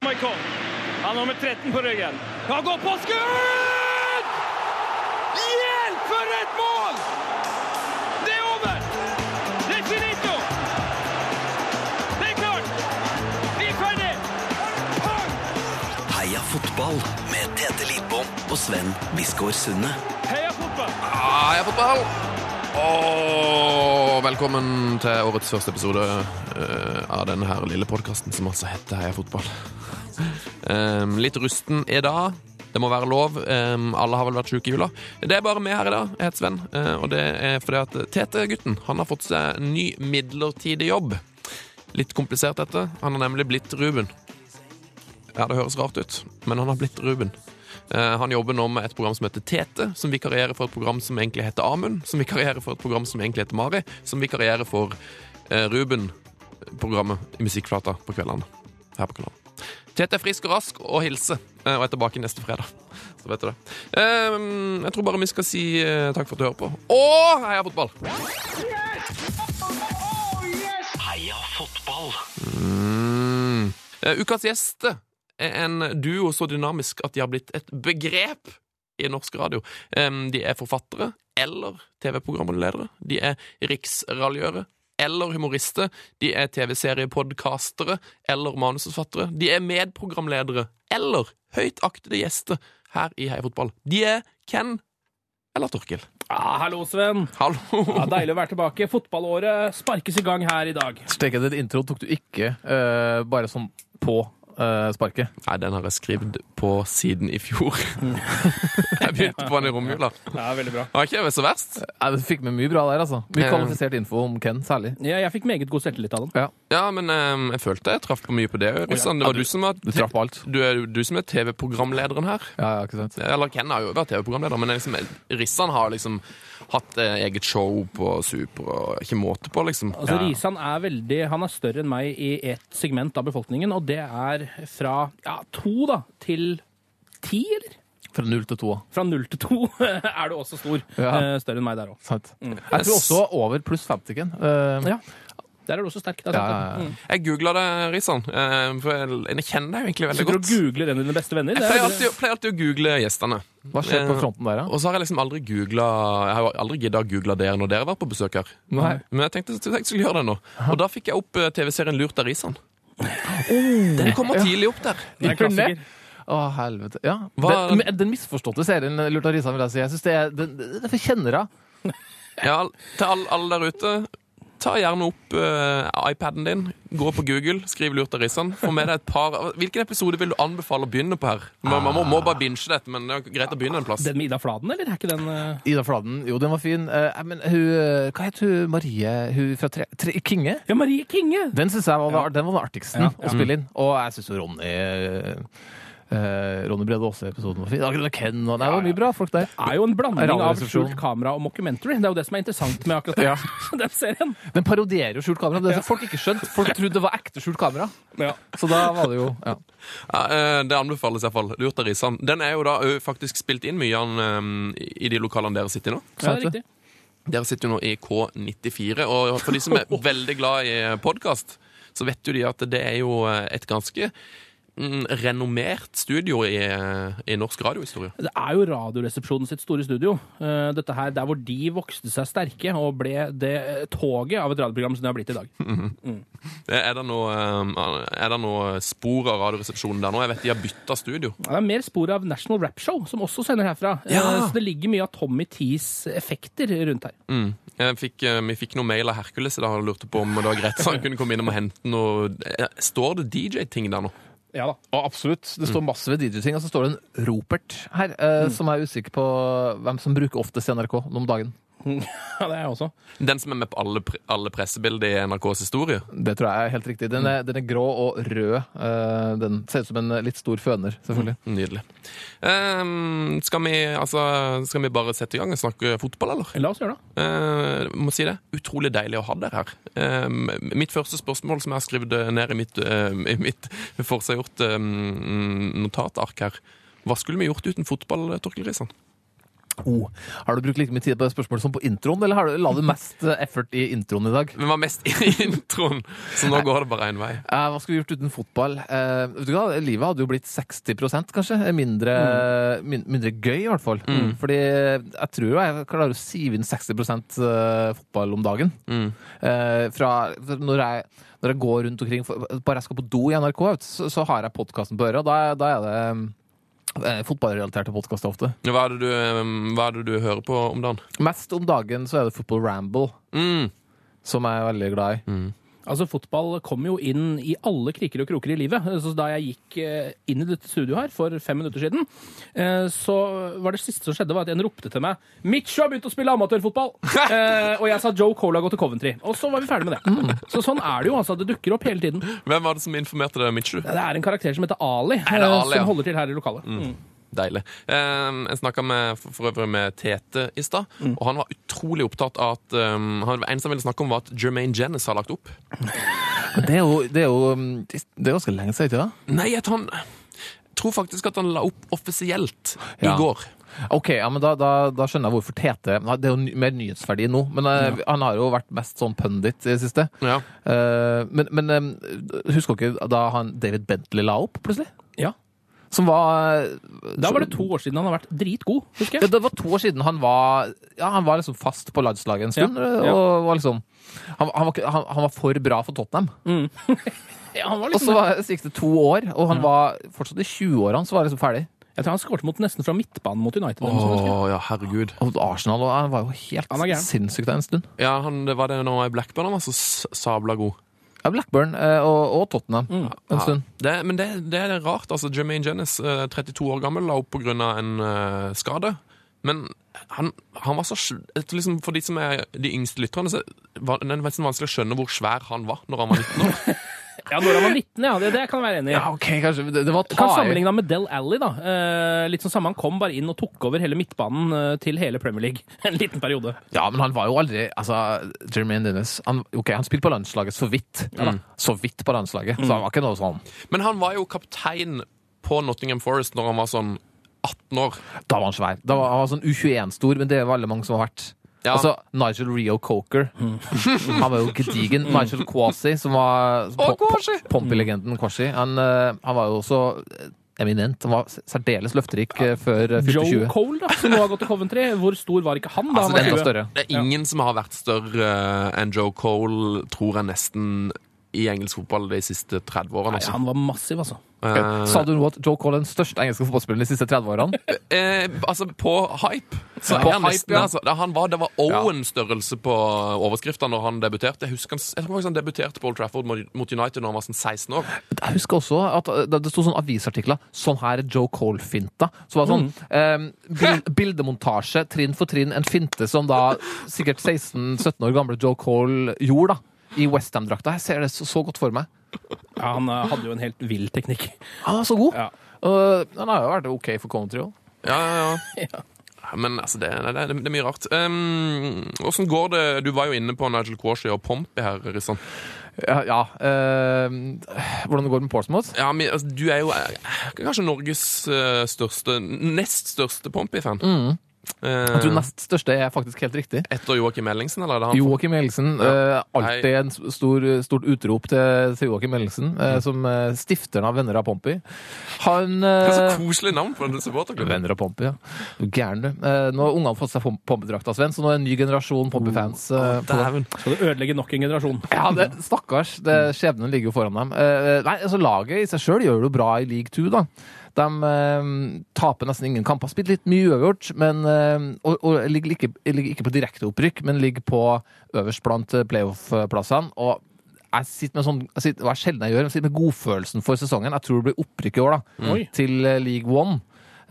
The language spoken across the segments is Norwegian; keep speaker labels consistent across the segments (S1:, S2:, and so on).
S1: Kom. Han har nummer 13 på ryggen. Han går på skudd! Hjelp, for et mål! Det er over! Det er finito! Det er klart! Vi er ferdig!
S2: Heia fotball med Tete Lidbom og Sven Biskår Sunde.
S1: Heia fotball!
S3: Ah, jeg er fotball! Og velkommen til årets første episode eh, av denne her lille podkasten som altså heter Heia fotball. Em, litt rusten i dag. Det må være lov. Em, alle har vel vært sjuke i jula. Det er bare meg her i dag. Jeg heter Sven. eh, og det er fordi at Tete-gutten han har fått seg ny midlertidig jobb. Litt komplisert, dette. Han har nemlig blitt Ruben. Ja, det høres rart ut, men han har blitt Ruben. Eh, Han jobber nå med et program som heter Tete, som vikarierer for et program som egentlig heter Amund, som vikarierer for et program som egentlig heter Mari, som vikarierer for eh, Ruben-programmet i Musikkflata på kveldene her på kanalen. Tete er frisk og rask og hilser, eh, og er tilbake neste fredag. Så vet du det. Eh, Jeg tror bare vi skal si eh, takk for at du hører på. Og heia fotball!
S2: Heia fotball.
S3: Mm. Eh, Ukas gjeste er en duo så dynamisk at de har blitt et begrep i norsk radio. Em, de er forfattere eller TV-programledere. De er riksraljører eller humorister. De er TV-seriepodkastere eller manusforfattere. De er medprogramledere eller høytaktede gjester her i Heia Fotball. De er Ken eller Torkil.
S4: Ja, hallo, Sven.
S3: Hallo!
S4: Ja, deilig å være tilbake. Fotballåret sparkes i gang her i dag.
S5: Tenk at intro tok du ikke eh, bare sånn på eh, sparket.
S3: Nei, den har jeg skrevet på siden i fjor. jeg begynte på den i romjula.
S4: Ja, veldig bra.
S3: Var ikke det så verst?
S5: Nei, Du fikk med mye bra der, altså. Mye
S3: Eh.
S5: kvalifisert info om Ken særlig.
S4: Ja, jeg fikk meget god selvtillit av den.
S3: Ja, men ehm, jeg følte jeg traff på mye på det. Russan. Det var du som var
S5: Du traff på alt.
S3: du er du som er TV-programlederen her.
S5: Ja, ja, ikke sant?
S3: Eller Ken har jo vært TV-programleder, men liksom, Rissan har liksom hatt eh, eget show på Super og ikke måte på, liksom.
S4: Altså, Risan er veldig, han er større enn meg i et segment av befolkningen, og det er fra ja, to da, til ti, eller?
S5: Fra null til to.
S4: Fra null til to er du også stor.
S5: Ja.
S4: Eh, Større enn meg der òg.
S5: Sant.
S3: Mm.
S5: Jeg tror også over pluss 50, Ken. Eh,
S4: Ja. Der er du også sterk. Det er
S5: ja,
S4: sant,
S5: ja, ja.
S4: det. Mm.
S3: Jeg googla det, Rissan, eh, for jeg, jeg kjenner deg jo egentlig veldig
S4: Sitter og
S3: godt.
S4: googler en av dine beste venner.
S3: Jeg
S4: Det
S3: pleier
S4: er,
S3: alltid, pleier alltid å google gjestene.
S5: Hva skjer på
S3: Eh,
S5: fronten der, da?
S3: Og så har jeg liksom aldri googla Jeg har jo aldri gidda å google dere når dere var på besøk her.
S5: Nei.
S3: Men jeg tenkte, tenkte jeg skulle gjøre det nå. Og da fikk jeg opp eh, TV-serien Lurt av Risan. Den kommer tidlig opp der.
S4: det er en klassiker.
S5: Å, helvete. Ja.
S3: Hva-
S5: Den, men den misforståtte serien eh, Lurt av Risan, vil jeg si. Jeg synes det er, den, den får kjennere.
S3: Ja, til alle alle der ute. Ta gjerne opp eh, iPaden din, gå på Google, skriv 'Lurt av Rissan'. Få med deg et par Hvilken episode vil du anbefale å begynne på her? Man, man må, må bare binge dette, men det er greit å begynne en plass.
S4: Den med Ida Fladen, eller? Er ikke den eh,
S5: Ida Fladen, jo, den var fin. Eh, men hun, hva het hun Marie hun fra tre, tre, Kinge?
S4: Ja, Marie Kinge!
S5: Den synes jeg var, den var den artigsten å spille inn. Og jeg syns jo Ronny eh, Ronny Brede Aase-episoden var fin. Og Ken og Nei, det var mye bra folk der.
S4: er jo en blanding av
S5: Radioresepsjon.
S4: skjult kamera og mockumentary. Det er jo det som er interessant med akkurat den serien.
S5: Den parodierer jo skjult kamera. Det har folk ikke skjønt. Folk trodde det var ekte skjult kamera. Så da var det jo ja.
S3: Ja, eh, det anbefales iallfall. 'Lurt av Risan'. Den er jo da eh, faktisk spilt inn mye av den, eh, i de lokalene dere sitter i nå.
S4: Ja, det er riktig.
S3: Dere sitter jo nå i K94, og for de som er veldig glad i podkast, så vet jo de at det er jo et ganske mm, renommert studio i, i norsk radiohistorie.
S4: Det er jo Radioresepsjonen sitt store studio. Eh, Dette her, Der hvor de vokste seg sterke og ble det eh, toget av et radioprogram som det har blitt i dag.
S3: Er det noe, eh, er det noe spor av Radioresepsjonen der nå? Jeg vet de har bytta studio.
S4: Det er mer spor av National Rap Show, som også sender herfra. Eh,
S3: Ja.
S4: Så det ligger mye av Tommy Tees effekter rundt her.
S3: Mm. Jeg fikk, eh, vi fikk noe mail av Hercules i dag og lurte på om det var greit så han kunne komme innom og hente noe Eh, Står det DJ-ting der nå?
S4: Ja da.
S5: Og absolutt. Det står masse DJ-ting, og så står det en Ropert her, eh, som er usikker på hvem som bruker oftest i NRK nå om dagen.
S4: Ja, det er jeg også.
S3: Den som er med på alle, pre alle pressebilder i NRKs historie?
S5: Det tror jeg er helt riktig. Den er, den er grå og rød. eh, den ser ut som en litt stor føner, selvfølgelig.
S3: Nydelig. Ehm, skal, vi, altså, skal vi bare sette i gang og snakke fotball, eller?
S4: La oss gjøre det.
S3: Uh, må si det. Utrolig deilig å ha dere her. Ehm, mitt første spørsmål som jeg har skrevet ned i mitt, uh, i mitt ehm, forseggjort ehm, notatark her Hva skulle vi gjort uten fotball, Torkel Risan?
S5: Oh. Har du brukt like mye tid på det spørsmålet som på introen, eller har du, la du mest effort i introen i dag?
S3: Vi var mest i introen, så nå går det bare én vei.
S5: Eh, hva skulle vi gjort uten fotball? Eh, vet du hva? Livet hadde jo blitt 60 kanskje. Eh, Mindre, min, mindre gøy, i hvert fall. Fordi eh, jeg tror jo jeg klarer å sive inn 60 eh, fotball om dagen. Eh, fra fra når jeg, når jeg går rundt omkring, for- bare jeg skal på do i NRK, vet du, så, så har jeg podkasten på øret. og Da, er- da er det eh, fotballrelaterte podkaster ofte.
S3: Hva er, det du, eh, hva er det du hører på om dagen?
S5: Mest om dagen så er det Football Ramble,
S3: Mm.
S5: som jeg er veldig glad i.
S4: Altså, fotball kom jo inn i alle kriker og kroker i livet. Så da jeg gikk eh, inn i dette studioet her for fem minutter siden, eh, så var det siste som skjedde, var at en ropte til meg 'Mitcho har begynt å spille amatørfotball!' Eh, Og jeg sa 'Joe Cola går til Coventry'. Og så var vi ferdig med det. Så sånn er det jo, altså. Det dukker opp hele tiden.
S3: Hvem var det som informerte deg, Mitchu?
S4: Det er en karakter som heter Ali,
S3: det er
S4: eh,
S3: Ali, ja.
S4: som holder til her i lokalet. Mm.
S3: Deilig. Um, jeg snakka for for øvrig med Tete i stad, og han var utrolig opptatt av at um, han, eneste han ville snakke om, var at Jermaine Jennis har lagt opp.
S5: Men det er jo, det er jo um, det er ganske lenge siden, ikke det?
S3: Nei, at han tror faktisk at han la opp offisielt
S5: Ja.
S3: i går.
S5: Ok, ja, men da, da, da skjønner jeg hvorfor Tete Nei, Det er jo ny- mer nyhetsverdi nå, men eh, han har jo vært mest sånn pundit i det siste.
S3: Ja.
S5: Eh, men men eh, husker dere da han David Bentley la opp, plutselig?
S4: Ja.
S5: Som var eh,
S4: Da var det to år siden han har vært dritgod, husker
S5: ja,
S4: jeg.
S5: Det var to år siden han var Ja, han var liksom fast på landslaget en stund.
S4: Ja, ja.
S5: Og var liksom han, han, var, ikke- han, han var for bra for Tottenham.
S4: Mm. Ja, han var
S5: Og så
S4: liksom,
S5: var- så gikk det to år, og
S4: Mm.
S5: han var fortsatt i 20-årene, så var han liksom ferdig.
S4: jeg tror han skåret mot, nesten fra midtbanen mot United. eller
S3: Å
S4: noe sånt, husker jeg.
S3: Sånn, ja, herregud.
S5: Og Arsenal og han var jo helt
S4: Han var gæren.
S5: sinnssykt en stund.
S3: Ja, han, det var det når han var i Blackburn han var så s- sabla god.
S5: Ja, Blackburn eh, og, og Tottenham en
S3: Ja.
S5: stund.
S3: Det, men det, det er rart. altså Jermaine Jennis, eh, 32 år gammel, la opp pga. en eh, skade. Men han, han var så sj- et- liksom, For de som er de yngste lytterne, så var det nesten vanskelig å skjønne hvor svær han var når han var 19 år.
S4: Ja, når han var 19, ja. Det, det kan jeg være enig i.
S5: Ja, ok, kanskje. Det, det var
S4: Kan
S5: tar.
S4: sammenligne han med Del Alli, da. Eh, litt sånn samme, han kom bare inn og tok over hele midtbanen eh, til hele Premier League. En liten periode.
S5: Ja, men han var jo aldri altså, Jermaine Dennis han, ok, han spilte på landslaget så vidt. Mm. Så vidt på landslaget. Så han var ikke noe sånn
S3: Men han var jo kaptein på Nottingham Forest når han var sånn 18 år.
S5: Da var han svær. Da var Han var sånn U21-stor, men det er veldig mange som har vært.
S3: Ja.
S5: Altså Nigel Rio Coker. han var jo gedigen. Nigel Kwasi, som var
S3: Å,
S5: po- po-
S3: Kwasi!
S5: Pompey-legenden Kwasi. Han, eh, han var jo også eh, eminent. Han var særdeles løfterik eh, før eh, fylte
S4: Joe
S5: 20.
S4: Cole, da, som nå har gått til Coventry. Hvor stor var ikke han da?
S5: Altså, det er
S4: han
S5: enda
S4: var 20?
S5: større.
S3: Det er ingen som har vært større eh, enn Joe Cole, tror jeg nesten, i engelsk fotball de siste 30 årene.
S4: Nei,
S3: Altså.
S4: han var massiv, altså.
S3: Eh,
S5: Sa du nå at Joe Cole er den største engelske fotballspilleren de siste 30 årene?
S3: eh, altså, på hype. Så
S5: På
S3: er han
S5: hype,
S3: nesten,
S5: ja.
S3: altså, Da han var, det var Owen-størrelse på overskriften når han debuterte. Jeg husker han, jeg tror faktisk han debuterte på Old Trafford mot mot United når han var sånn 16 år.
S5: Jeg husker også at eh, det det sto sånne avisartikler Sånn her er Joe Cole-finta. Så var det sånn eh, bil, Bildemontasje trinn for trinn. En finte som da sikkert 16-17 år gamle Joe Cole gjorde. da I Westham-drakta. Jeg ser det så, så godt for meg.
S4: Ja, han eh, hadde jo en helt vill teknikk.
S5: Han var så god.
S4: Ja.
S5: Og eh, han har jo vært OK for Coventry òg.
S3: Ja, ja, ja. Men altså, det, det, det, det er mye rart. Um, Åssen går det Du var jo inne på Nigel Quashy og Pompey her, Rissan.
S5: Ja, ja. eh, hvordan det går med Portsmouth?
S3: Ja, men altså, Du er jo eh, kanskje Norges eh, største Nest største Pompey-fan. Eh,
S5: Mm. Jeg tror nest største er faktisk helt riktig.
S3: etter Joakim Ellingsen, eller? er det han?
S5: Joakim Ellingsen. eh, alltid en s- stor, eh, stort utrop til, til Joakim Ellingsen, eh,
S3: Mm.
S5: som eh, stifteren av Venner av Pompy. Han eh,
S3: Det er så koselig navn på en supporterklubb.
S5: Venner av Pompy, ja. Du Gæren, du. Eh, nå har ungene fått seg pom- Pompy-drakta, Sven, så nå er det en ny generasjon Pompy-fans. eh, på-
S3: Dæven.
S4: Skal du ødelegge nok en generasjon?
S5: ja, det, stakkars. Det, skjebnen ligger jo foran dem. Eh, nei, altså Laget i seg sjøl gjør det jo bra i league two, da. De eh, taper nesten ingen kamper. Spilt litt mye uavgjort, men eh, og, og ligger, ikke, ligger ikke på direkteopprykk, men ligger på øverst blant eh, playoff-plassene. og jeg sitter med sånn, jeg sitter, hva er sjelden jeg gjør, jeg sitter med godfølelsen for sesongen. Jeg tror det blir opprykk i år, da.
S4: Oi.
S5: Til eh, League One.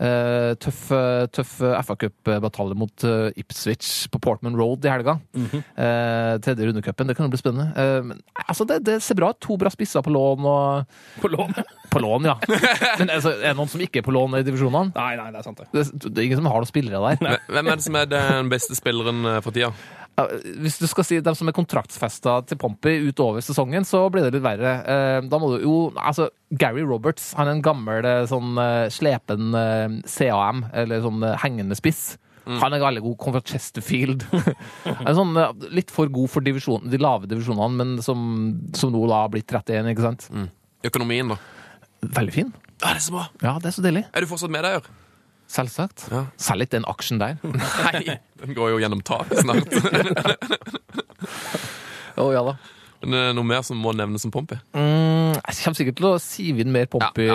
S5: Eh, tøff eh, tøff eh, FA Cup-batalje mot eh, Ipswich på Portman Road i helga. Eh, tredje rundecupen, det kan jo bli spennende. Eh, men altså, det, det ser bra ut. To bra spisser på lån og
S4: På lån?
S5: På lån, ja. Men altså, er det noen som ikke er på lån i divisjonene?
S4: Nei, nei, det er sant, det.
S5: Det, det er ingen som har noen spillere der.
S3: Hvem er det som er den beste spilleren eh, for tida?
S5: Ja, Hvis du skal si dem som er kontraktsfesta til Pompey utover sesongen, så blir det litt verre. Eh, Da må du jo Altså, Gary Roberts, han er en gammel eh, sånn eh, slepen eh, CAM, eller sånn eh, hengende spiss. Han er veldig god, kommer fra Chesterfield. en sånn, eh, litt for god for divisjon, de lave divisjonene, men som, som nå da har blitt 31, ikke sant?
S3: Økonomien, da.
S5: Veldig fin.
S3: Ja, det er så bra.
S5: Ja, det er så deilig.
S3: Er du fortsatt med der?
S5: Selvsagt.
S3: Ja.
S5: Selg ikke den aksjen der.
S3: Nei, den går jo gjennom tak snart.
S5: Å ja da.
S3: Men eh, noe mer som må nevnes som Pompi?
S5: Mm, jeg kommer sikkert til å sive inn mer Pompy.
S3: Ja,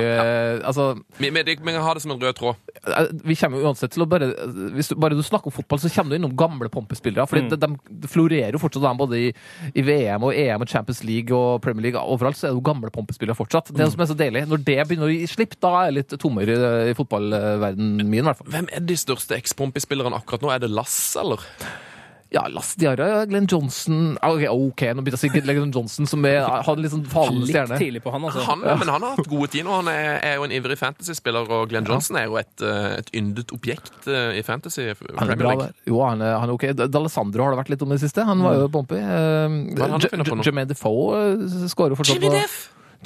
S5: eh, Altså,
S3: Vi, vi, vi kan ha det som en rød tråd.
S5: eh, vi kommer jo uansett til å bare Hvis du, bare du snakker om fotball, så kommer du innom gamle Pompy-spillere. For de, de florerer jo fortsatt, da, både i, i VM og EM og Champions League og Premier League. Overalt så er det jo gamle Pompy-spillere fortsatt. Det er det som er så deilig. Når det begynner å gi slipp, da er jeg litt tommere i, i fotballverdenen min, i hvert fall.
S3: Hvem er de største eks-Pompi-spillerne akkurat nå? Er det Lass, eller?
S5: Ja, Lass Diarra, Glenn Johnson Ah, Ok, ok, nå begynte jeg å si Glenn Johnson, som er, har en litt sånn falende
S4: Litt
S5: stjerne.
S4: tidlig på han, altså.
S3: Han, Men han har hatt gode tider. og Han er, er jo en ivrig fantasy-spiller, og Glenn Johnson er jo et, eh, et yndet objekt eh, i fantasy.
S5: Han er bra der. Jo, han er, han er ok. D'Alessandro har det vært litt om i det siste. Han var jo bumpy.
S3: er Mm. han finner på nå?
S5: Jermaine Defoe eh, skårer jo fortsatt.
S3: Jimmy
S5: på-
S3: Deff!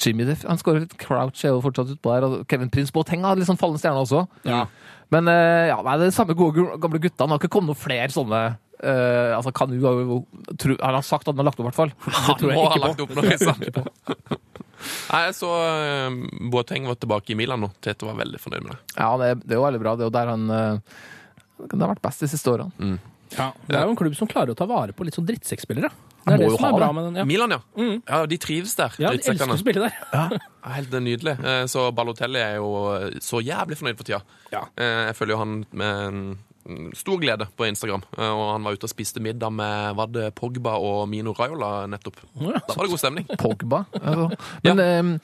S5: Jimmy Deff. Han skårer litt. Crouch er jo fortsatt utpå der. og Kevin Prince Boateng har litt sånn fallen stjerne også.
S4: Ja.
S5: Men eh, ja, nei, det er de samme gode gamle gutta. Han har ikke kommet noen flere sånne eh, altså Kanu har jo tro, Har han sagt at han har lagt opp, i hvert fall? Det
S3: Må
S5: tror jeg
S3: ha
S5: ikke
S3: lagt opp noe sant? Nei, jeg så eh, Boateng var tilbake i Milan nå. Tete var veldig fornøyd med det.
S5: Ja, det, er- det er jo veldig bra. Det er jo der han eh, det har vært best de siste årene.
S3: Mm.
S4: Ja. Det er jo en klubb som klarer å ta vare på litt sånn drittsekkspillere. Det er
S5: må
S4: det
S5: jo
S4: som
S5: ha
S4: er bra
S5: det.
S4: med den. Ja. Mm.
S3: Milan, ja. Ja, De trives der.
S4: Ja, de elsker
S3: drittsekkene.
S4: å spille der.
S3: Ja, Helt nydelig. Eh, Så Balotelli er jo eh, så jævlig fornøyd for tida.
S4: Ja.
S3: Eh, Jeg følger jo han med en stor glede på Instagram. Eh, Og han var ute og spiste middag med var det Pogba og Mino Raiola nettopp.
S4: Ja.
S3: Da var det god stemning.
S5: Pogba. Altså. Men, eh,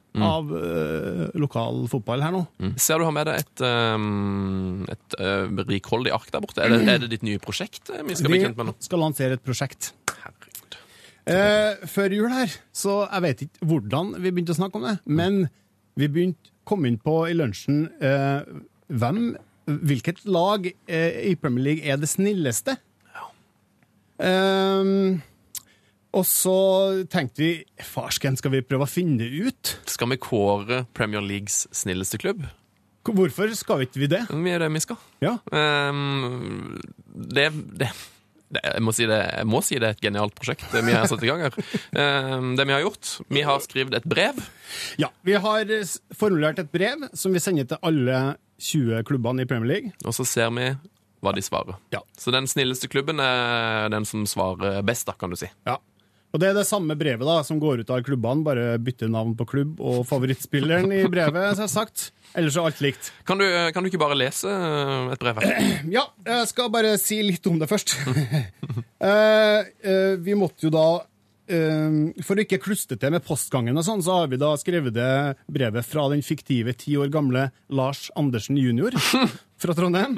S6: av eh, lokal fotball her nå.
S3: Ser du har med deg et, um, et uh, rikholdig ark der borte. Er det, er det ditt nye prosjekt eh, vi skal bli kjent med nå?
S6: Vi skal lansere et prosjekt.
S3: Herregud.
S6: Eh, før jul her, så jeg vet ikke hvordan vi begynte å snakke om det, men vi begynte kom inn på i lunsjen eh, hvem, hvilket lag eh, i Premier League er det snilleste? Eh, og så tenkte vi, farsken, skal vi prøve å finne det ut?
S3: Skal vi kåre Premier Leagues snilleste klubb?
S6: Hvorfor skal vi ikke vi det?
S3: Mm, Vi er det vi skal.
S6: Ja.
S3: Um, det, det, det jeg, må si det, jeg må si det er et genialt prosjekt det vi har satt i gang her. Um, det vi har gjort Vi har skrevet et brev.
S6: ja. Vi har eh, formulert et brev som vi sender til alle 20 klubbene i Premier League.
S3: Og så ser vi hva de svarer.
S6: Ja.
S3: Så den snilleste klubben er den som svarer best, da, kan du si.
S6: Ja. Og det er det samme brevet da, som går ut av klubbene, bare bytte navn på klubb og favorittspilleren i brevet, selvsagt. Ellers er alt likt.
S3: Kan du, kan du ikke bare lese eh, et brev her?
S6: Ja, jeg skal bare si litt om det først. Eh, eh, vi måtte jo da eh, For å ikke klustre til med postgangen og sånn, så har vi da skrevet det brevet fra den fiktive ti år gamle Lars Andersen jr. fra Trondheim.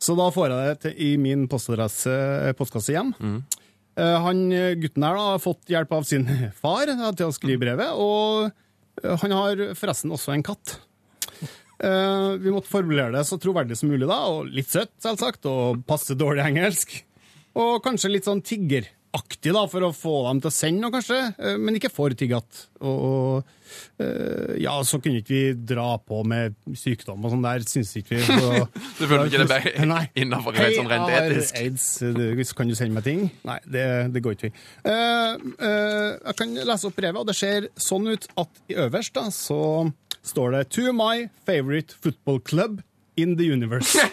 S6: Så da får jeg det til, i min postadresse, postkasse hjem. Eh, han eh, gutten her da, har fått hjelp av sin far da, til å skrive brevet, og eh, han har forresten også en katt. Eh, vi måtte formulere det så troverdig som mulig, da, og litt søtt, selvsagt, og passe dårlig engelsk. Og kanskje litt sånn tiggeraktig, da, for å få dem til å sende noe, kanskje, eh, men ikke for tiggete. Og, og eh, ja, så kunne ikke vi dra på med sykdom og sånn der, syns ikke vi. Så,
S3: Du føler ikke det ble
S6: Nei.
S3: innafor rent, sånn rent
S6: Hei, jeg har
S3: etisk?
S6: Aids, du, kan du sende meg ting? Nei, det, det går ikke. Eh, eh, jeg kan lese opp brevet, og det ser sånn ut at i øverst da, så står det To my favorite football club in the universe.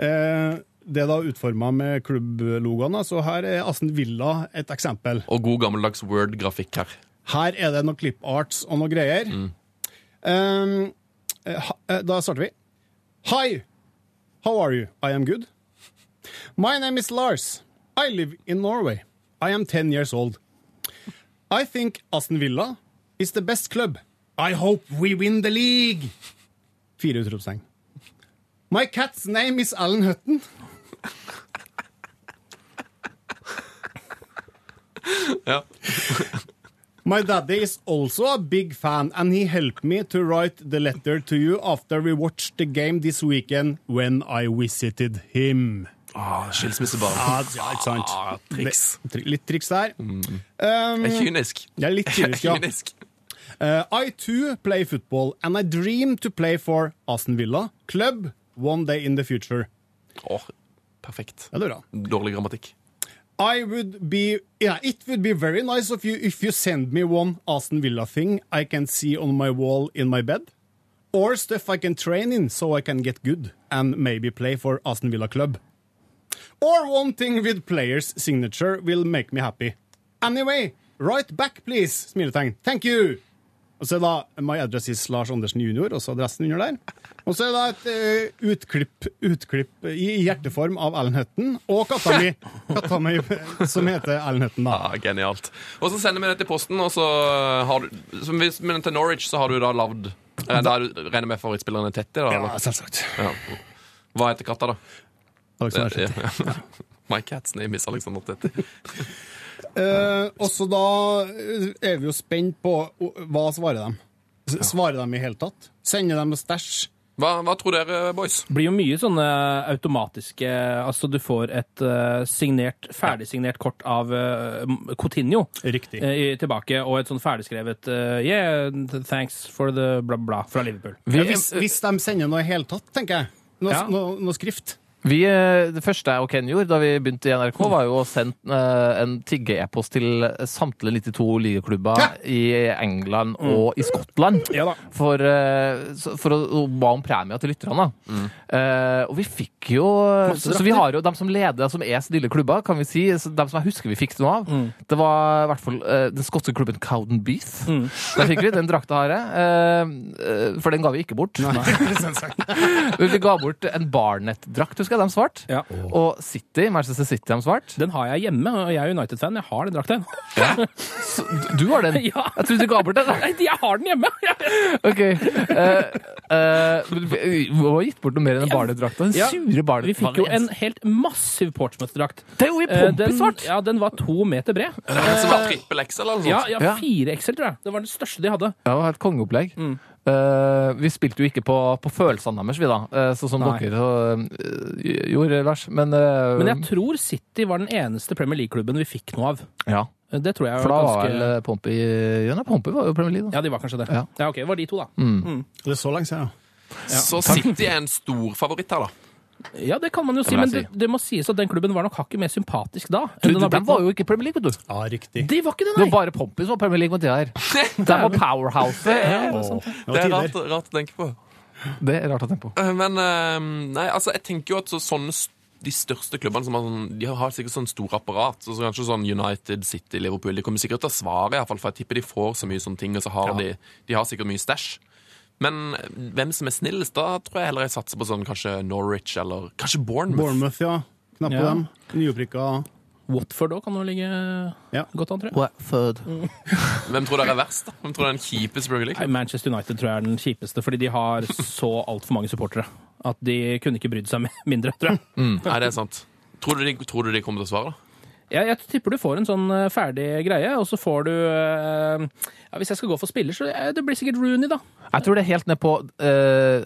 S6: Eh, det er da utforma med klubblogoen, da, så her er Aston Villa et eksempel.
S3: Og god gammeldags Word-grafikk her.
S6: Her er det noe cliparts og noe greier. Um, eh, ha- eh, da starter vi. Hi, how are you? I am good. My name is Lars. I live in Norway. I am 10 years old. I think Aston Villa is the best club. I hope we win the league! Fire utropstegn. My cat's name is Alan Hutton.
S3: Ja.
S6: My daddy is also a big fan, and he helped me to write the letter to you after we watched the game this weekend when I visited him.
S3: Ah, Skilsmissebarn.
S6: Ja, ja, ikke sant.
S3: Ah, triks.
S6: Tri- Litt triks der. Um,
S3: Jeg er kynisk.
S6: det er litt
S3: Jeg er
S6: kynisk, ja.
S3: kynisk.
S6: Uh, I too play football, and I dream to play for Aston Villa Club one day in the future.
S3: Åh, perfekt.
S6: Ja, det er bra.
S3: Dårlig grammatikk.
S6: I would be yeah, It would be very nice if you, if you send me one Aston Villa thing I can see on my wall in my bed. Or stuff I can train in so I can get good and maybe play for Aston Villa Club. Or one thing with players' signature will make me happy. Anyway, right back please! Smiletegn. Thank you! Og så er da My address is Lars Andersen jr., og så adressen under der. Og så er det et eh, utklipp, utklipp i i hjerteform av Ellen Hutton og katta mi, katta mi eh, som heter Ellen Hutton, da.
S3: Ah, genialt. Og så sender vi det til posten, og så har du så hvis, Men til Norwich så har du da lagd eh, Da er du- regner jeg med favorittspillerne Tetty, da?
S6: Ja,
S3: Eller?
S6: selvsagt.
S3: Ja. Hva heter katta, da?
S6: Alexander Hutton.
S3: Ja. My cat's name is Alexander Tetty.
S6: Eh, og så da eh, er vi jo spent på o- hva svarer de. S- Svarer de i hele tatt? Sender de stæsj?
S3: Hva, hva tror dere, boys?
S4: Det blir jo mye sånne automatiske Altså, du får et eh, signert, ferdigsignert kort av eh, Coutinho
S6: Riktig.
S4: eh, i- tilbake, og et sånn ferdigskrevet eh, Yeah, th- thanks for the bla, bla fra Liverpool.
S6: Ja, hvis, hvis de sender noe i hele tatt, tenker jeg. Noe,
S4: Ja.
S6: noe, noe skrift.
S5: Vi, eh, det første jeg og Ken gjorde da vi begynte i NRK, var jo å sende eh, en tigge-e-post til samtlige 92 ligaklubber i England og i Skottland.
S4: Mm. Ja da.
S5: For, eh, så- for å å ba om premie til lytterne. da. Eh, og vi fikk jo så, så vi har jo dem som leder, som er snille klubber, kan vi si. så Dem som jeg husker vi fikk noe av.
S4: Mm.
S5: Det var i hvert fall eh, den skotske klubben Cowden Beef.
S4: Mm.
S5: Der fikk vi. Den drakta har jeg. eh, eh, for den ga vi ikke bort. Men vi ga bort en Barnett-drakt, husker jeg. De svarte.
S4: Ja.
S5: Og City, Manchester City, de svarte.
S4: Den har jeg hjemme, og jeg er United-fan. Jeg har den drakta.
S5: Så Du har den?
S4: Ja.
S5: Jeg trodde du ga bort den.
S4: Nei, Jeg har den hjemme!
S5: Ok. Eh, eh, men vi vi må ha gitt bort noe mer enn den Barnett-drakta. Den
S4: Ja.
S5: sure Barnett.
S4: Vi fikk jo en helt massiv Portsmouth-drakt.
S5: Det er jo i
S4: Eh, Den,
S5: pompesvart!
S4: ja, den var to meter bred.
S3: Den som var trippel XL, eller noe sånt?
S4: Ja, ja,
S5: Ja.
S4: fire XL, tror jeg. Det var den største de hadde.
S5: Ja, det var et kongeopplegg.
S4: Mm.
S5: Eh, vi spilte jo ikke på, på følelsene deres, vi da, eh, sånn som
S4: Nei.
S5: dere eh, gjorde, Lars. Men, eh,
S4: Men jeg tror City var den eneste Premier League-klubben vi fikk noe av.
S5: ja.
S4: Det tror jeg
S5: For da
S4: var
S5: var
S4: ganske
S5: vel eh, Pompey Ja, nei, Pompey var jo Premier League, da.
S4: Ja, de var kanskje det. Ja,
S5: Ja. Mm.
S4: ok, det var de to, da.
S6: Det er så lenge siden, ja.
S3: Så City er en stor favoritt her, da.
S4: Ja, det kan man jo si,
S5: må
S4: men
S5: jeg
S4: det,
S5: si.
S4: det må sies at den klubben var nok hakket mer sympatisk da. enn
S5: Du,
S4: den har
S5: de
S4: blitt
S5: var
S4: nå.
S5: jo ikke Premier League, vet du.
S6: Ja, riktig.
S4: De var ikke det,
S5: Det var
S4: nei!
S5: bare Pompey som var Premier League på den tida her. De var powerhouse.
S6: Det
S3: Det
S6: var
S3: er
S6: tider.
S3: rart, rart å tenke på.
S5: Det er rart å tenke på.
S3: Eh, Men eh, nei, altså, jeg tenker jo at så, sånne s- de største klubbene som har, sånn, de har sikkert sånn store apparat. Så, så kanskje sånn United, City, Liverpool De kommer sikkert til å svare, i hvert fall, for jeg tipper de får så mye sånne ting. Og så har de, de har sikkert mye stæsj. Men eh, hvem som er snillest, da tror jeg heller jeg satser på sånn kanskje Norwich eller kanskje Bournemouth.
S6: Bournemouth, ja. Knapp på
S4: Ja.
S6: dem. Nyopprykka.
S4: Watford òg kan jo ligge
S6: Ja.
S4: godt an, tror jeg.
S5: Watford.
S3: Hvem tror dere er verst? da? Hvem tror dere er den kjipe Premier League?
S4: Nei, Manchester United tror jeg er den kjipeste, fordi de har så altfor mange supportere. At de kunne ikke brydd seg mindre, tror jeg.
S3: Nei, det er sant. Tror du de, tror du de kommer til å svare, da?
S4: jeg. Jeg tipper du får en sånn eh, ferdig greie, og så får du eh, ja, Hvis jeg skal gå for spiller, så eh, det blir sikkert Rooney, da.
S5: Jeg tror det er helt ned på eh,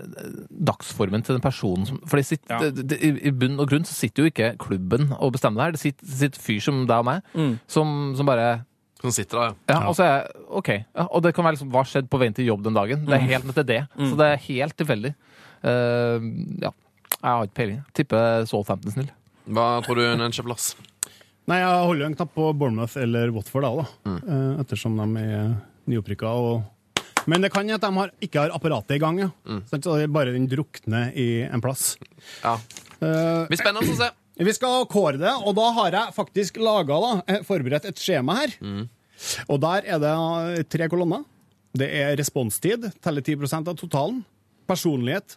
S5: dagsformen til den personen som For det sitter-
S4: Ja.
S5: det- det- i i bunn og grunn så sitter jo ikke klubben og bestemmer det her. Det sitter, det sitter fyr som deg og meg, som, som bare
S3: Som sitter der, ja.
S5: ja, Og så er jeg, OK. Ja, og det kan være liksom, hva skjedde på veien til jobb den dagen. Det er helt ned til det. Så det er helt tilfeldig. Eh, ja. Jeg har ikke peiling. Tipper Southampton snill.
S3: Hva tror du, Nenchef Lars?
S6: Nei, jeg holder jo en knapp på Bournemouth eller Watford, da, da. Eh, ettersom de er nyopprykka. Og... Men det kan jo at de har, ikke har apparatet i gang. Ja. Sant, Så det er bare den drukner i en plass.
S3: Ja.
S6: Eh,
S3: Det blir spennende å se.
S6: vi skal kåre det, og da har jeg faktisk laga forberedt et skjema her.
S3: Mm.
S6: Og der er det eh, tre kolonner. Det er responstid, teller 10 av totalen. Personlighet,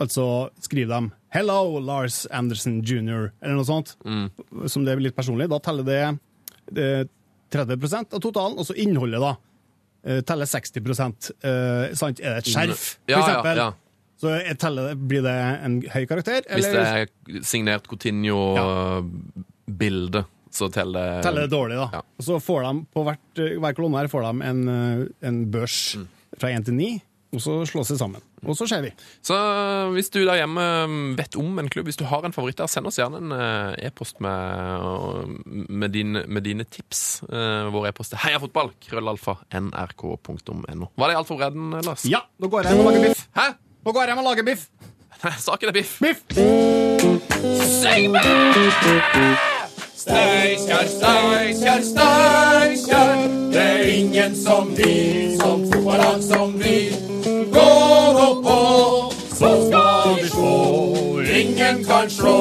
S6: altså skriv dem 'Hello, Lars Anderson Jr.' eller noe sånt.
S3: Mm.
S6: Som det er litt personlig. Da teller det eh, 30 av totalen, og så innholdet, da. eh, Teller 60 eh, sant? Er det et skjerf, for
S3: Ja, ja,
S6: eksempel?
S3: ja.
S6: Så jeg teller, blir det en høy karakter?
S3: Hvis
S6: eller-
S3: det er signert Coutinho-bilde, så teller
S6: teller det dårlig, da.
S3: Ja.
S6: Mm. Og så får de på hvert, hver kolonne her får de en, eh, en børs fra 1 til 9. Og så slå seg sammen. Og så ser vi.
S3: Så hvis du der hjemme um, vet om en klubb, hvis du har en favoritt der, send oss gjerne en eh, e-post med, uh, med, din, med dine tips. Eh, Vår e-post er heiafotball, krøllalfa, nrk.no. Var det alt for bredden, Lars?
S6: Ja, nå går jeg hjem og lager biff.
S3: Hæ?
S6: Nå går jeg hjem og lager biff.
S3: Nei, Saken er biff.
S6: Biff!
S7: Steinkjer, Steinkjer, Steinkjer. Det er ingen som vi, som fotballag som vi. Gå nå på, så skal vi slå. Ingen kan slå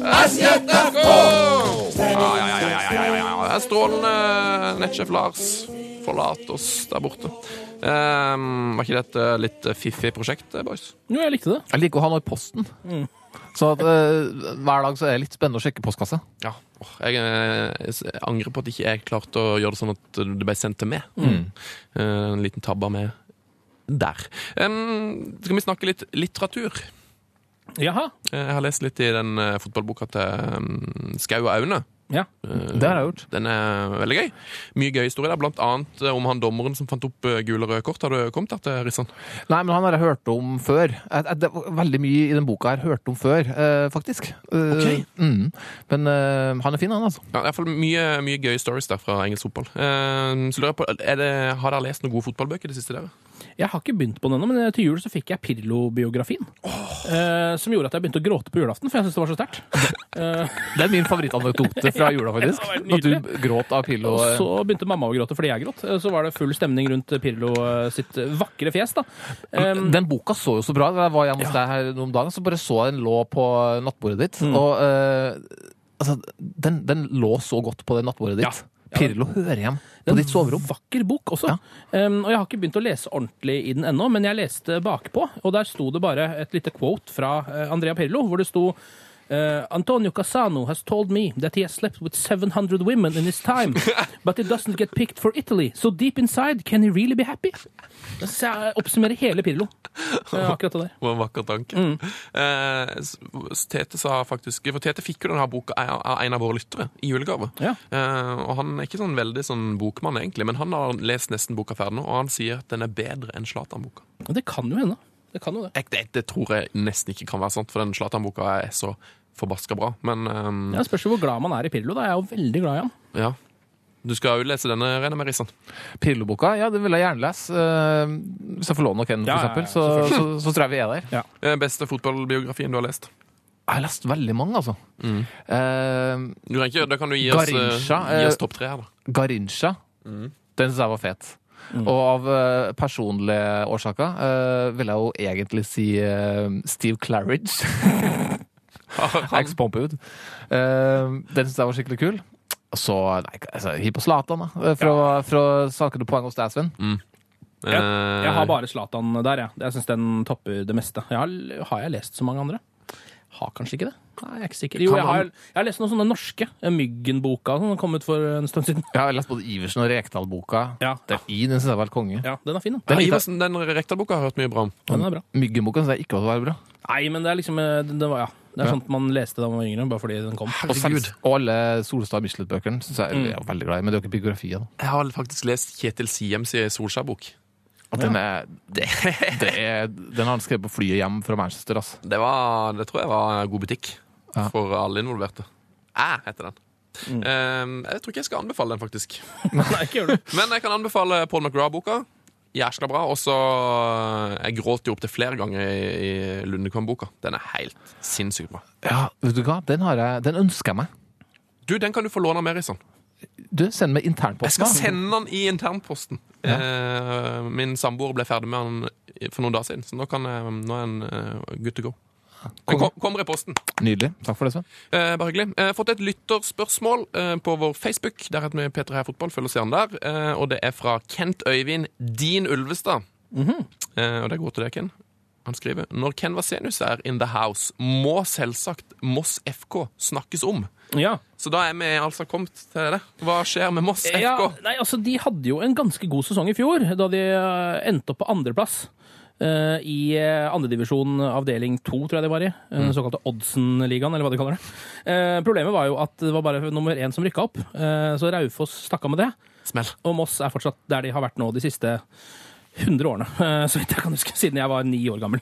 S7: SJFK.
S3: Ja, ja, ja, ja, ja, ja, ja, ja. Det er strålende uh, nettsjef Lars. Forlat oss der borte. Eh, var ikke det et eh, litt fiffig prosjekt, eh, boys?
S4: Jo, jeg likte det.
S5: Jeg liker å ha noe i posten. Så at, eh, hver dag så er det litt spennende å sjekke postkassa.
S3: Ja. Åh, Jeg, eh, s- jeg angrer på at ikke jeg klarte å gjøre det sånn at det ble sendt til meg. Eh, En liten tabbe med der. Em, skal vi snakke litt litteratur?
S4: Jaha.
S3: Eh, Jeg har lest litt i den eh, fotballboka til em, Skau og Aune.
S4: Ja.
S5: Det har jeg gjort.
S3: Den er veldig gøy. Mye gøy historie der, blant annet eh, om han dommeren som fant opp eh, gule og røde kort. Har du kommet der til Rissan?
S5: Nei, men han har jeg hørt om før. Jeg, jeg, det var veldig mye i den boka her hørt om før, eh, faktisk. Eh,
S3: Ok.
S5: mm. Men eh, han er fin, han, altså.
S3: Ja, i hvert fall mye, mye gøye stories der fra engelsk fotball. Eh, så lurer jeg på, er det, Har dere lest noen gode fotballbøker i det siste? dere?
S4: Jeg har ikke begynt på den ennå, men eh, til jul så fikk jeg Pirlo-biografien. Eh, som gjorde at jeg begynte å gråte på julaften, for jeg syntes det var så sterkt.
S5: Det er min favorittanekdote fra jula, faktisk.
S4: Ja, det var
S5: At
S4: nydelig.
S5: du gråt av Pillo.
S4: Og så begynte mamma å gråte fordi jeg gråt. Eh, Så var det full stemning rundt Pirlo eh, sitt vakre fjes, da. Eh,
S5: Den boka så jo så bra ut. Jeg var hjemme hos deg her noen dager, så bare så jeg den lå på nattbordet ditt.
S4: Mm.
S5: Og eh, altså, den, den lå så godt på det nattbordet ditt. Pirlo hører hjem på ditt soverom.
S4: Vakker bok også. Um, og jeg har ikke begynt å lese ordentlig i den ennå, men jeg leste bakpå, og der sto det bare et lite quote fra eh, Andrea Pirlo, hvor det sto eh, Antonio Cassano has told me that he has slept with 700 women in his time, but he doesn't get picked for Italy. So deep inside, can he really be happy? Så jeg oppsummerer hele Pirlo. eh, akkurat det der.
S3: Det var en vakker tanke. Eh, s- s- Tete sa faktisk For Tete fikk jo denne boka av av en av våre lyttere i julegave.
S4: Ja.
S3: Eh, og han er ikke sånn veldig sånn bokmann, egentlig, men han har lest nesten boka ferdig nå, og han sier at den er bedre enn Zlatan-boka.
S4: Men Det kan jo hende. Det kan jo det.
S3: Jeg- Det, det tror jeg nesten ikke kan være sant, for den Zlatan-boka er så forbaska bra. Men ehm,
S4: Jeg spørs jo hvor glad man er i Pirlo. da. Jeg er jo veldig glad i han.
S3: ja. Du skal jo lese denne, regner jeg med, Rissan.
S5: Pirlo-boka, ja, den vil jeg gjerne lese. eh, hvis jeg får låne noen, for
S4: Ja, ja, ja,
S5: eksempel, så, så, så tror jeg vi er der.
S3: Eh, Beste fotballbiografien du har lest?
S5: Jeg har lest veldig mange, altså.
S4: Mm.
S5: Eh,
S3: Du kan ikke, da kan du gi oss, eh,
S5: Garrincha,
S3: gi
S5: eh,
S3: oss topp tre her, da.
S5: Garincha.
S4: Mm.
S5: Den syns jeg var fet. Og av eh, personlige årsaker eh, vil jeg jo egentlig si eh, Steve Claridge. Ex Pompeud. Eh, den syns jeg var skikkelig kul. Og så nei, altså, hi på Zlatan, da. eh, Fra, fra saker til poeng hos deg, Sven.
S4: Mm. Jeg, jeg har bare Zlatan der, jeg. Jeg syns den topper det meste. Jeg har, har jeg lest så mange andre? Har kanskje ikke det? Nei, jeg er ikke sikker. Jo,
S3: Kan
S4: jeg har,
S3: man-
S4: jeg har lest noen sånne norske. eh, Myggen-boka som kom ut for en stund siden.
S5: Jeg har lest både Iversen og Rekdal-boka.
S4: Ja.
S5: Det er i den syns jeg var helt konge.
S4: Ja, Den er fin, da.
S5: Den,
S3: Eh,
S5: likte jeg-
S3: Iversen, den Rekdal-boka har jeg hørt mye bra om.
S4: Den er bra.
S5: Myggenboka syns jeg ikke var bra.
S4: Nei, men det er liksom eh, Det, det var, ja. Det er sånt man leste da man var yngre, bare fordi den kom.
S5: Og, seks, og alle Solstad Michelet-bøkene syns jeg
S4: Mm.
S5: jeg er veldig glad i. Men det er jo ikke biografier. da.
S3: Jeg har faktisk lest Kjetil Siems Solskjær-bok.
S5: At den, er, det, det er, den har han skrevet på flyet hjem fra Manchester. Altså.
S3: Det, var, det tror jeg var god butikk for alle involverte. Æ heter den. Eh, jeg tror ikke jeg skal anbefale den, faktisk.
S4: Mm. Nei, ikke gjør det.
S3: Men jeg kan anbefale Paul McGraw-boka. Jæskla bra. Og så eh, Jeg gråter jo opptil flere ganger i, i Lundekvam-boka. Den er helt sinnssykt bra.
S5: Ja, vet du hva? Den, har jeg, den ønsker jeg meg.
S3: Du, den kan du få låne av Merison.
S5: Du, send meg
S3: Jeg skal
S5: internposten. da.
S3: sende den i internposten. Eh, min samboer ble ferdig med den for noen dager siden, så nå, kan jeg, nå er den eh, good to go. Den kom, kommer i posten.
S5: Nydelig. Takk for det, Sven.
S3: Eh, bare hyggelig. Eh, fått et lytterspørsmål eh, på vår Facebook. Der heter vi Peter Heia Fotball. Følg oss gjerne der. Eh, og det er fra Kent Øyvind Din Ulvestad. eh, og det går til deg, Ken. Han skriver Når Ken Vasenius er in the house, må selvsagt Moss FK snakkes om.
S4: Ja.
S3: Så da er vi altså kommet til det. Hva skjer med Moss FK?
S4: Ja, nei, altså, de hadde jo en ganske god sesong i fjor, da de eh, endte opp på andreplass. eh, I eh, andredivisjon avdeling to, tror jeg det var i. eh, Den såkalte Oddsen-ligaen, eller hva de kaller det. Eh, Problemet var jo at det var bare nummer én som rykka opp, eh, så Raufoss stakk av med det.
S3: Smell.
S4: Og Moss er fortsatt der de har vært nå de siste 100 årene, eh, så vidt jeg kan huske, siden jeg var ni år gammel.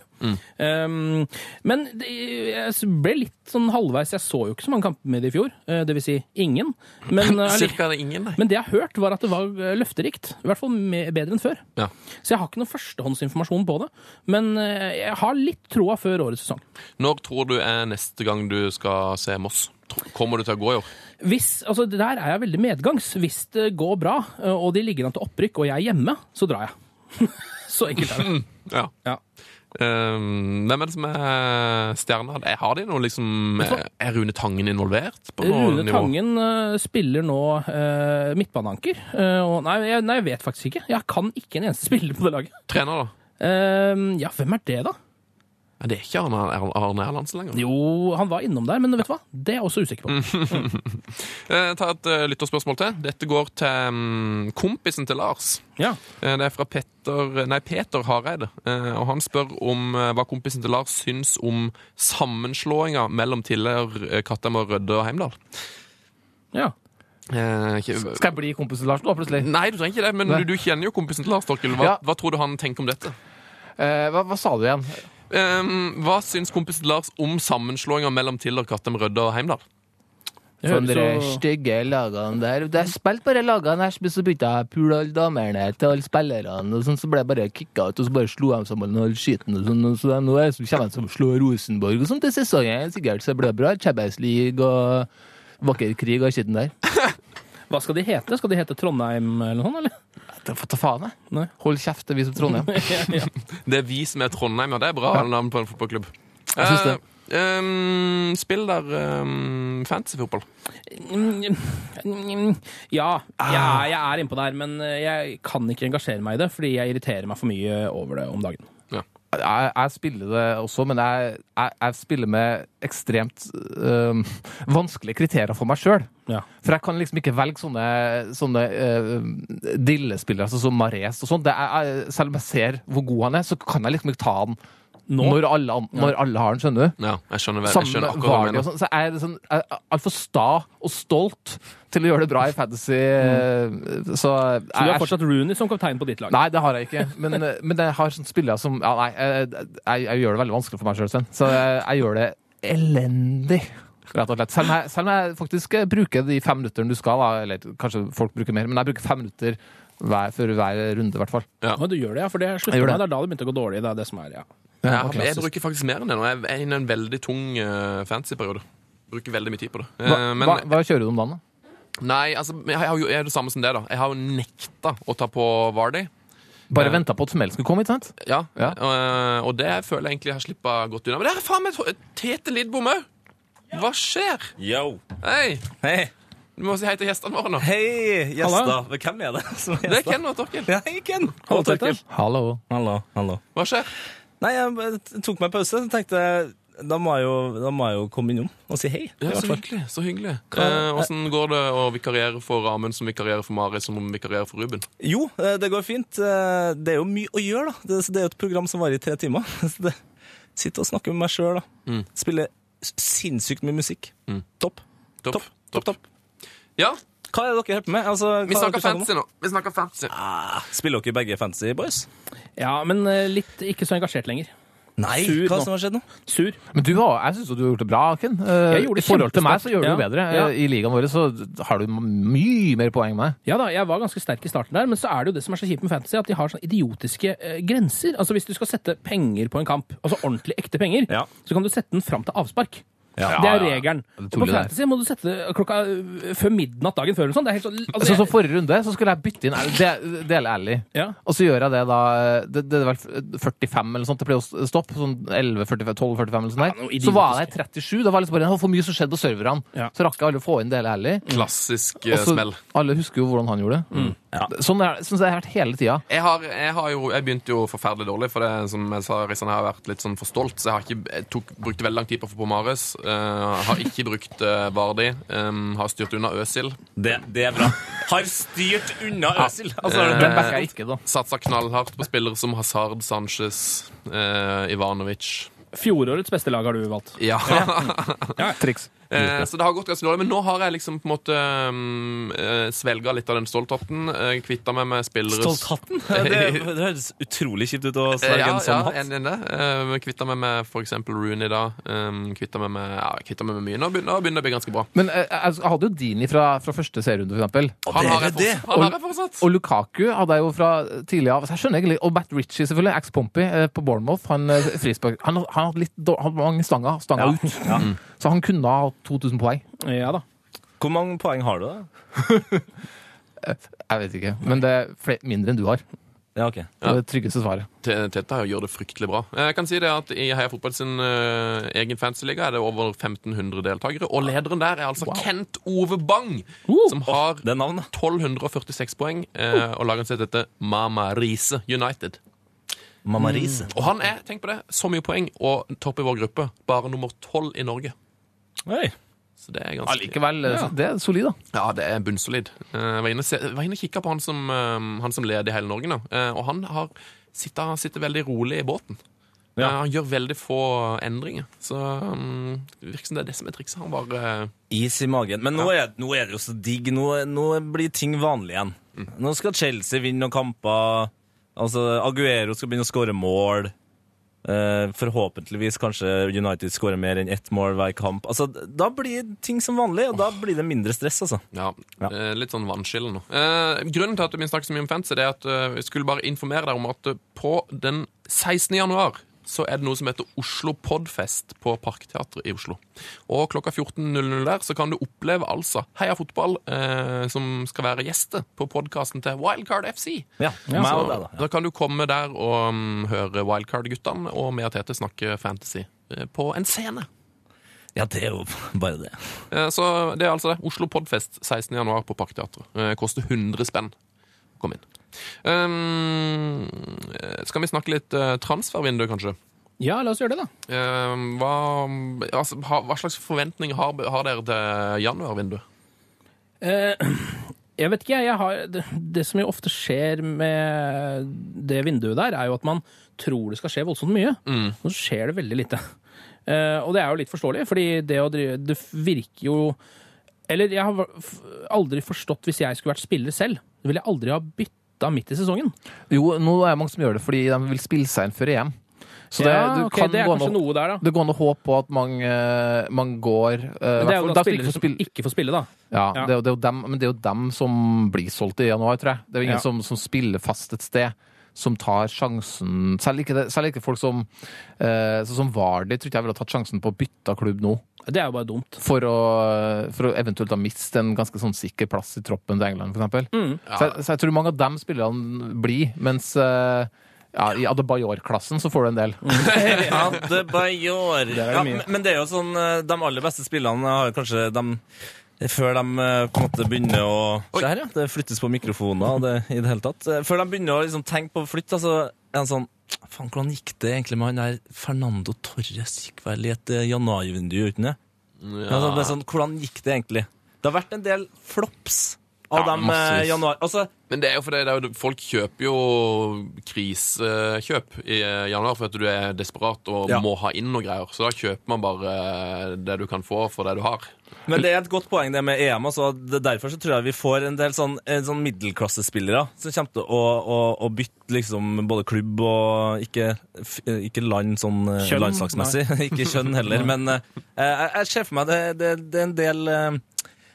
S4: Um, men det, jeg ble litt sånn halvveis Jeg så jo ikke så mange kamper med det i fjor. eh, Det vil si ingen. Men, eh,
S3: Cirka ingen, nei.
S4: men det jeg har hørt, var at det var eh, løfterikt. I hvert fall me- bedre enn før.
S3: Ja.
S4: Så jeg har ikke noe førstehåndsinformasjon på det. Men eh, jeg har litt troa før årets sesong.
S3: Når tror du er neste gang du skal se Moss? Tro- Kommer du til å gå i år?
S4: Hvis, altså det Der er jeg veldig medgangs. Hvis det går bra, eh, og de ligger an til opprykk, og jeg er hjemme, så drar jeg. så enkelt er det.
S3: Ja.
S4: Ja.
S3: Ehm, hvem er det som er stjerna? Er- Har de noe liksom Er er Rune Tangen involvert på noe
S4: Rune
S3: nivå?
S4: Tangen eh, spiller nå uh, midtbaneanker. eh, og nei jeg, nei, jeg vet faktisk ikke. Jeg kan ikke en eneste spiller på det laget.
S3: Trener, da?
S4: Eh, ja, hvem er det, da?
S3: Ja, det er ikke Arne, Arne Erlandsen lenger.
S4: Jo, han var innom der, men vet du hva? Det er jeg også usikker på.
S3: Eh, ta et eh, lytterspørsmål til. Dette går til mm, kompisen til Lars.
S4: Ja.
S3: Eh, Det er fra Petter, nei, Peter Hareide, eh, og han spør om eh, hva kompisen til Lars syns om sammenslåinga mellom tidligere eh, Kattem og Rødde og Heimdal.
S4: ja.
S3: Eh, ikke-
S5: Skal jeg bli kompis til Lars nå, plutselig?
S3: Nei, du trenger ikke det, men
S5: Nei.
S3: du, du kjenner jo kompisen til Lars, Torkil. Hva,
S5: Ja.
S3: hva tror du han tenker om dette?
S5: Eh, hva, hva sa du igjen?
S3: Ehm, hva syns kompisen til Lars om sammenslåinga mellom Tiller, Kattem, Rødde og Heimdal?
S4: Det høres jo-
S5: stygge lagene der Det er spilt bare lagene her, så begynte jeg å pule alle damene til alle spillerne, og sånn, så ble jeg bare kicka ut, og så bare slo de sammen all skiten, og sånn, og så nå er jeg, så kommer jeg til å slå Rosenborg og sånn til sesongen, sikkert, så blir det bra. Champions League og vakker krig og skitten der.
S4: Hva skal de hete? Skal de hete Trondheim eller noe sånt, eller?
S5: Ta ta faen,
S4: Nei.
S5: jeg. Hold kjeft, det er vi som Trondheim.
S3: Det er vi som er Trondheim, ja. Det er bra navn på en fotballklubb.
S5: Jeg syns det.
S3: Eh, ehm, spill der ehm, fantasyfotball.
S4: Mm, Ja, ja, jeg er innpå der, men eh, jeg kan ikke engasjere meg i det, fordi jeg irriterer meg for mye over det om dagen.
S5: jeg, jeg spiller det også, men jeg, jeg, jeg spiller med ekstremt øhm, vanskelige kriterier for meg sjøl.
S4: Ja.
S5: For jeg kan liksom ikke velge sånne, sånne øhm, dillespillere altså som Mares og sånn. Det er- jeg- Selv om jeg ser hvor god han er, så kan jeg liksom ikke ta han
S4: Nå?
S5: når alle, an- når alle har han, skjønner du.
S3: Ja, jeg skjønner, vel- jeg
S5: Sammen
S3: skjønner
S5: med
S3: akkurat hva du
S5: Vardy og
S3: mener.
S5: sånn. Så jeg er liksom, jeg er altfor sta og stolt til å gjøre det bra i fantasy. øh, Så, jeg,
S4: Så du
S5: jeg-
S4: har fortsatt Rooney som kaptein på ditt lag?
S5: Nei, det har jeg ikke. Men, eh, men jeg har sånne spillere som ja, Nei, jeg, jeg, jeg gjør det veldig vanskelig for meg sjøl, Sven. Så jeg, jeg gjør det elendig. Rett og slett. Selv om, jeg, selv om jeg faktisk eh, bruker de fem minuttene du skal, da, eller kanskje folk bruker mer, men jeg bruker fem minutter hver, for hver runde, i hvert fall.
S4: Å, du gjør det, ja, for det slutter
S5: Jeg gjør
S4: med.
S5: det.
S4: Det er da det begynte å gå dårlig. Det er det som er, ja.
S3: Ja, men jeg bruker faktisk mer enn det nå. Jeg er inne i en veldig tung eh, fantasyperiode. Bruker veldig mye tid på det. Eh,
S5: Hva,
S3: men
S5: hva, hva kjører du om dagen, da?
S3: nei, altså, jeg, har jo, jeg er det samme som det, da. Jeg har jo nekta å ta på Vardy.
S5: Bare
S3: Eh.
S5: ventet venta på at Smell skulle komme, ikke sant?
S3: Ja.
S5: Ja.
S3: Eh, og det føler jeg egentlig jeg har slippa godt unna. Men der er faen meg to- Tete Lidbom òg! Hva skjer?
S8: Yo.
S3: Hei!
S8: Hei.
S3: Du må si hei til gjestene våre nå.
S8: Hei,
S4: Hallo.
S8: gjester. Men Hvem er det som er
S3: Det er
S8: gjester?
S3: Ken og Torkil.
S8: Ja, hei, Ken.
S4: Hallo,
S8: Hallo, Torkel.
S4: Tete.
S5: Hallo.
S8: Hallo, hallo.
S3: Hva skjer?
S8: Nei, jeg bare t- tok meg pause og tenkte da må, jeg jo, da må jeg jo komme innom og si hei. i
S3: Ja,
S8: hvert
S3: så
S8: fall.
S3: hyggelig. så hyggelig Eh, Åssen går det å vikariere for Amund som vikarierer for Mari, som vikarierer for Ruben?
S8: Jo, eh, det går fint. Eh, Det er jo mye å gjøre, da. Det, så det er jo et program som varer i tre timer. Så det, sitter og snakker med meg sjøl, da.
S3: Mm.
S8: Spiller s- sinnssykt mye musikk. Topp.
S3: Topp.
S8: Topp, topp, topp.
S3: Ja,
S8: Hva er det dere holder på med? Altså,
S3: vi
S8: hva er det
S3: snakker
S8: dere om?
S3: fancy nå. Vi snakker fancy.
S8: Ah, spiller dere begge Fancy Boys?
S4: ja, men eh, litt ikke så engasjert lenger.
S8: Nei.
S4: Sur
S8: Hva
S4: nå.
S8: som har skjedd nå?
S4: Sur.
S5: Men du har, jeg syns jo du har gjort det bra, Ken. Eh,
S4: Jeg gjorde det
S5: I forhold til meg så
S4: kjempesterkt.
S5: gjør du det
S4: Ja.
S5: bedre.
S4: Ja.
S5: Eh, I ligaen vår så har du mye mer poeng enn meg.
S4: Ja da, jeg var ganske sterk i starten der, men så er det jo det som er så kjipt med fantasy, at de har sånne idiotiske eh, grenser. Altså hvis du skal sette penger på en kamp, altså ordentlig ekte penger,
S8: Ja.
S4: så kan du sette den fram til avspark.
S8: Ja.
S4: det er regelen.
S5: Det er
S4: Og på
S5: tullet der.
S4: fantasy må du sette det klokka eh, før midnatt dagen før eller sånn. Det er helt sånn altså,
S5: Sånn som
S4: jeg-
S5: forrige runde, så skulle jeg bytte inn del- Dele Ally.
S4: Ja.
S5: Og så gjør jeg det da Det, det er vel 45 eller sånt, det pleier å stoppe. Sånn 11-45, 12-45 eller sånt
S4: noe
S5: der.
S4: idiotisk.
S5: så var jeg der i 37. Da var jeg liksom bare Det var for mye som skjedde på serverne.
S4: Ja.
S5: Så rakk jeg aldri å få inn Dele Ally.
S3: Klassisk
S5: Og
S3: eh,
S5: så-
S3: smell.
S5: Alle husker jo hvordan han gjorde det.
S4: Mm.
S5: Sånn er sånn har jeg vært hele tida.
S3: Jeg, har, jeg, har jo, jeg begynte jo forferdelig dårlig, for det som jeg sa, Risan, jeg har vært litt sånn for stolt. Så jeg, har ikke, jeg tok, brukte veldig lang tid på å få på Mares. eh, har ikke brukt eh, Vardi. eh, har styrt unna Øsil.
S8: Det, det er bra. Har styrt unna Øsil. Altså,
S3: Eh,
S5: Den backa jeg ikke, da.
S3: Satsa knallhardt på spillere som Hazard, Sanchez, eh, Ivanovic.
S4: Fjorårets beste lag har du valgt.
S3: Ja. Eh,
S5: Triks.
S3: Eh, så det har gått ganske dårlig, men nå har jeg liksom på en måte um, svelga litt av den stoltheten. eh, Kvitta meg med spillere
S8: Stolthatten? Det, det høres utrolig kjipt ut å
S3: Eh,
S8: svelge
S3: ja,
S8: en sånn
S3: ja,
S8: hatt.
S3: en, en, det. Eh, Kvitta meg med for eksempel Rooney da. Um, kvitta meg med, ja, kvitta meg med mye. Nå begynner, nå begynner det å bli ganske bra.
S5: Men eh, jeg, jeg hadde jo Dini fra, fra første serierunde, for eksempel.
S3: Han
S8: det
S3: har
S8: er
S3: jeg,
S8: det.
S3: fortsatt, han har jeg fortsatt.
S5: Og Lukaku hadde jeg jo fra tidligere av. Så jeg skjønner egentlig, Og Matt Ritchie, selvfølgelig. Ex-Pompey eh, på Bournemouth. Han, eh, frispark, han, han hadde litt dår- han hadde mange stanger, stanger ut. Mm. Så han kunne ha 2000 poeng.
S4: Ja da.
S8: Hvor mange poeng har du, da?
S5: Jeg vet ikke. Men det er fle- mindre enn du har.
S8: Ja, ok.
S5: Det er det tryggeste svaret.
S3: Te- Tete gjør det fryktelig bra. Eh, Jeg kan si det at I Heia Fotball sin eh, egen fansyliga er det over 1500 deltakere. Og lederen der er altså Kent Ove Bang, som
S8: Uh,
S3: har
S8: Det Uh. er navnet.
S3: 1246 poeng. eh, Og laget sitt heter Mama Riise United.
S8: Mamma Riise.
S3: Og han er tenk på det, så mye poeng og topp i vår gruppe. Bare nummer tolv i Norge.
S8: Oi.
S3: Så det er ganske
S5: Likevel, eh, så det er solid, da.
S3: Ja, det er bunnsolid. Eh, Jeg var inne og se- jeg var inne og kikka på han som, eh, han som leder i hele Norge nå. Eh, Og han har sitter, han sitter veldig rolig i båten.
S8: Ja.
S3: Eh, Han gjør veldig få endringer. Så um, det virker som det er det som er trikset. Han bare eh,
S8: Is i magen. Men nå er, nå er det jo så digg. Nå, nå blir ting vanlig igjen. Nå skal Chelsea vinne noen kamper. Altså, Aguero skal begynne å skåre mål. Eh, forhåpentligvis kanskje United skårer mer enn ett mål hver kamp. Altså, da blir ting som vanlig, og da blir det mindre stress, altså.
S3: Ja, eh, litt sånn vannskille nå. Eh, grunnen til at vi snakker så mye om fantasy, det er at eh, jeg skulle bare informere deg om at eh, på den 16. januar så er det noe som heter Oslo Podfest på Parkteatret i Oslo. Og klokka 14.00 der så kan du oppleve altså Heia Fotball, eh, som skal være gjester på podkasten til Wildcard FC.
S8: Ja, meg og deg,
S3: Så
S8: da.
S3: da kan du komme der og mm, høre Wildcard-guttene og meg og Tete snakke fantasy eh, på en scene.
S8: Ja, det er jo bare det.
S3: Eh, Så det er altså det. Oslo Podfest 16. januar på Parkteatret. Eh, Koster 100 spenn. Kom inn. Um, eh, skal vi snakke litt eh, transfervindu, kanskje?
S4: Ja, la oss gjøre det, da.
S3: Um, hva, altså, ha, hva slags forventninger har, har dere til januarvinduet?
S4: Eh, Jeg vet ikke, jeg har det, det som jo ofte skjer med det vinduet der, er jo at man tror det skal skje voldsomt mye.
S5: Mm.
S4: Så skjer det veldig lite. Eh, og det er jo litt forståelig, fordi det å drive Det virker jo Eller jeg har f- aldri forstått hvis jeg skulle vært spiller selv. Så ville jeg aldri ha bytta midt i sesongen.
S5: Jo, nå er det mange som gjør det fordi de vil spille seg inn før EM. Så det,
S4: ja,
S5: du
S4: ok,
S5: kan
S4: det er
S5: gå an
S4: kanskje
S5: å-
S4: noe der, da.
S5: det går an å håpe på at man, eh, man går eh,
S4: Men det er jo
S5: hvertfall-
S4: da
S5: da skal du ikke
S4: spillere
S5: få
S4: som
S5: spille-
S4: ikke får spille, da.
S5: Ja,
S4: Ja.
S5: Det, er jo- det er jo dem, men det er jo dem som blir solgt i januar, tror jeg. Det er jo ingen
S4: Ja.
S5: som, som spiller fast et sted, som tar sjansen Selv ikke, det, selv ikke folk som eh, sånn som Vardy tror ikke jeg ville tatt sjansen på å bytte klubb nå,
S4: Det er jo bare dumt.
S5: for å, for å eventuelt da miste en ganske sånn sikker plass i troppen til England, f.eks. Mm. Så, jeg- så jeg tror mange av dem spillerne blir, mens eh, ja, i Adebayor-klassen så får du en
S4: Mm.
S5: del.
S8: Ja, det bare gjør. Ja, men, men det er jo sånn eh, De aller beste spillene har jo kanskje de før de eh, på en måte begynner å Se her, ja. Det flyttes på mikrofoner og det, i det hele tatt. Eh, Før de begynner å liksom, tenke på å flytte, da, så er han sånn Faen, hvordan gikk det egentlig med han der Fernando Torres? Gikk vel i et eh, januarvindu uten det? Ja. Altså, det er sånn, hvordan gikk det egentlig? Det har vært en del flops av
S3: Ja,
S8: dem eh,
S3: massevis.
S8: januar... Altså,
S3: Men det er jo fordi det er jo, folk kjøper jo krisekjøp i eh, januar for at du er desperat og
S8: Ja.
S3: må ha inn noe greier. Så da kjøper man bare eh, det du kan få for det du har.
S8: Men det er et godt poeng det med EM. Altså. Det- Derfor så tror jeg vi får en del sånn, en sånn middelklassespillere som kommer til å, å, å bytte liksom både klubb og ikke, f- ikke land sånn eh,
S4: Kjønn?
S8: landslagsmessig. ikke kjønn heller, men eh, jeg, jeg ser for meg det, det, det er en del eh,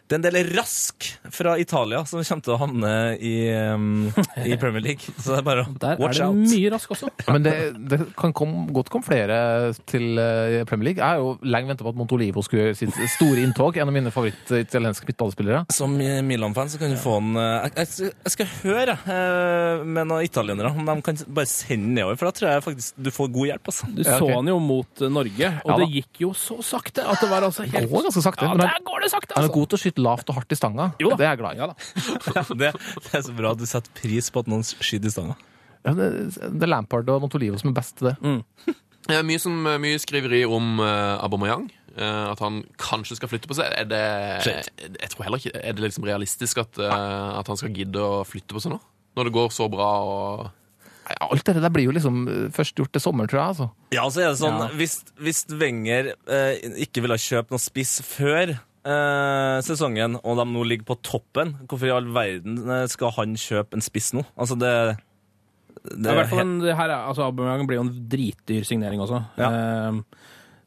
S8: det er en del rask fra Italia som kommer til å havne i, eh, i Premier League. Så det er bare å
S4: Der
S8: watch
S4: er det
S8: out.
S4: mye rask altså. også.
S5: Men det, det kan kom, godt komme flere til eh, Premier League. Jeg har jo lenge venta på at Montolivo skulle gjøre sitt store inntog. En av mine favoritt-italienske midtballspillere.
S8: Som Milan-fan så kan du få en eh, Jeg, jeg, skal- jeg skal høre eh, med noen italienere om de kan bare sende nedover, for da tror jeg faktisk du får god hjelp. altså.
S4: Du
S5: Ja, ok.
S4: så han jo mot eh, Norge, og
S5: Ja da.
S4: det gikk jo så sakte at det var altså
S5: Det
S4: helt
S5: går ganske sakte.
S4: Ja,
S5: men
S4: der
S5: han,
S4: går det sakte,
S5: han er
S4: altså!
S5: god til å skyte lavt og hardt i stanga.
S4: Jo da.
S5: Det er jeg glad i.
S4: Ja da.
S8: Det, det er så bra at du setter pris på at noen skyter i stanga.
S5: Ja, det, det er Lampard og Montolivo som er best til det.
S3: Det er mye, som, eh, mye skriveri om uh, Aubameyang. eh, at han kanskje skal flytte på seg. Er det,
S8: Shit.
S3: jeg tror heller ikke, er det liksom realistisk at, eh, at han skal gidde å flytte på seg nå? Når det går så bra og
S5: ja, alt det der blir jo liksom eh, først gjort til sommeren, tror jeg. altså.
S8: Ja, så er det sånn,
S4: Ja.
S8: hvis, hvis Wenger eh, ikke ville kjøpe noen spiss før eh, sesongen, og de nå ligger på toppen, hvorfor i all verden eh, skal han kjøpe en spiss nå? Altså, det... det
S4: Det er i hvert fall
S8: helt-
S4: en, det her, er- altså, Aubameyang blir jo en dritdyr signering også. Ehm,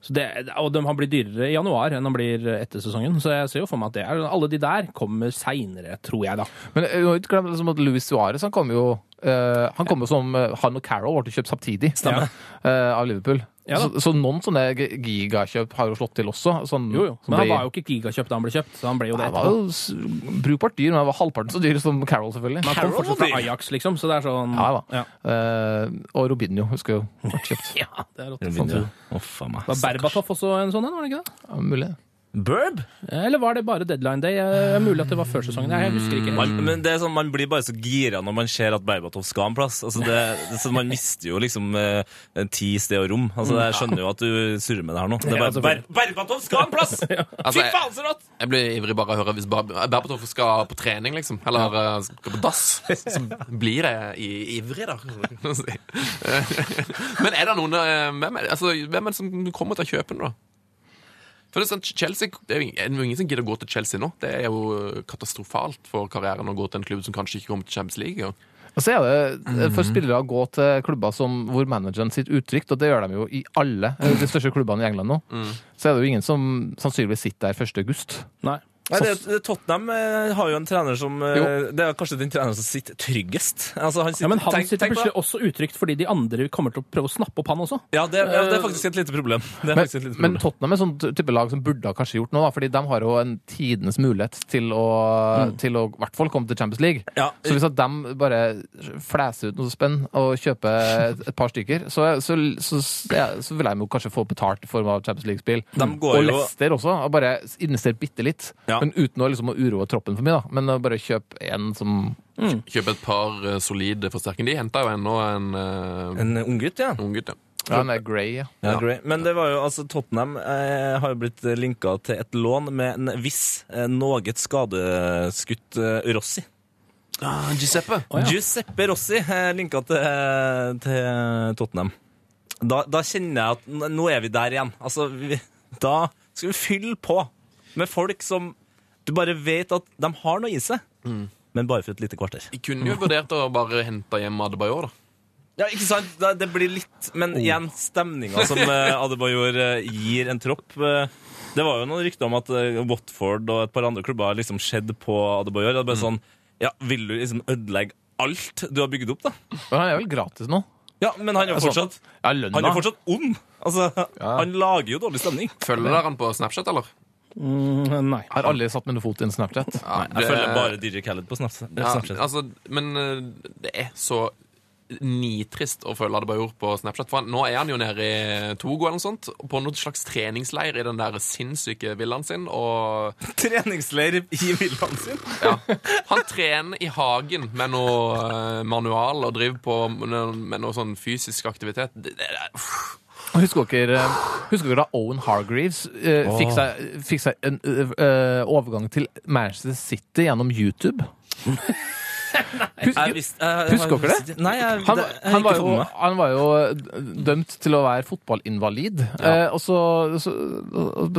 S4: så det, og de, han blir dyrere i januar enn han blir etter sesongen, så jeg ser jo for meg at det er Alle de der kommer seinere, tror jeg, da.
S5: Men eh, nå har vi ikke glemt liksom at Luis Suárez han kom jo eh, han kom jo som eh, han og Carroll ble kjøpt samtidig
S4: Stemmer.
S5: eh, av Liverpool.
S4: Ja da.
S5: så, så noen sånne g- gigakjøp har jo slått til også. Sånn,
S4: Jo, jo.
S5: som
S4: Men han
S5: ble-
S4: var jo ikke gigakjøpt da han ble kjøpt, så han ble jo det
S5: Nei, var
S4: etterpå.
S5: jo s- brukbart dyr, men han var halvparten så dyr som Carroll, selvfølgelig.
S4: Men han kom fortsatt fra Ajax, liksom, så det er sånn
S5: Ja, da.
S4: Ja.
S5: Eh, og Robinho, husker jeg jo. ble Kjøpt.
S4: Ja, det er rått.
S8: Det begynner jo. Å, faen meg.
S4: Var Berbatov også en sånn en, var det ikke det?
S5: Ja, Mulig.
S8: Burb?
S4: Eller var det bare deadline day? Eh, Mulig at det var før sesongen. Jeg husker ikke.
S8: Man, men det er sånn, man blir bare så gira når man ser at Berbatov skal en plass. Altså, det, det, så man mister jo liksom eh, ti sted og rom. Altså,
S4: Mm.
S8: jeg skjønner jo at du surrer med det her nå. Det er bare, Ber Berbatov skal en plass! Fy
S3: Altså, jeg-
S8: faen, så rått!
S3: Jeg blir ivrig bare av å høre hvis Bar- eh, Berbatov skal på trening, liksom. Eller eh, skal på dass. Så blir jeg i- ivrig, da. kan du si. Men er det noen eh, Hvem er det, altså, hvem er det som kommer til å kjøpe den, da? For det er sånn, Chelsea, det er jo ingen- det er jo ingen som gidder å gå til Chelsea nå. Det er jo katastrofalt for karrieren å gå til en klubb som kanskje ikke kommer til Champions League. engang.
S5: Og så er det for spillere å gå til klubber som, hvor manageren sitter utrygt, og det gjør de jo i alle eh, de største klubbene i England nå,
S4: Mm.
S5: så er det jo ingen som sannsynligvis sitter der 1. august.
S4: Nei.
S8: Nei, det, det, Tottenham eh, har jo en trener som eh,
S5: Jo.
S8: Det er kanskje den treneren som sitter tryggest. Altså, han sitter,
S4: Ja, men han
S8: tenk-
S4: sitter
S8: tenk på-
S4: plutselig også utrygt fordi de andre kommer til å prøve å snappe opp Eh, han også.
S8: ja det, ja, det er faktisk et lite problem. Det er
S5: Men,
S8: faktisk et lite
S5: men
S8: problem.
S5: Tottenham er sånn type lag som burde ha kanskje gjort noe, da, fordi de har jo en tidenes mulighet til å, til å i hvert fall komme til Champions League.
S8: Mm. Ja.
S5: Så hvis at de bare flæser ut noe spenn og kjøper et, et par stykker, så, så, så, ja, så vil de jo kanskje få betalt i form av Champions League-spill.
S8: De går
S5: Og
S8: jo-
S5: Leicester også. Og bare investere bitte litt.
S8: Ja.
S5: Men uten å liksom å uroe troppen for mye, da. Men å bare kjøpe en som
S3: Kjøpe et par eh, solide forsterkninger. De henta jo ennå en uh,
S8: En unggutt, ja.
S3: unggutt, ja.
S5: ja, han er grey. Ja.
S8: ja. Gray. Men det var jo, altså, Tottenham eh, har jo blitt linka til et lån med en viss, eh, noe skadeskutt eh, Rossi.
S3: Giuseppe.
S4: ja.
S8: Giuseppe Rossi eh, linka til, eh, til Tottenham. Da, da kjenner jeg at n- nå er vi der igjen. Altså, vi, da skal vi fylle på med folk som du bare vet at de har noe i seg, men bare for et lite kvarter.
S3: De kunne jo vurdert å bare hente hjem Adebayor, da.
S8: Ja, ikke sant? Da- Det blir litt Men igjen, stemninga som eh, Adebayor eh, gir en tropp eh, Det var jo noen rykter om at eh, Watford og et par andre klubber har liksom skjedd på Adebayor. Det er bare sånn Ja, vil du liksom ødelegge alt du har bygd opp, da?
S5: Men han er vel gratis nå? Altså,
S8: Ja, men han er jo fortsatt
S5: Ja,
S8: Han er
S5: lønna.
S8: jo fortsatt ond. Altså, Han lager jo dårlig stemning.
S3: Følger dere han på Snapchat, eller?
S4: Mm, Nei.
S5: Har aldri satt mine fot i en Snapchat.
S3: Ja,
S8: Jeg følger bare DJ Khaled på Snaps-
S3: Ja,
S8: Snapchat.
S3: altså, men eh, det er så nitrist å føle Adebayor på Snapchat. For han, nå er han jo nede i Togo eller noe sånt, på noen slags treningsleir i den der sinnssyke villaen sin. Og
S8: Treningsleir i villaen sin.
S3: ja, han trener i hagen med noe eh, manual og driver på med, med noe sånn fysisk aktivitet. Det, det, det- uff.
S5: Husker dere, eh, husker dere da Owen Hargreaves eh, fikk, seg, fikk seg en eh, eh, overgang til Manchester City gjennom YouTube?
S8: Jeg
S5: Husker,
S8: visste- jeg-
S5: Husker dere det?
S8: Nei, jeg,
S5: han,
S8: det- jeg
S5: han,
S8: gikk
S5: var
S8: ikke
S5: jo,
S8: for meg.
S5: han var jo eh, dømt til å være fotballinvalid, eh, og så, så,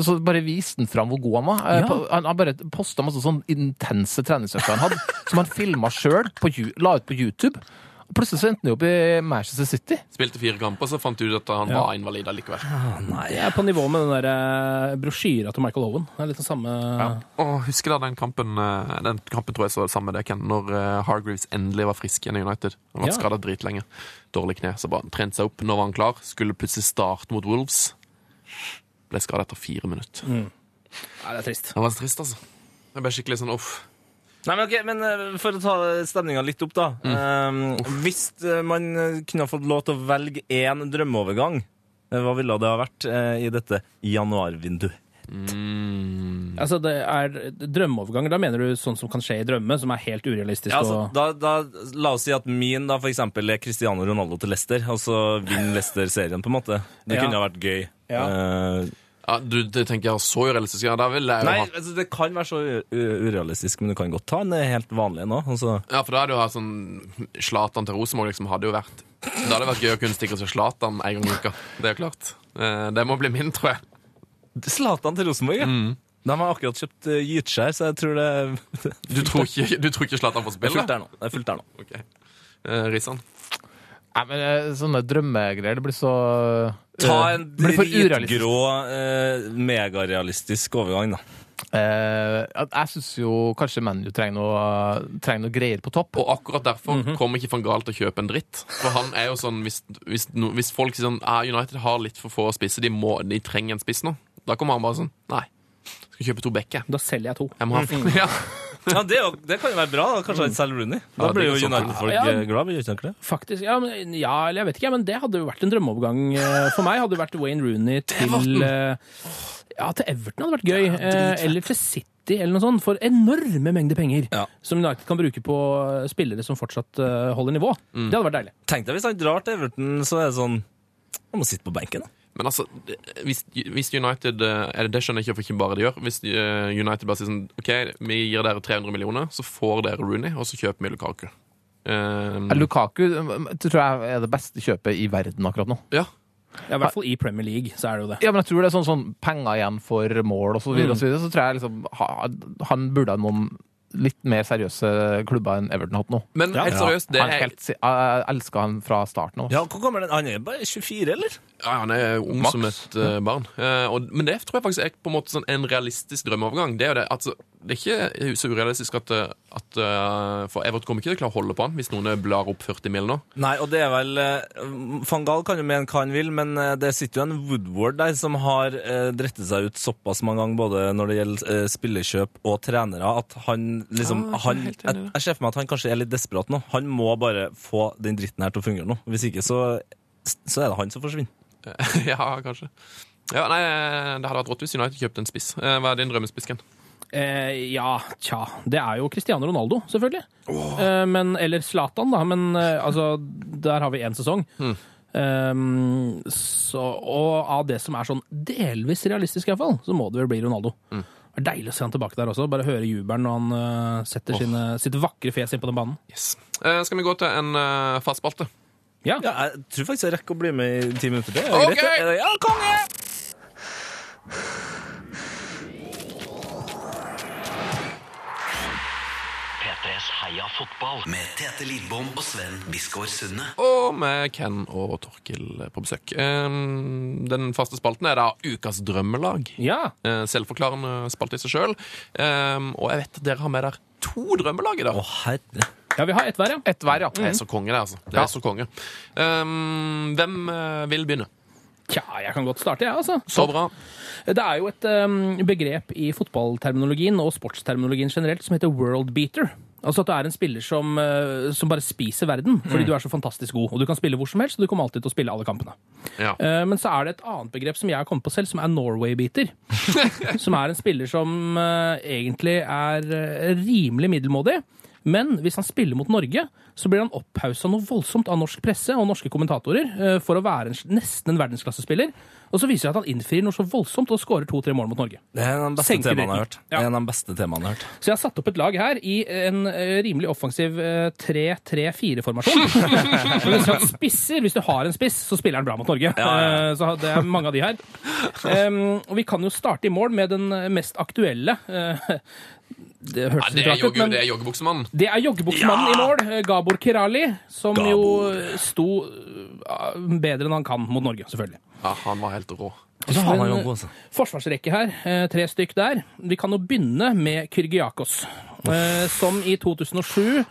S5: så bare viste han fram hvor god han var. Eh, på- Han, han bare posta masse sånn intense treningsøkter han hadde, som han filma sjøl, la ut på YouTube. Og Plutselig så endte han jo opp i Manchester City.
S3: Spilte fire kamper, så fant du ut at han var invalid allikevel.
S4: Jeg er på nivå med den der eh, brosjyra til Michael Owen. Det er litt den samme
S3: Åh, husker dere den kampen eh, Den kampen tror jeg så sammen med deg, Ken, når eh, Hargreaves endelig var frisk igjen i United. Han har vært
S4: Ja.
S3: skadet dritlenge. Dårlig kne. Så bare han trente seg opp. Nå var han klar. Skulle plutselig starte mot Wolves. Ble skadet etter fire minutter.
S4: Nei, det er trist.
S3: Det var så trist, altså. Jeg ble skikkelig sånn uff.
S8: Nei, men ok, men eh, For å ta stemninga litt opp, da. Eh, hvis eh, man eh, kunne ha fått lov til å velge én drømmeovergang, eh, hva ville det ha vært eh, i dette januarvinduet?
S4: Altså, det er drømmeoverganger. Da mener du sånn som kan skje i drømme, som er helt urealistisk
S8: Ja, altså,
S4: og
S8: da, da, la oss si at min da for eksempel er Cristiano Ronaldo til Leicester, og så vinner Leicester serien, på en måte. Det
S4: Ja.
S8: kunne ha vært gøy.
S4: Ja.
S8: Eh,
S3: Ja, du, det tenker jeg er så urealistisk. Ja, da ville jeg jo
S8: nei,
S3: hatt
S8: altså, det kan være så u- u- urealistisk, men du kan godt ta en eh, helt vanlig nå. Altså.
S3: Ja, for da hadde jo hatt sånn Zlatan til Rosenborg liksom hadde jo vært Det hadde vært gøy å kunne stikke oss til Zlatan en gang i uka. Det er klart. Eh, Det må bli min, tror jeg.
S8: Zlatan til Rosenborg, ja. De har akkurat kjøpt eh, Gytskjær, så jeg tror det
S3: Du tror ikke, du tror ikke Zlatan får
S8: Det er
S3: spille?
S8: fullt der nå. Det er fullt der nå.
S3: Ok. Eh, Risan.
S5: Nei, men eh, sånne drømmegreier, det blir så
S8: Ta
S5: eh,
S8: en
S5: blir for urealistisk.
S8: dritgrå, eh, megarealistisk overgang, da.
S5: Eh, at jeg syns jo kanskje ManU trenger, noe- trenger noe greier på topp.
S3: Og akkurat derfor kommer ikke van Gaal til å kjøpe en dritt. For han er jo sånn, Hvis, hvis, no, hvis folk sier sånn ah, United har litt for få spisser, de, må, de trenger en spiss nå, da kommer han bare sånn Nei, skal kjøpe to bekker.
S4: Da selger jeg to.
S3: Jeg må ha ja.
S8: Ja, det, er jo- det kan jo være bra. da. Kanskje han selger Rooney. Da
S3: Ja, det
S8: blir jo
S3: kan sånn-
S8: United-folk
S4: Ja.
S8: eh, glad, blir de ikke det?
S4: Faktisk, ja, men, ja, eller jeg vet ikke, men det hadde jo vært en drømmeovergang eh, for meg. Hadde jo vært Wayne Rooney til eh, Ja, til Everton hadde vært gøy. eh, Eller til City, eller noe sånt. For enorme mengder penger
S8: Ja.
S4: som United kan bruke på spillere som fortsatt eh, holder nivå. Det hadde vært deilig.
S8: Tenk deg hvis han drar til Everton, så er det sånn Han må sitte på benken, da.
S3: Men altså, det- hvis, hvis United eh, eller Det skjønner jeg ikke hvorfor ikke bare de gjør. Hvis eh, United bare sier sånn OK, vi gir dere 300 millioner, så får dere Rooney, og så kjøper vi Lukaku.
S5: Eh,
S3: Eh,
S5: Lukaku eh, tror jeg er det beste kjøpet i verden akkurat nå.
S3: ja.
S4: Ja, I hvert fall i Premier League, så er det jo det.
S5: Ja, men jeg tror det er sånn, sånn penger igjen for mål og så videre, og så, videre så tror jeg liksom ha- han burde ha noen litt mer seriøse klubber enn Everton hatt nå.
S3: Men helt seriøst, det
S5: Han er
S3: er,
S5: helt, si- jeg elsker han fra starten av.
S8: Ja, hvor gammel er han? Han er bare 24, eller?
S3: ja, han er ung
S5: Max.
S3: som et eh, barn. Eh, og, men det tror jeg faktisk er på en måte sånn en realistisk drømmeovergang. Det er jo det, altså, det er ikke så urealistisk at, eh, at eh, For Evert kommer ikke til å klare å holde på han hvis noen blar opp 40 mil nå.
S8: Nei, og det er vel eh, Van Gaal kan jo mene hva han vil, men eh, det sitter jo en Woodward der som har eh, drettet seg ut såpass mange ganger både når det gjelder eh, spillekjøp og trenere, at han liksom
S3: Ja, Ah, jeg er
S8: han,
S3: helt
S8: Jeg,
S3: enig i det.
S8: jeg ser for meg at han kanskje er litt desperat nå. Han må bare få den dritten her til å fungere nå. Hvis ikke, så, så er det han som forsvinner.
S3: ja, kanskje. Ja, nei, eh, Det hadde vært rått hvis United kjøpte en spiss. Eh, Hva er din drømmespiss, Ken?
S4: Eh, ja, tja. Det er jo Cristiano Ronaldo, selvfølgelig. Eh, men, eller Zlatan, da. Men eh, altså, der har vi én sesong. Eh, så, og av det som er sånn delvis realistisk, iallfall, så må det vel bli Ronaldo. Det er Deilig å se han tilbake der også. Bare høre jubelen når han eh, setter sine, sitt vakre fjes inn på den banen.
S3: Yes. Eh, skal vi gå til en eh, fast spalte?
S4: Ja.
S8: Ja, jeg tror faktisk jeg rekker å bli med i ti minutter til. Er det
S3: Ok!
S8: greit, det? Er det- Ja, konge!
S2: P3s Heia fotball med Tete Lidbom og Sven Biskår Sunne.
S3: Og med Ken og Torkil på besøk. Eh, den faste spalten er da Ukas drømmelag.
S4: ja.
S3: Eh, selvforklarende spalte i seg sjøl. og jeg vet at dere har med der to drømmelag i dag.
S8: Å, herre.
S4: ja, vi har ett hver, ja.
S5: Et hver, ja.
S3: Det er så konge, det, altså. Det er så konge. Eh, hvem eh, vil begynne?
S4: Tja, jeg kan godt starte, jeg, ja, altså.
S3: Så bra.
S4: Det er jo et eh, begrep i fotballterminologien og sportsterminologien generelt som heter world beater. Altså at du er en spiller som, eh, som bare spiser verden
S5: Mm.
S4: fordi du er så fantastisk god. Og du kan spille hvor som helst, og du kommer alltid til å spille alle kampene.
S3: Ja.
S4: Eh, Men så er det et annet begrep som jeg har kommet på selv, som er Norway-beater. som er en spiller som eh, egentlig er eh, rimelig middelmådig. Men hvis han spiller mot Norge, så blir han opphausa noe voldsomt av norsk presse og norske kommentatorer eh, for å være en, sl- nesten en verdensklassespiller. Og så viser det seg at han innfrir noe så voldsomt og skårer to-tre mål mot Norge.
S8: Det er en av de beste
S4: Senker
S8: temaene jeg har hørt.
S4: dritten.
S8: Det
S4: Ja.
S8: er en av de beste temaene jeg har hørt.
S4: Så jeg har satt opp et lag her i en eh, rimelig offensiv eh, 3-3-4-formasjon. Men hvis, du har spisser, hvis du har en spiss, så spiller han bra mot Norge.
S8: ja,
S4: Eh, Så det er mange av de her. Em, og vi kan jo starte i mål med den mest aktuelle. eh, det
S3: Ja,
S4: hørtes
S3: det
S4: litt
S3: er
S4: rart ut,
S3: jogge-
S4: men
S3: det er joggebuksemannen.
S4: det er joggebuksmannen i mål, eh, Gabor Kirali, som jo sto eh, bedre enn han kan mot Norge, selvfølgelig.
S3: Ja, han var helt rå.
S8: Og så har man
S4: Men-
S8: jo god,
S3: eh,
S8: altså.
S4: forsvarsrekke her. eh, Tre stykk der. Vi kan jo begynne med Kyrgiakos, eh, som i 2007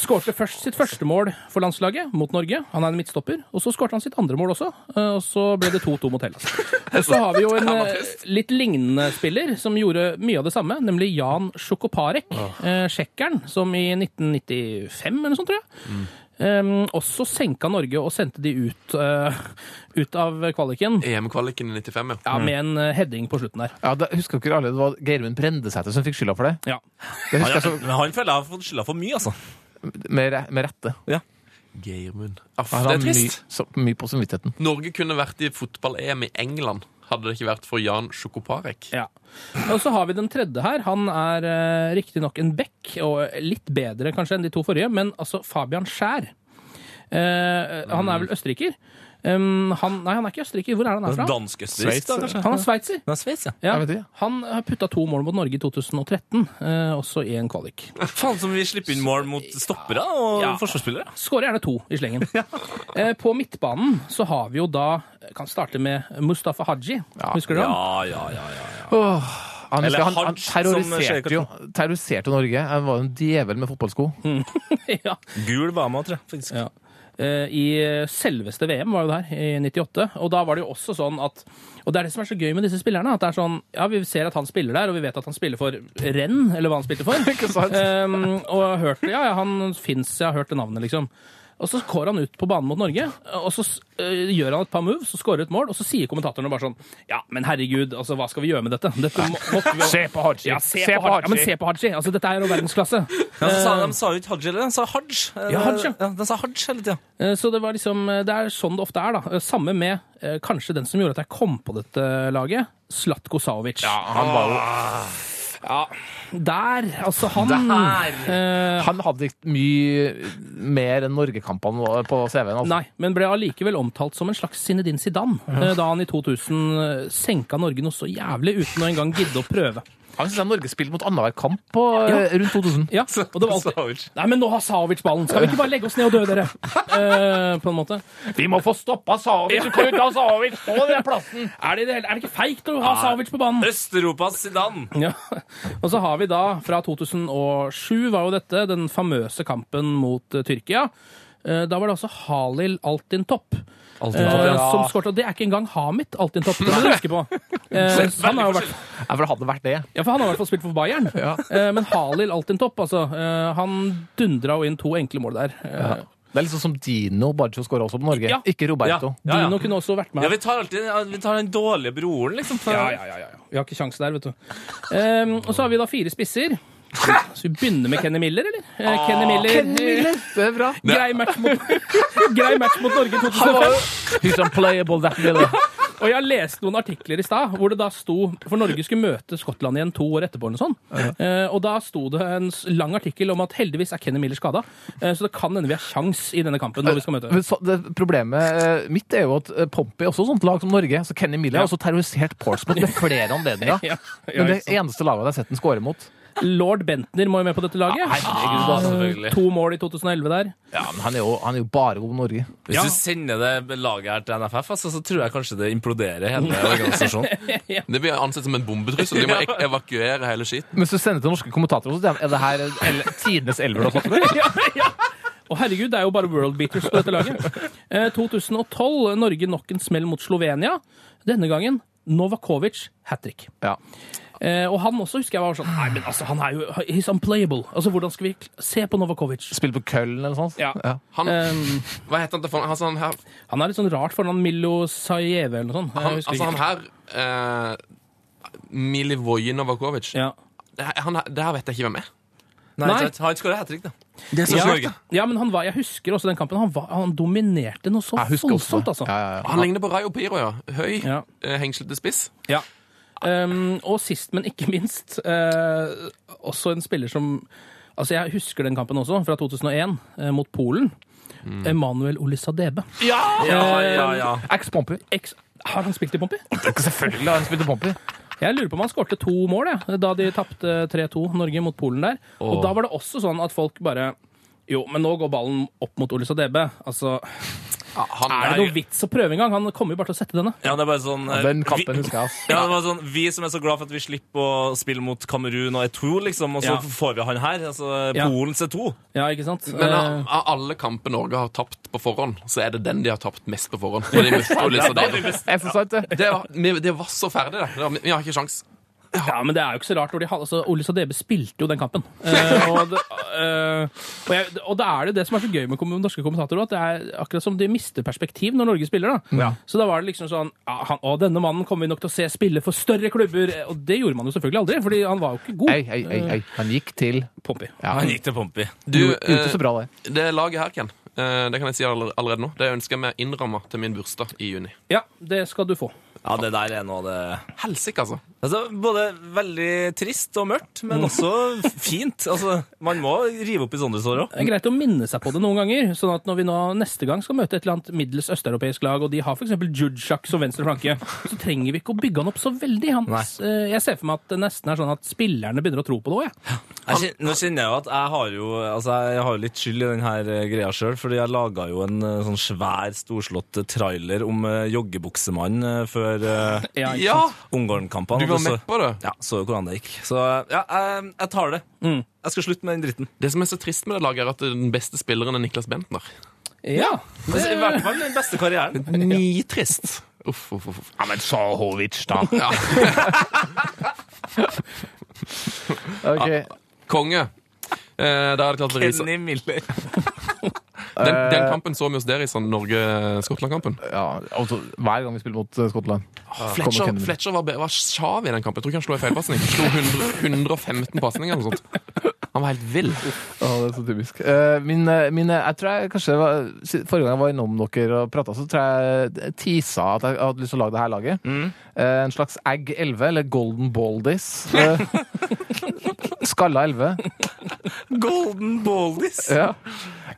S4: skårte først sitt første mål for landslaget mot Norge. Han er en midtstopper. Og så skårte han sitt andre mål også, eh, og så ble det 2-2 mot Hellas. Og så har vi jo en eh, litt lignende spiller som gjorde mye av det samme, nemlig Jan Sjokoparek, eh, tsjekkeren, som i 1995 eller noe sånt, tror jeg. eh, også senka Norge og sendte de ut, eh, ut av kvaliken.
S3: EM-kvaliken i 95, ja.
S4: Ja, med en eh, heading på slutten der.
S5: Ja, det, husker dere alle det var Geirmund Brendesæter som fikk skylda for det?
S4: Ja.
S5: Det husker jeg
S8: Han,
S5: så,
S8: men han føler jeg har fått skylda for mye, altså.
S5: med, re- med rette.
S3: Geirmund. Aff,
S5: Han
S3: det
S5: har
S3: er trist.
S5: Mye, så, mye på samvittigheten.
S3: Norge kunne vært i fotball-EM i England hadde det ikke vært for Jan Sjokoparek.
S4: ja. Og så har vi den tredje her. Han er eh, riktignok en back, og litt bedre kanskje enn de to forrige, men altså Fabian Skjær. Eh, han er vel østerriker? Um, han, nei, han er ikke østerriker. Hvor er det han er fra?
S8: Dansk-østerriksk, da, kanskje?
S4: Han er sveitser.
S8: Nei, Sveits, ja.
S4: Ja.
S5: Jeg vet ikke.
S4: Han har putta to mål mot Norge i 2013, eh, også i en kvalik.
S8: Faen som vi slipper inn mål mot stoppere og
S4: Ja.
S8: forsvarsspillere.
S4: Skårer gjerne to i slengen. Eh, På midtbanen så har vi jo da Kan starte med Mustafa Haji. Husker du han?
S8: Ja, ja, ja. ja.
S5: Han,
S8: Eller
S5: han, han
S8: Hajj, som skjer-
S5: terroriserte, jo, terroriserte Norge. Han var jo en djevel med fotballsko.
S4: ja.
S8: Gul var med, tror jeg. faktisk.
S4: Ja. Eh, I selveste VM var jo det her, i 98. Og da var det jo også sånn at Og det er det som er så gøy med disse spillerne. At det er sånn Ja, vi ser at han spiller der, og vi vet at han spiller for renn, eller hva han spilte for. um, og jeg har hørt Ja, ja, han fins, jeg har hørt det navnet, liksom. Og så går han ut på banen mot Norge, og så eh, gjør han et par moves, så skårer et mål, og så sier kommentatorene bare sånn Ja, men herregud, altså, hva skal vi gjøre med dette? dette må, måtte vi... Se på Haji! Ja, se, på, Haji. Ja, men se på Haji! Altså, dette er jo verdensklasse.
S8: Ja, så sa, de sa jo ikke Hajj, eller? De sa Hajj.
S4: Ja, Hajj, ja.
S8: ja. De sa Hajj hele tida.
S4: Eh, Så det var liksom eh, Det er sånn det ofte er, da. Eh, Samme med eh, kanskje den som gjorde at jeg kom på dette laget. Slatko Savic. Der, altså han eh,
S5: Han hadde ikke mye mer enn Norgekampene på CV-en. Altså.
S4: Nei, men ble allikevel omtalt som en slags Zinedine Zidane eh, da han i 2000 senka Norge noe så jævlig uten å engang gidde å prøve.
S5: Han synes jeg Norge spilte mot annenhver kamp på, eh, rundt 2000.
S4: Ja, og det var alltid Nei, men nå har Savic ballen! Skal vi ikke bare legge oss ned og dø, dere? Eh, på en måte.
S5: Vi må få stoppa Savic! Du kan ikke ha Savic på den plassen!
S4: Er det, i det hele- er det ikke feigt å ha Savic på banen?
S8: Øst-Europas Zidane.
S4: Ja. Og så har vi da, fra 2007 var jo dette, den famøse kampen mot eh, Tyrkia. Eh, Da var det også Halil Altintopp eh, som skåret. Og det er ikke engang Hamid Altintopp, det må du huske på. Eh, så han, har jo vært,
S5: Ja, for det hadde vært det.
S4: ja, for han har i hvert fall spilt for Bayern. Eh, Men Halil Altintopp, altså. eh, Han dundra jo inn to enkle mål der. Eh,
S5: Det er liksom som Dino Baggio skåra også på Norge.
S4: Ja.
S5: Ikke Roberto.
S8: Ja, ja.
S4: Dino kunne også vært med.
S8: Ja, vi tar alltid ja, vi tar den dårlige broren, liksom. For,
S4: Ja, ja, ja, ja. Vi har ikke sjans der, vet du. Ehm, og så har vi da fire spisser. Så vi begynner med Kenny Miller, eller? Eh,
S8: Ah.
S4: Kenny Miller.
S5: Det er bra.
S4: Grei match mot, grei match mot Norge i 2005.
S5: He's unplayable, that little.
S4: Og jeg leste noen artikler i stad hvor det da sto For Norge skulle møte Skottland igjen to år etterpå. eller noe sånt. Eh, og da sto det en s- lang artikkel om at heldigvis er Kenny Miller skada, eh, så det kan hende vi har sjans i denne kampen når vi skal møte
S5: Men så, det, problemet eh, mitt er jo at eh, Pompey er også et sånt lag som Norge. Så Kenny Miller har også terrorisert Portsmouth ved flere anledninger.
S4: Ja, ja,
S5: Men det
S4: ikke sant.
S5: er eneste laget jeg har sett den skåre mot.
S4: Lord Bentner må jo med på dette laget.
S5: Herregud, da, selvfølgelig.
S4: to mål i 2011 der.
S5: Ja, men han er, jo, han er jo bare god på Norge.
S8: Hvis du sender det laget her til NFF, altså, så tror jeg kanskje det imploderer hele organisasjonen.
S3: Det blir ansett som en bombetrussel. De må ek evakuere hele skiten.
S5: Mens du sender til norske kommentatorer, så er det her el- tidenes elver du har fått med?
S4: ja, ja. Å herregud, det er jo bare world beaters på dette laget. Eh, 2012, Norge nok en smell mot Slovenia. Denne gangen Novakovic hat trick.
S5: Ja.
S4: Eh, og han også husker jeg var sånn Nei, men altså, han er jo He's unplayable. Altså, hvordan skal vi kl- se på Novakovic?
S5: Spiller på Køllen eller noe sånt?
S4: Ja.
S3: Han,
S4: Eh,
S3: hva heter han til for? Han, sånn her,
S4: han er litt sånn rart foran Milo Sajeve eller noe sånt. Jeg
S3: han,
S4: husker
S3: altså, han
S4: ikke.
S3: her eh, Milivoje Novakovic.
S4: ja.
S3: Det, her- han, her- det her vet jeg ikke hvem er.
S8: Nei,
S4: Nei.
S8: sant, Han skårer hat trick, da.
S4: Ja, ja, men han var, jeg husker også den kampen. Han, var, han dominerte noe så
S5: Jeg husker også
S4: voldsomt,
S5: det.
S4: altså.
S5: Ja, ja, ja.
S3: Han ligner på Rayo Piro, ja. Høy,
S4: Ja.
S3: eh, hengslete spiss.
S4: Ja. Um, og sist, men ikke minst, eh, også en spiller som Altså, jeg husker den kampen også, fra 2001, eh, mot Polen. Mm. Emanuel Olisadebe.
S8: Ja, ja, ja.
S5: Ex-Pompey.
S4: Ex har han spilt i Pompi?
S5: Selvfølgelig har han spilt på Pompey.
S4: Jeg lurer på om han skårte to mål jeg, da de tapte 3-2 Norge mot Polen der. Og da var det også sånn at folk bare Jo, men nå går ballen opp mot Olisadebe. Altså,
S3: Ja, han,
S4: er det noe vits å prøve engang? Han kommer jo bare til å sette denne.
S8: Ja, det er bare sånn eh,
S5: Den kampen
S8: vi-
S5: husker jeg, ass.
S8: Ja, det var sånn, Vi som er så glad for at vi slipper å spille mot Kamerun og Eto, liksom, og så
S4: Ja.
S8: får vi han her. altså
S4: Ja.
S8: Polens Eto.
S4: Ja, ikke sant?
S3: Men
S4: Eh,
S3: av, av alle kamper Norge har tapt på forhånd, så er det den de har tapt mest på forhånd. Når de møtte Olisa
S8: Da er
S3: Dale.
S8: vi best.
S5: Er det så sant, det?
S3: det, var, vi- det var så ferdig, det. det var, vi har ikke sjans.
S4: Ja, men det er jo ikke så rart. når de hadde- Altså, Ole Sadebe spilte jo den kampen. Eh, og, det, eh, og, jeg, og da er det det som er så gøy med kom- norske kommentatorer, at det er akkurat som de mister perspektiv når Norge spiller. da. Så da var det liksom sånn ja, han, Å, denne mannen kommer vi nok til å se spille for større klubber. Eh, Og det gjorde man jo selvfølgelig aldri, fordi han var jo ikke god.
S5: Ei, ei, ei, ei. Han gikk til
S4: Pompey.
S5: ja.
S8: Han gikk til Pompey.
S3: Du,
S5: Gjorde gjorde det
S3: eh,
S5: så bra, det.
S3: det laget her, Ken, eh, det kan jeg si aller- allerede nå, det ønsker jeg meg innramma til min bursdag i juni.
S4: Ja, det skal du få.
S8: Ja, det der er noe av det
S3: Helsike, altså.
S8: Altså, både veldig trist og mørkt, men også fint. Altså, man må rive opp i sånne sår òg.
S4: Det er greit å minne seg på det noen ganger, sånn at når vi nå neste gang skal møte et eller annet middels østeuropeisk lag, og de har f.eks. Judjak som venstre flanke, så trenger vi ikke å bygge han opp så veldig. Han, eh, jeg ser for meg at det nesten er sånn at spillerne begynner å tro på det òg, jeg.
S8: Nå kjenner jeg jo at jeg har jo altså, jeg har jo litt skyld i denne greia sjøl, fordi jeg laga jo en eh, sånn svær, storslått eh, trailer om eh, joggebuksemannen eh, før eh,
S4: Ja, ikke
S3: Ja!
S8: Ungarn-kampene.
S3: Du var
S8: Og så-
S3: med på det.
S8: Ja, så jo hvordan det gikk. Så ja, jeg, jeg tar det. Jeg skal slutte med den dritten.
S3: Det som er så trist med det laget, er at den beste spilleren er Niklas Bentner.
S4: Ja.
S8: Det er I hvert fall den beste karrieren.
S3: Nitrist. Uff, uff, uff. Ja, men så Horvic, da. Ja.
S5: Ok,
S3: Konge. Eh, da er det klart å rise.
S8: Kenny Miller.
S3: Den, den kampen så vi hos dere i sånn Norge-Skottland-kampen.
S5: ja, altså, Hver gang vi spiller mot eh, Skottland.
S3: Fletcher,
S5: Kenny Miller.
S3: Fletcher var, be- var sjav i den kampen. Jeg tror ikke han slo en feilpasning. Slo 100, 115 pasninger eller noe sånt. Han var helt vill.
S5: Ja, det er så typisk. Eh, Min, eh, min, eh, jeg tror jeg kanskje var, si- Forrige gang jeg var innom dere og prata, så tror jeg jeg tisa at jeg hadde lyst til å lage det her laget. Eh, En slags Egg 11, eller Golden Baldies. Eh, Skalla 11.
S8: Golden Baldies.
S5: Ja.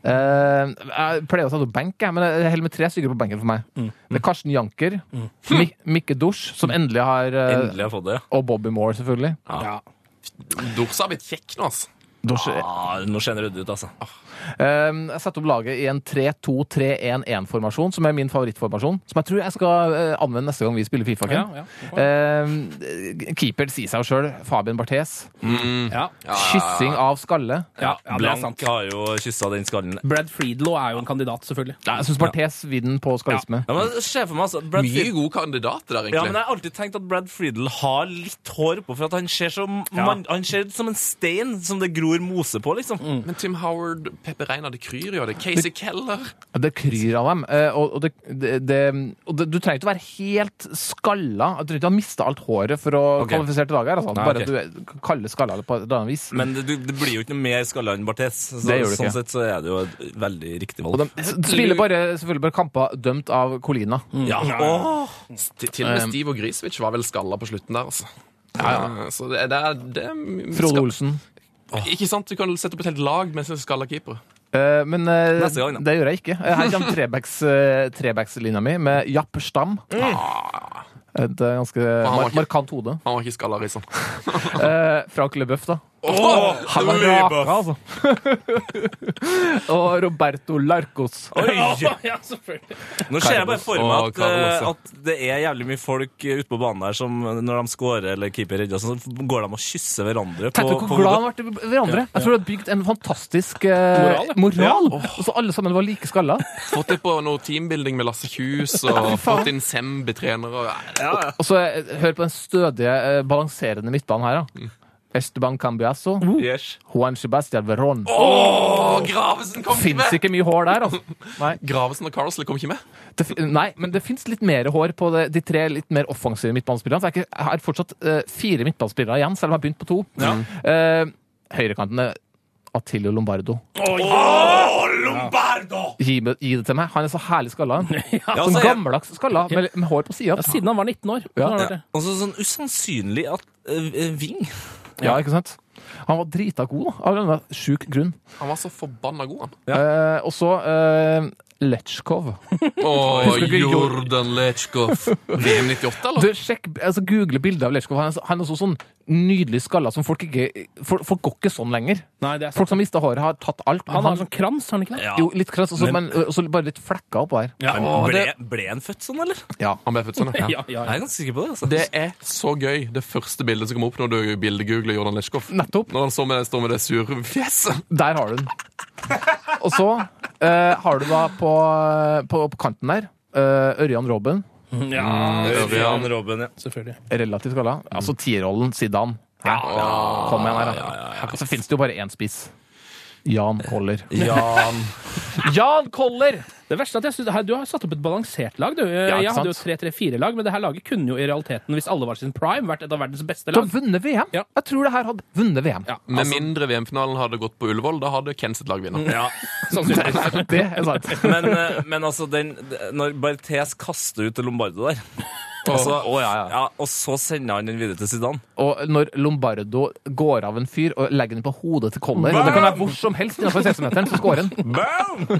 S5: Eh, Jeg pleier å ta til benk, jeg, men jeg holder med tre stykker på benken for meg. Det er Karsten Janker, Mik Mikke Dusj, som Mm. endelig har eh,
S8: Endelig har jeg fått det.
S5: Og Bobby Moore, selvfølgelig.
S3: Dors har blitt kjekk nå, altså.
S5: Dusj,
S8: Ja, nå ser det rødt ut, altså.
S5: Um, Jeg setter opp laget i en 3-2-3-1-1-formasjon, som er min favorittformasjon. Som jeg tror jeg skal eh, anvende neste gang vi spiller Fifa. Ken.
S4: Ja, ja.
S5: Um, keeper sier seg jo sjøl. Fabian Barthes.
S4: Ja.
S5: Kyssing av skalle.
S4: Ja, ja, det er sant.
S8: Blank har jo kyssa den skallen.
S4: Brad Friedlow er jo en kandidat, selvfølgelig.
S5: Jeg syns Barthes vinner på skallisme.
S8: Ja, men Se for meg, altså. Brad
S3: Mye
S8: Friedel.
S3: gode kandidater
S8: Ja,
S3: der,
S8: men
S3: egentlig.
S8: Jeg har alltid tenkt at Brad Friedel har litt hår på, for at han ser, så, man, han ser ut som en stein som det gror mose på, liksom.
S3: Men Tim Howard, Peppe Reina, det kryr jo av det. Casey Keller.
S5: Det kryr av dem. eh, Og, og, det, det, det, og det, du trenger ikke å være helt skalla. Du trenger ikke å ha mista alt håret for å
S8: Ok.
S5: kvalifisere til laget. her, Altså.
S8: Nei,
S5: Bare
S8: ok.
S5: at du er- kaller skalla på et eller annet vis.
S8: Men det, det blir jo ikke noe mer skalla enn Barthes. Så,
S5: Det gjør det
S8: sånn
S5: ikke.
S8: sett så er det jo et veldig riktig
S5: Og
S8: valg.
S5: de spiller bare, selvfølgelig bare kamper dømt av Colina.
S4: Mm.
S8: Ja, åh!
S3: Til, til og
S5: Eh,
S3: med Steve og Griswitch var vel skalla på slutten der, altså. Eh, Så det, det er, det er
S5: Frode Olsen.
S3: Ikke sant? Du kan sette opp et helt lag med skalla keepere.
S5: Eh, men eh,
S8: Neste gang, da.
S5: det gjør jeg ikke. Eh, Her kommer trebacks, eh, trebackslinja mi med Japp Stam. Et eh, ganske
S3: han var
S5: mar
S3: ikke-
S5: markant hode.
S3: Han var ikke skalla, liksom. Risan.
S5: Eh, Frank LeBøff, da.
S3: Åh,
S5: Han var raka, altså. Og Roberto Larcos.
S8: Oi!
S4: ja, selvfølgelig.
S8: Nå ser jeg bare for meg
S3: Carlos.
S8: at,
S3: Å, Carlos,
S8: eh,
S3: ja.
S8: at det er jævlig mye folk eh, ute på banen der som eh, når de scorer eller keeper redder, sånn, så går de og kysser hverandre på,
S5: Tenk deg
S8: på
S5: hvor glad
S8: hodet.
S5: han ble i hverandre. Jeg tror det har bygd en fantastisk eh,
S4: Moral, ja.
S5: moral. Og så alle sammen var like skalla.
S3: Fått det på noe teambuilding med Lasse Kjus, og fått inn Sembe-trenere.
S5: Og så eh, hør på den stødige, eh, balanserende midtbanen her, da. Esteban Cambiasso.
S8: Yes.
S5: Juan Sebastian Verón.
S3: Åh, Gravesen kom ikke
S5: Fins
S3: med!
S5: ikke mye hår der, altså. Nei.
S3: Gravesen og Carlsel kom ikke med.
S5: Det, fi- nei, men det fins litt mer hår på det, de tre litt mer offensive midtbanespillerne. For jeg er ikke- jeg har fortsatt eh, fire midtbanespillere igjen, selv om jeg har begynt på to. Eh, høyrekanten er Atilio Lombardo.
S8: Lombardo!
S5: Gi, me- gi det til meg. Han er så herlig skalla.
S8: Ja,
S5: Sånn
S8: så jeg-
S5: gammeldags skalla, med, med hår på sida.
S4: Siden han var 19 år.
S5: Ja.
S4: Nå har han vært
S8: Ja,
S4: det.
S8: og så sånn usannsynlig at eh, eh, Ving
S5: Ja, ikke sant? Han var drita god, da, av en eller annen sjuk grunn.
S3: Han var så forbanna god, han.
S5: Eh, og så eh, Lechkov.
S3: Åh, Jordan Lechkov. VM 98,
S5: Du,
S3: eller?
S5: sjekk, altså Google bilder av Lechkov. Han, er så- han er også sånn nydelig skalla som folk ikke folk, folk går ikke sånn lenger.
S4: Nei, det er sant.
S5: Folk som mista håret, har tatt alt. men
S4: Han har en sånn krans, har han ikke det?
S8: ja.
S5: Jo, litt krass, og så- men og så bare litt flekker oppå her.
S4: Ja,
S3: Åh,
S8: ble,
S3: det-
S8: ble han født sånn, eller?
S3: Han ble født sånn, ja.
S4: ja, ja.
S8: Jeg er ganske sikker på det. altså.
S3: Det er så gøy, det første bildet som kom opp når du bildegoogler Jordan Lechkov.
S5: Nettopp.
S3: Når han så med, står med det sure fjeset.
S5: Der har du den. Og så eh, har du da på, på, på kanten der eh, Ørjan Robben.
S4: ja
S8: Ørjan Robben, ja.
S4: selvfølgelig.
S5: Relativt skalla. Altså tierrollen Zidane. Ja, Kom igjen her, da. Og så fins det jo bare én spiss. Jan Koller.
S8: Jan
S5: Jan Koller!
S4: Det verste er at jeg synes, her- Du har satt opp et balansert lag. du.
S5: ikke
S4: Jeg hadde jo
S5: sant?
S4: 3-3-4-lag, men det her laget kunne jo i realiteten, hvis alle var sin prime, vært et av verdens beste
S5: Du har
S4: lag.
S5: vunnet VM!
S4: Ja.
S5: Jeg tror det her hadde vunnet VM.
S4: Ja,
S3: Med mindre VM-finalen hadde gått på Ullevål, da hadde Ken sitt lag vunnet.
S8: ja.
S4: sannsynligvis.
S5: Det er sant.
S8: Men, eh, men altså, den, når Barthes kaster ut Lombardo der Og så,
S3: Å, ja, ja.
S8: og så sender han den videre til Zidane.
S5: Og når Lombardo går av en fyr og legger den på hodet til Conner Det kan være hvor som helst innenfor 16-meteren, så scorer han.
S8: Boom!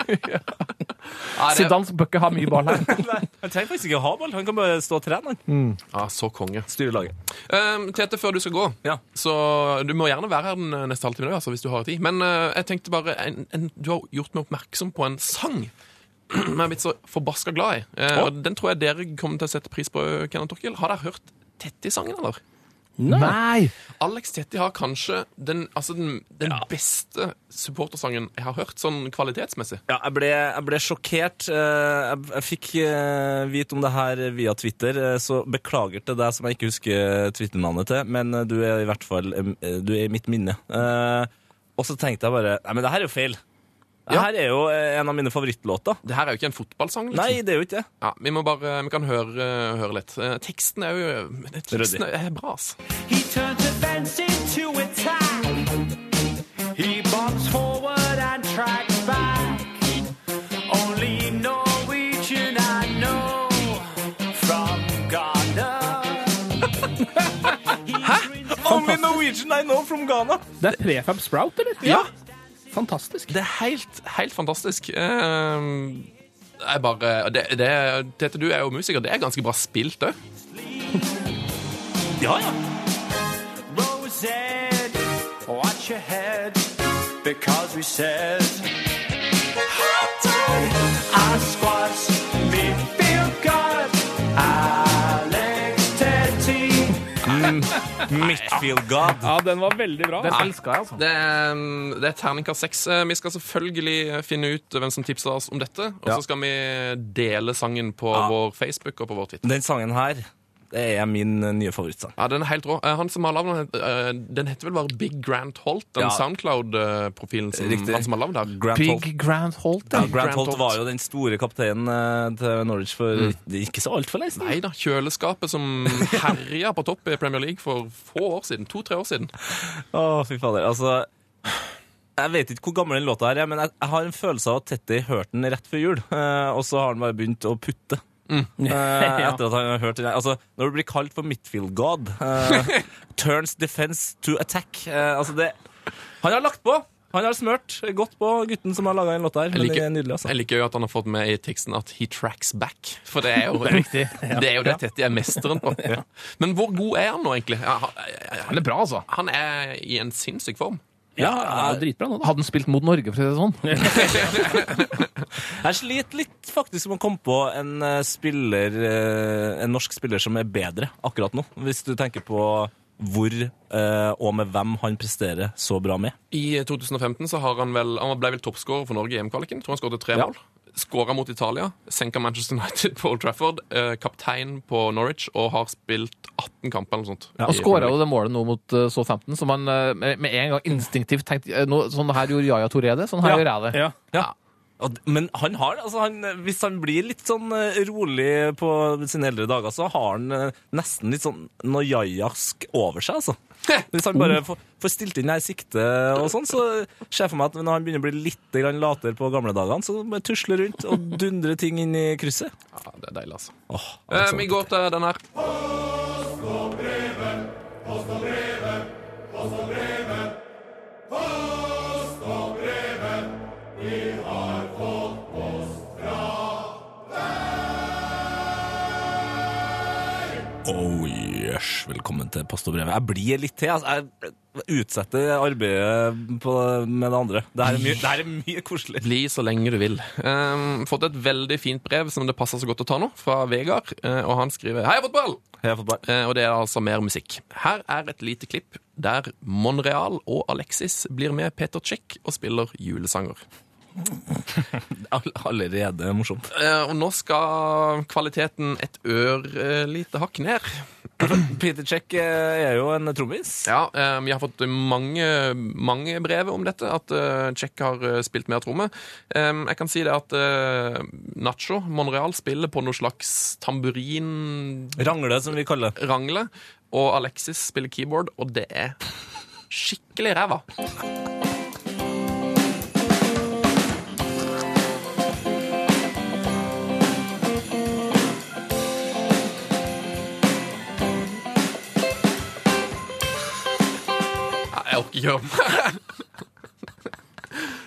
S3: Nei, det-
S5: Zidane bør ikke ha mye ball her.
S8: Nei, han trenger faktisk ikke å ha ball. Han kan bare stå og trene. han.
S3: Ja, så konge.
S8: Styre laget.
S3: Um, Tete, før du skal gå,
S8: Ja.
S3: så du må gjerne være her den eh, neste halvtimen også, altså, hvis du har tid. Men eh, jeg tenkte bare en, en, Du har gjort meg oppmerksom på en sang som jeg er blitt så forbaska glad i. Eh, og Den tror jeg dere kommer til å sette pris på, Kenneth Torkild. Har dere hørt Tetti-sangen, eller?
S5: Nei!
S3: Alex Tetti har kanskje den, altså den, den beste supportersangen jeg har hørt, sånn kvalitetsmessig.
S8: Ja, jeg ble, jeg ble sjokkert. Eh, Jeg, jeg fikk eh, vite om det her via Twitter, eh, så beklager til deg som jeg ikke husker Twitter-navnet til, men eh, du er i hvert fall eh, du er i mitt minne. Eh, Og så tenkte jeg bare Nei, men det her er jo feil. Det
S3: Ja.
S8: her er jo eh, en av mine favorittlåter.
S3: Det her er jo ikke en fotballsang. liksom.
S8: Nei, det er jo ikke det.
S3: Ja, vi må bare, vi kan høre, høre litt. Eh, Teksten er jo teksten er bra, ass.
S8: Only Norwegian I know from Ghana.
S4: Det er prefab sprout, eller?
S3: Ja.
S4: Fantastisk.
S3: Det er helt, helt fantastisk. Eh, jeg bare, det, det, Tete, du er jo musiker. Det er ganske bra spilt, det.
S8: Ja, ja. Mm, Midfield God.
S4: Ja, den var veldig bra.
S5: Den elsker jeg, altså.
S3: Det er, det er terningkast seks. Eh, Vi skal selvfølgelig finne ut hvem som tipsa oss om dette. Og så skal vi dele sangen på vår Facebook og på vår Twitter.
S8: Den sangen her det er min eh, nye favorittsang.
S3: Ja, den er helt rå. Eh, Han som har lagd den, eh, den heter vel bare Big Grant Holt? Den
S8: Ja.
S3: Soundcloud-profilen som
S8: Riktig.
S3: han som har lagd her?
S8: Grant Holt.
S5: Big Grand Holt,
S8: Ja,
S5: ja.
S8: Grant
S3: Grant
S8: Holt
S3: Holt.
S8: var jo den store kapteinen eh, til Norwich for det er ikke så altfor lenge siden.
S3: Nei da. Kjøleskapet som herja på topp i Premier League for få år siden. To-tre år siden.
S8: Å, fy fader. Altså Jeg vet ikke hvor gammel den låta her er, men jeg, jeg har en følelse av at Tetty hørte den rett før jul, eh, og så har han bare begynt å putte.
S3: Mm.
S8: Eh, etter at han har hørt den her. Altså, Når du blir kalt for midfield god eh, Turns defense to attack. eh, altså, det Han har lagt på! Han har smørt godt på gutten som har laga den låta her. Men
S3: liker-
S8: det er nydelig, altså.
S3: Jeg liker jo at han har fått med i teksten at 'he tracks back'. For det er jo det, er jo det Tetty er mesteren på. Men hvor god er han nå, egentlig? Ja, han-
S5: Den er bra, altså.
S3: Han er i en sinnssyk form.
S8: Ja,
S4: Ja, dritbra nå, da.
S5: Hadde han spilt mot Norge, for å si det sånn?
S8: Jeg sliter litt faktisk med å komme på en eh, spiller eh, En norsk spiller som er bedre akkurat nå. Hvis du tenker på hvor eh, og med hvem han presterer så bra med.
S3: I eh, 2015 så har han vel Han ble vel toppskårer for Norge i EM-kvaliken. Tror han skåret tre mål. Skåra mot Italia, senka Manchester United på Old Trafford. eh, Kaptein på Norwich og har spilt 18 kamper eller noe sånt.
S5: Han skåra jo det målet nå mot uh, So 15, som han uh, med med en gang instinktivt tenkte uh, nå- Sånn her gjorde Yaya Toré det, sånn her gjør jeg det.
S4: Ja.
S8: Og d- Men han har, altså han, hvis han blir litt sånn eh, rolig på sine eldre dager, så har han eh, nesten litt sånn nojajask over seg, altså. Hvis han bare får, får stilt inn det her siktet og sånn, så ser jeg for meg at når han begynner å bli litt grann latere på gamle dagene, så bare tusler rundt og dundrer ting inn i krysset.
S3: Ja, det er deilig, altså.
S8: Åh,
S3: Eh,
S8: altså.
S3: vi går til den her.
S8: Oh yes, velkommen til Post og brev. Jeg blir litt til. Altså. Jeg utsetter arbeidet på, med det andre. Det her er mye, det her er mye koselig.
S3: Bli så lenge du vil. Um, fått et veldig fint brev som det passer så godt å ta nå, fra Vegard. eh, og han skriver Hei, fotball!
S8: Jeg har fått bare-
S3: Eh, Og det er altså mer musikk. Her er et lite klipp der Monreal og Alexis blir med Peter Check og spiller julesanger.
S8: all- Allerede morsomt.
S3: Eh, Og nå skal kvaliteten et ørlite hakk ned.
S8: Peter Check eh, er jo en trommis.
S3: Ja, eh, Vi har fått mange, mange brev om dette, at eh, Check har eh, spilt mer tromme. Eh, Jeg kan si det at eh, Nacho Monreal spiller på noe slags tamburinrangle,
S8: Rangle, som vi kaller det.
S3: og Alexis spiller keyboard, og det er skikkelig ræva. gjøre.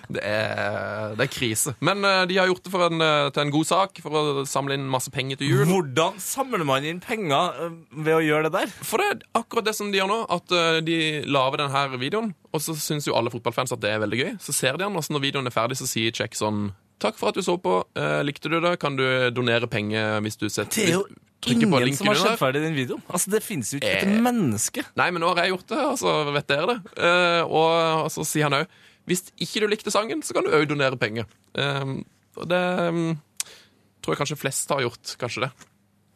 S3: Det er, det er krise. Men eh, de har gjort det for en, eh, til en god sak, for å samle inn masse penger til jul.
S8: Hvordan samler man inn penger eh, ved å gjøre det der?
S3: For det er akkurat det som de gjør nå, at eh, de lager denne videoen, og så syns jo alle fotballfans at det er veldig gøy. Så ser de den, og så når videoen er ferdig, så sier Check sånn Takk for at du så på. Eh, likte du det? Kan du donere penger hvis du setter
S8: Det er jo
S3: hvis- trykker på
S8: ingen
S3: linken
S8: som har
S3: under
S8: sett
S3: der?»
S8: ferdig den videoen. Altså, Det finnes jo ikke et
S3: Eh.
S8: menneske.
S3: Nei, men nå har jeg gjort det, og så vet dere det. Eh, og, og så sier han òg hvis ikke du likte sangen, så kan du òg donere penger. Eh, og det mm, tror jeg kanskje flest har gjort. Kanskje det.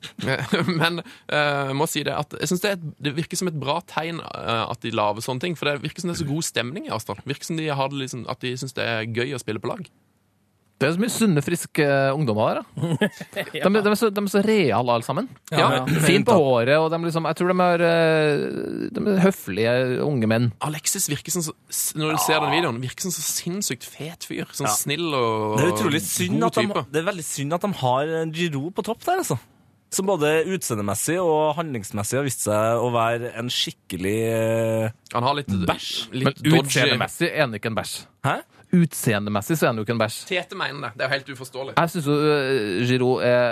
S3: Eh, men eh, jeg må si det at jeg synes det, er et- det virker som et bra tegn eh, at de lager sånne ting. For det virker som det er så god stemning i Asdal. Virker som de har det liksom, at de syns det er gøy å spille på lag.
S5: Det er så mye sunne, friske ungdommer der. Da. De, de, er så, de er så reale, alle sammen.
S3: Ja,
S5: Fint på håret, og de liksom, jeg tror de er, eh, de er høflige unge menn.
S3: Alexis virker som så, når du ser den videoen, virker som så sinnssykt fet fyr. Sånn snill og
S8: Det er utrolig synd
S3: god
S8: at de,
S3: type.
S8: det er veldig synd at de har eh, Giroud på topp der, altså. Som både utseendemessig og handlingsmessig har vist seg å være en skikkelig eh,
S3: Han har litt
S8: Bæsj.
S5: Men
S3: Litt dodgy
S5: utseendemessig er han jo ikke en bæsj.
S8: Hæ?
S5: Utseendemessig så er han jo ikke en bæsj.
S3: Tete mener det. Det er jo helt uforståelig.
S5: Jeg syns jo eh, Giroud er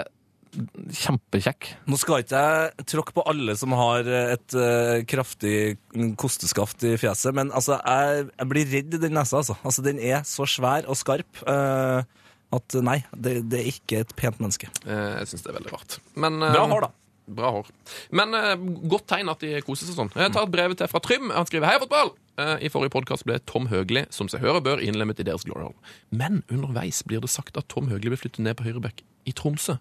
S5: kjempekjekk.
S8: Nå skal ikke jeg tråkke på alle som har et eh, kraftig kosteskaft i fjeset, men altså, jeg, jeg blir redd i den nesa, altså. altså. Den er så svær og skarp eh, at nei, det, det er ikke et pent menneske.
S3: Eh, Jeg syns det er veldig rart. Men, eh,
S8: Bra hår, da.
S3: Bra hår. Men eh, godt tegn at de koser seg sånn. Jeg tar et brev til fra Trym. Han skriver 'Heia, fotball!' Eh, I forrige podkast ble Tom Høgli, som seg hører bør, innlemmet i deres Glory Hall. Men underveis blir det sagt at Tom Høgli blir flyttet ned på høyrebekk i Tromsø.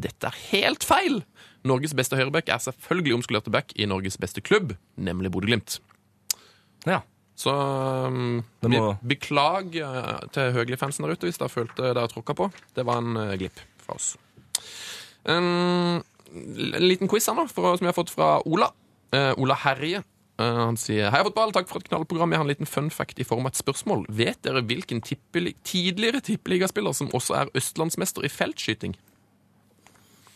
S3: Dette er helt feil! Norges beste høyrebekk er selvfølgelig omskulert til back i Norges beste klubb, nemlig Bodø-Glimt.
S8: Ja.
S3: Så um,
S8: Det må-
S3: be- beklag eh, til Høgli-fansen der ute hvis dere følte dere tråkka på. eh, Det var en eh, glipp fra oss. Um, En l- liten quiz her nå, fra, som jeg har fått fra Ola. Eh, Ola Herje. Eh, han sier Hei, fotball. Takk for et knallprogram. Jeg har en liten fun fact i form av et spørsmål. Vet dere hvilken tippeli tidligere tippeligaspiller som også er østlandsmester i feltskyting?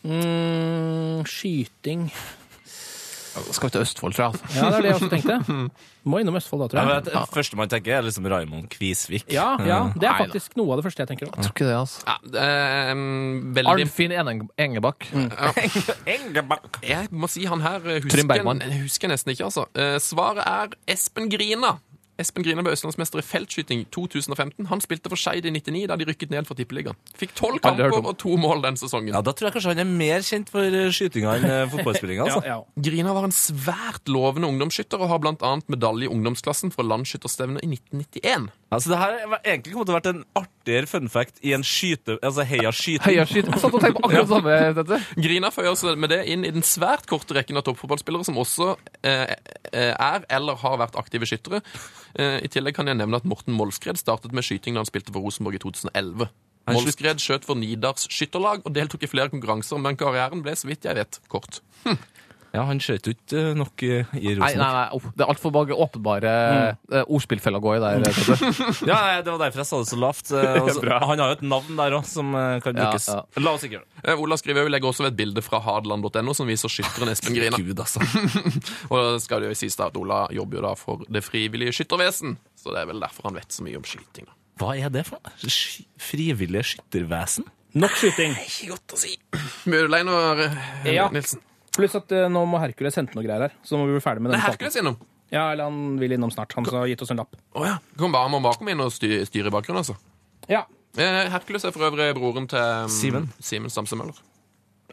S4: Mm, skyting
S5: Skal ikke til Østfold, tror jeg. altså.
S4: Ja, det er det jeg også tenkte. Må innom Østfold da, tror jeg.
S8: første man tenker, er liksom Raymond Kvisvik.
S4: Ja, ja, det er
S5: Nei da.
S4: faktisk noe av det første jeg tenker på.
S5: Tror ikke det, altså.
S3: Ja, eh, veldig
S5: Arnfinn Eneng- Engebakk.
S8: Engebakk.
S3: Jeg må si han her eh, husker,
S5: Trym Bergman.
S3: jeg husker nesten ikke, altså. Eh, Svaret er Espen Grina. Espen Grina ble østlandsmester i feltskyting 2015. Han spilte for Skeid i 99, da de rykket ned fra Tippeligaen. Fikk tolv
S5: Aldri hørt
S3: kamper
S5: om.
S3: og to mål den sesongen.
S8: Ja, Da tror jeg kanskje han er mer kjent for eh, skytinga enn eh, fotballspillinga.
S4: Ja,
S8: Altså.
S4: ja.
S3: Grina var en svært lovende ungdomsskytter og har bl.a. medalje i ungdomsklassen fra landsskytterstevnet i 1991.
S8: altså, det her var egentlig kommet til å vært en artigere fun fact i en skyte... Altså heia skyting.
S5: Høyaskyt. Jeg satt og tenkte på akkurat det samme. Tete.
S3: Grina føyer seg med det inn i den svært korte rekken av toppfotballspillere som også eh, eh, er eller har vært aktive skyttere. Eh, I tillegg kan jeg nevne at Morten Molskred startet med skyting da han spilte for Rosenborg i 2011. Molskred skjøt for Nidars skytterlag og deltok i flere konkurranser, men karrieren ble, så vidt jeg vet, kort.
S8: Ja, han skjøt jo ikke eh, nok eh, i
S5: Nei, nei,
S8: Rosenborg.
S5: nei. opp. Det er altfor mange åpenbare mm. ordspillfeller å gå i der. Tete.
S8: Ja, nei, det var derfor jeg sa det så lavt. eh, og så- han har jo et navn der òg som eh, kan
S5: Ja,
S8: brukes.
S5: ja.
S8: La oss ikke gjøre det.
S3: Eh, Ola skriver jeg legger også ved et bilde fra hadeland.no som viser skytteren Espen Grina.
S8: Gud, altså.
S3: Og det skal det jo sies da at Ola jobber jo da for Det frivillige skyttervesen, så det er vel derfor han vet så mye om skyting. da.
S8: Hva er det for noe? Sky frivillige skyttervesen?
S4: Nok skyting.
S3: Ikke godt å si. Mødeleiner,
S4: Ja.
S3: eh, Nilsen.
S4: Pluss at eh, nå må Hercules hente noe greier her, så nå må vi bli ferdig med
S3: Det
S4: denne
S3: er
S4: saken.
S3: Hercules innom.
S4: Ja, eller han vil innom snart. Han som har gitt oss en lapp.
S3: Å ja. Kan bare, man bare komme inn og styre, styre i bakgrunnen, altså.
S4: Ja,
S3: Eh, Hercules er for øvrig broren til um,
S8: Simen.
S3: Simen Stamse Møller.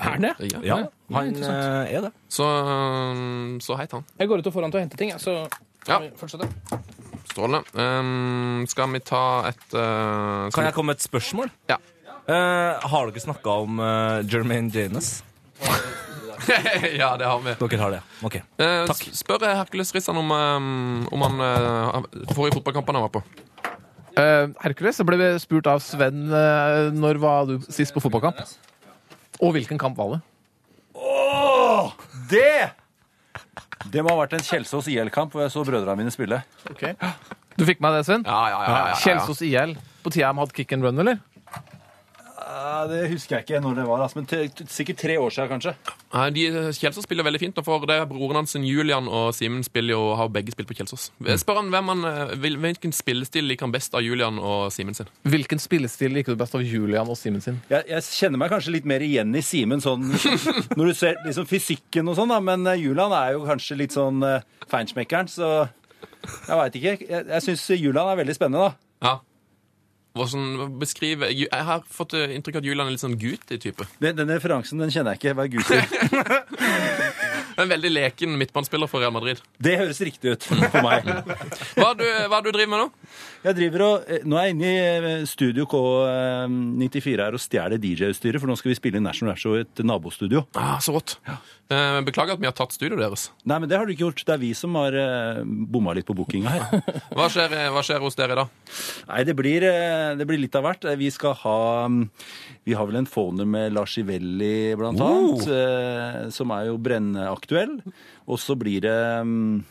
S4: er den det?
S3: Ja.
S8: Ja, han
S4: interessant.
S8: eh, er det.
S3: Så, um, så heit han.
S4: Jeg går ut og foran til å hente ting, jeg, så
S3: Ja.
S4: kan vi fortsette.
S3: Strålende. Um, skal vi ta et uh, skal
S8: Kan jeg komme med et spørsmål?
S3: Ja.
S8: Eh, har dere snakka om eh, Jermaine Janus?
S3: vi- ja, det har vi.
S8: Dere har det, ja. Ok.
S3: Eh,
S8: Takk.
S3: s- Spør Hercules Rissan om, um, om han uh, forrige fotballkampen han var på.
S5: Eh, Hercules, jeg ble spurt av Sven eh, når var du sist på fotballkamp? Og hvilken kamp var det?
S9: Det! Det må ha vært en Kjelsås IL-kamp hvor jeg så brødrene mine spille.
S5: Du fikk med deg det, Sven?
S3: Ja, ja, ja. ja, ja, ja.
S5: Kjelsås IL. På tida de hadde kick and run, eller?
S9: Ja, det husker jeg ikke når det var, altså, men t- t- sikkert tre år siden, kanskje.
S3: Nei, Eh, de Kjelsås spiller veldig fint, og for det er broren hans Julian og Simen spiller jo, har begge spilt på Kjelsås. Spør han hvem han, eh, vil- hvilken spillestil liker han best av Julian og Simen sin.
S5: Hvilken spillestil liker du best av Julian og Simen sin?
S9: Jeg, jeg kjenner meg kanskje litt mer igjen i Simen, sånn når du ser liksom fysikken og sånn, da, men eh, Julian er jo kanskje litt sånn eh, feinschmeckeren, så jeg veit ikke. Jeg, jeg syns Julian er veldig spennende, da.
S3: Ja. Hvordan beskrive Ju- Jeg har fått eh, inntrykk av at Julian er litt sånn gutti-type.
S9: Den, den referansen den kjenner jeg ikke. Hva er Gud sier?
S3: En veldig leken midtbanespiller for Real Madrid.
S9: Det høres riktig ut for meg.
S3: Hva er du, hva er du driver med nå?
S9: Jeg driver og, eh, Nå er jeg inne i eh, Studio K94 her og stjeler DJ-utstyret, for nå skal vi spille i National Air Show i et nabostudio.
S3: Ah, så rått. Eh, Beklager at vi har tatt studioet deres.
S9: Nei, men det har du ikke gjort. Det er vi som har eh, bomma litt på bookinga her.
S3: Hva skjer, eh, hva skjer hos dere i dag?
S9: Nei, det blir, eh, det blir litt av hvert. Eh, Vi skal ha mm, Vi har vel en phoner med Lars Ivelli, blant annet, eh, som er jo brennaktuell. Og så blir det mm,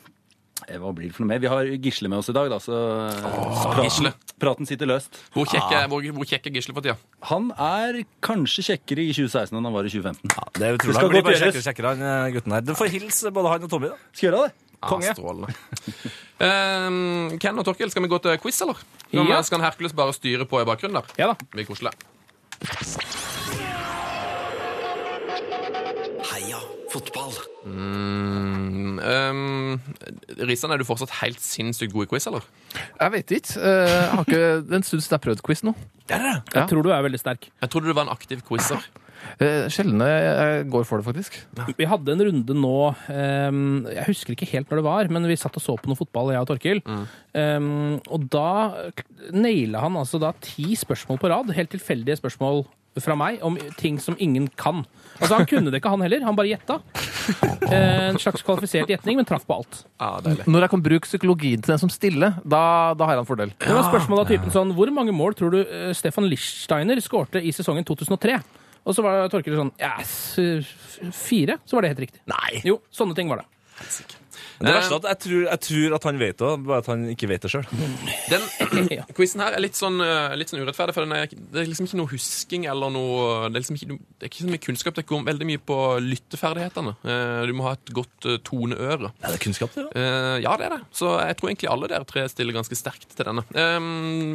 S9: eh, hva blir det for noe mer? Vi har Gisle med oss i dag, da, så eh, praten,
S3: Gisle.
S9: praten sitter løst.
S3: Hvor kjekk er, hvor, hvor kjekk er Gisle for tida?
S9: Han er kanskje kjekkere i 2016 enn han var i 2015.
S8: Ja, det er utrolig.
S9: skal
S8: Han blir
S9: godt
S8: bare kjekkere
S9: gjøres.
S8: og kjekkere, han eh, gutten her. Du får hilse både han og Tommy, da.
S9: Skal gjøre det?
S3: Ah, strålende. Eh, Ken og Torkil, skal vi gå til quiz, eller? Nå
S4: Ja.
S3: skal Hercules bare styre på i bakgrunnen der.
S4: Ja da.
S3: Det blir koselig.
S2: Heia fotball.
S3: Um, Risan, er du fortsatt helt sinnssykt god i quiz, eller?
S5: Jeg vet ikke. Eh, Jeg har ikke det er en stund siden jeg har prøvd quiz nå.
S4: Jeg tror du er veldig sterk.
S3: Jeg trodde du var en aktiv quizer.
S5: Eh, Sjelden jeg jeg går for det, faktisk.
S4: Vi hadde en runde nå ehm, Jeg husker ikke helt når det var, men vi satt og så på noe fotball, jeg og Torkil. Ehm, og da naila han altså da ti spørsmål på rad, helt tilfeldige spørsmål fra meg, om ting som ingen kan. Altså Han kunne det ikke, han heller. Han bare gjetta. Eh, en slags kvalifisert gjetning, men traff på alt.
S3: Ja, deilig.
S5: Når jeg kan bruke psykologien til den som stiller, da, da har jeg en fordel.
S4: Det var spørsmål av typen sånn Hvor mange mål tror du eh, Stefan Lichsteiner skårte i sesongen 2003? Og så var Torkil sånn Ja, s- f- fire. Så var det helt riktig.
S8: Nei.
S4: Jo, sånne ting var det.
S8: Det verste er at jeg tror, jeg tror at han vet det, bare at han ikke vet det sjøl.
S3: Den quizen her er litt sånn, eh, litt sånn urettferdig, for den er, det er liksom ikke noe husking eller noe Det er liksom ikke, noe- det er ikke så mye kunnskap. Det går veldig mye på lytteferdighetene. Eh, Du må ha et godt eh, toneøre.
S8: Er det kunnskap, det?
S3: Eh, ja, det er det. Så jeg tror egentlig alle dere tre stiller ganske sterkt til denne. Eh,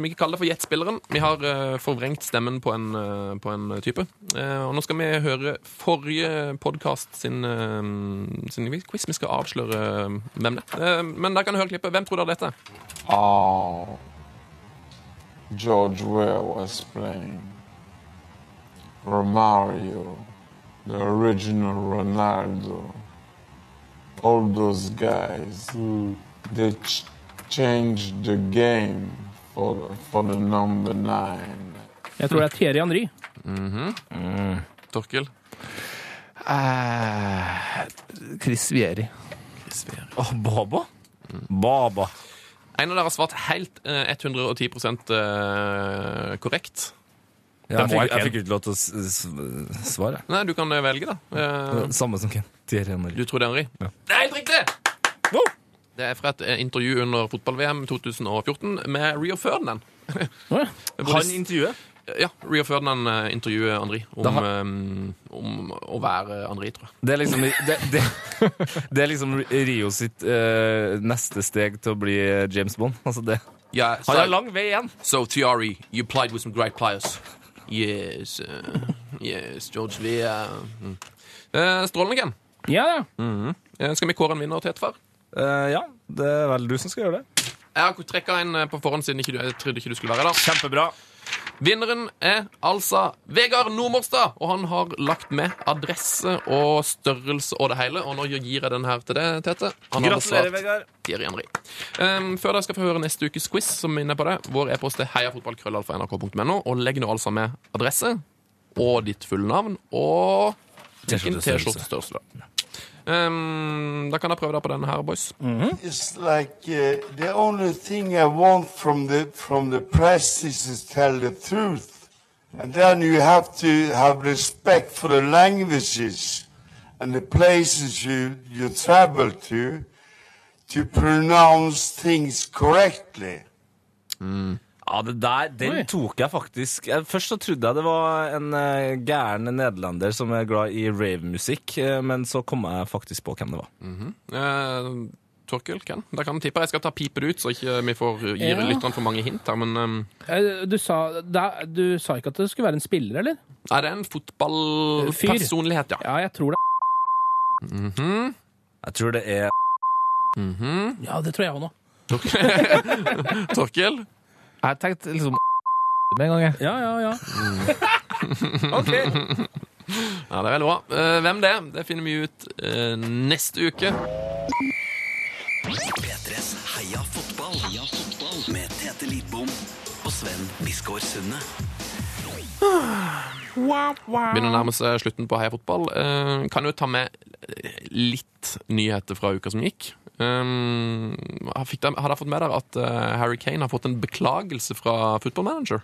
S3: vi kan kalle det for Gjettspilleren. Vi har eh, forvrengt stemmen på en, eh, på en type. Eh, og nå skal vi høre forrige podkast sin, eh, sin quiz. Vi skal avsløre eh, hvem det er. Eh, men dere kan høre klippet. Hvem tror dere dette er?
S10: Oh, George Weah was playing Romario, the original Ronaldo. All those guys, they ch- changed the game for the, for the number nine.
S4: Jeg tror det er Thierry Henry.
S3: Torkil?
S5: Eh, Chris Vieri.
S8: Åh, Baba? Baba.
S3: En av dere har svart helt eh, 110 eh, korrekt.
S8: Ja, jeg,
S5: må
S8: fikk,
S5: jeg
S8: jeg fikk ikke lov til å s- s- svare.
S3: Nei, du kan eh, velge, da. Eh,
S8: Samme som Ken. Thierry Henry.
S3: Du tror det, Henri? Det er helt riktig! Det er fra et eh, intervju under fotball-VM 2014 med Rio Ferdinand.
S4: Å, ja.
S8: Han intervjuet?
S3: Ja, Rio Ferdinand eh, intervjuer Henri
S8: Da
S3: om,
S8: har-
S3: eh, om å være Henri, tror jeg.
S8: Det er liksom, det, det, det er liksom Rio sitt eh, neste steg til å bli James Bond. Altså det.
S3: Yeah,
S8: Han har lang vei igjen.
S3: so, Tiari, you played with some great players. Yes, eh, yes, George Vea. Mm. Eh, Strålende, Ken.
S4: Ja, ja.
S3: Eh, skal vi kåre en vinner til etterfar?
S8: Eh, ja, det er vel du som skal gjøre det.
S3: Jeg har trekka en eh, på forhånd siden ikke du, jeg trodde ikke du skulle være her. da.
S8: Kjempebra.
S3: Vinneren er altså Vegard Nordmorstad, og han har lagt med adresse og størrelse og det hele. Og nå gir jeg den her til deg, Tete. Han hadde
S8: Gratulerer,
S3: svart
S8: Vegard.
S3: Thierry Henry. Um, før dere skal få høre neste ukes quiz, som er inne på det, vår e-post er heiafotballkrøllalfa.nrk.no, og legg nå altså med adresse og ditt fulle navn og hvilken T-skjortestørrelse. Um, da kan dere prøve dere på denne her, boys.
S11: It's like uh, the only thing I want from the from the press is to tell the truth, and then you have to have respect for the languages and the places you you travel to to pronounce things correctly.
S8: Ja, det der, den
S4: Oi.
S8: tok jeg faktisk. Jeg- Først så trodde jeg det var en eh, gæren nederlender som er glad i rave-musikk, eh, men så kom jeg faktisk på hvem det var.
S3: Eh, Torkil, Ken? Da kan tippe. Jeg skal ta pipe det ut, så ikke vi får gi
S4: Ja.
S3: lytterne for mange hint. her, men... ehm,
S4: Eh, Du sa, da, du sa ikke at det skulle være en spiller, eller?
S3: Er det en
S4: Fyr.
S3: fotballpersonlighet, ja?
S4: Ja, jeg tror det.
S3: Mhm.
S8: Jeg tror det er
S3: Mhm.
S4: Ja, det tror jeg òg nå.
S3: Torkil?
S5: Jeg tenkte liksom med en gang, jeg.
S4: Ja, ja, ja. OK.
S3: Ja, det er veldig bra. Eh, Hvem det er, det finner vi ut eh, neste uke.
S2: P3s Heia fotball. Heia fotball. Med Tete Lidbom og Sven Biskår Sunde.
S3: Begynner å nærme seg slutten på Heia fotball. Eh, Kan jo ta med litt nyheter fra uka som gikk. Um, fikk dere- har dere fått med dere at eh, Harry Kane har fått en beklagelse fra Football Manager?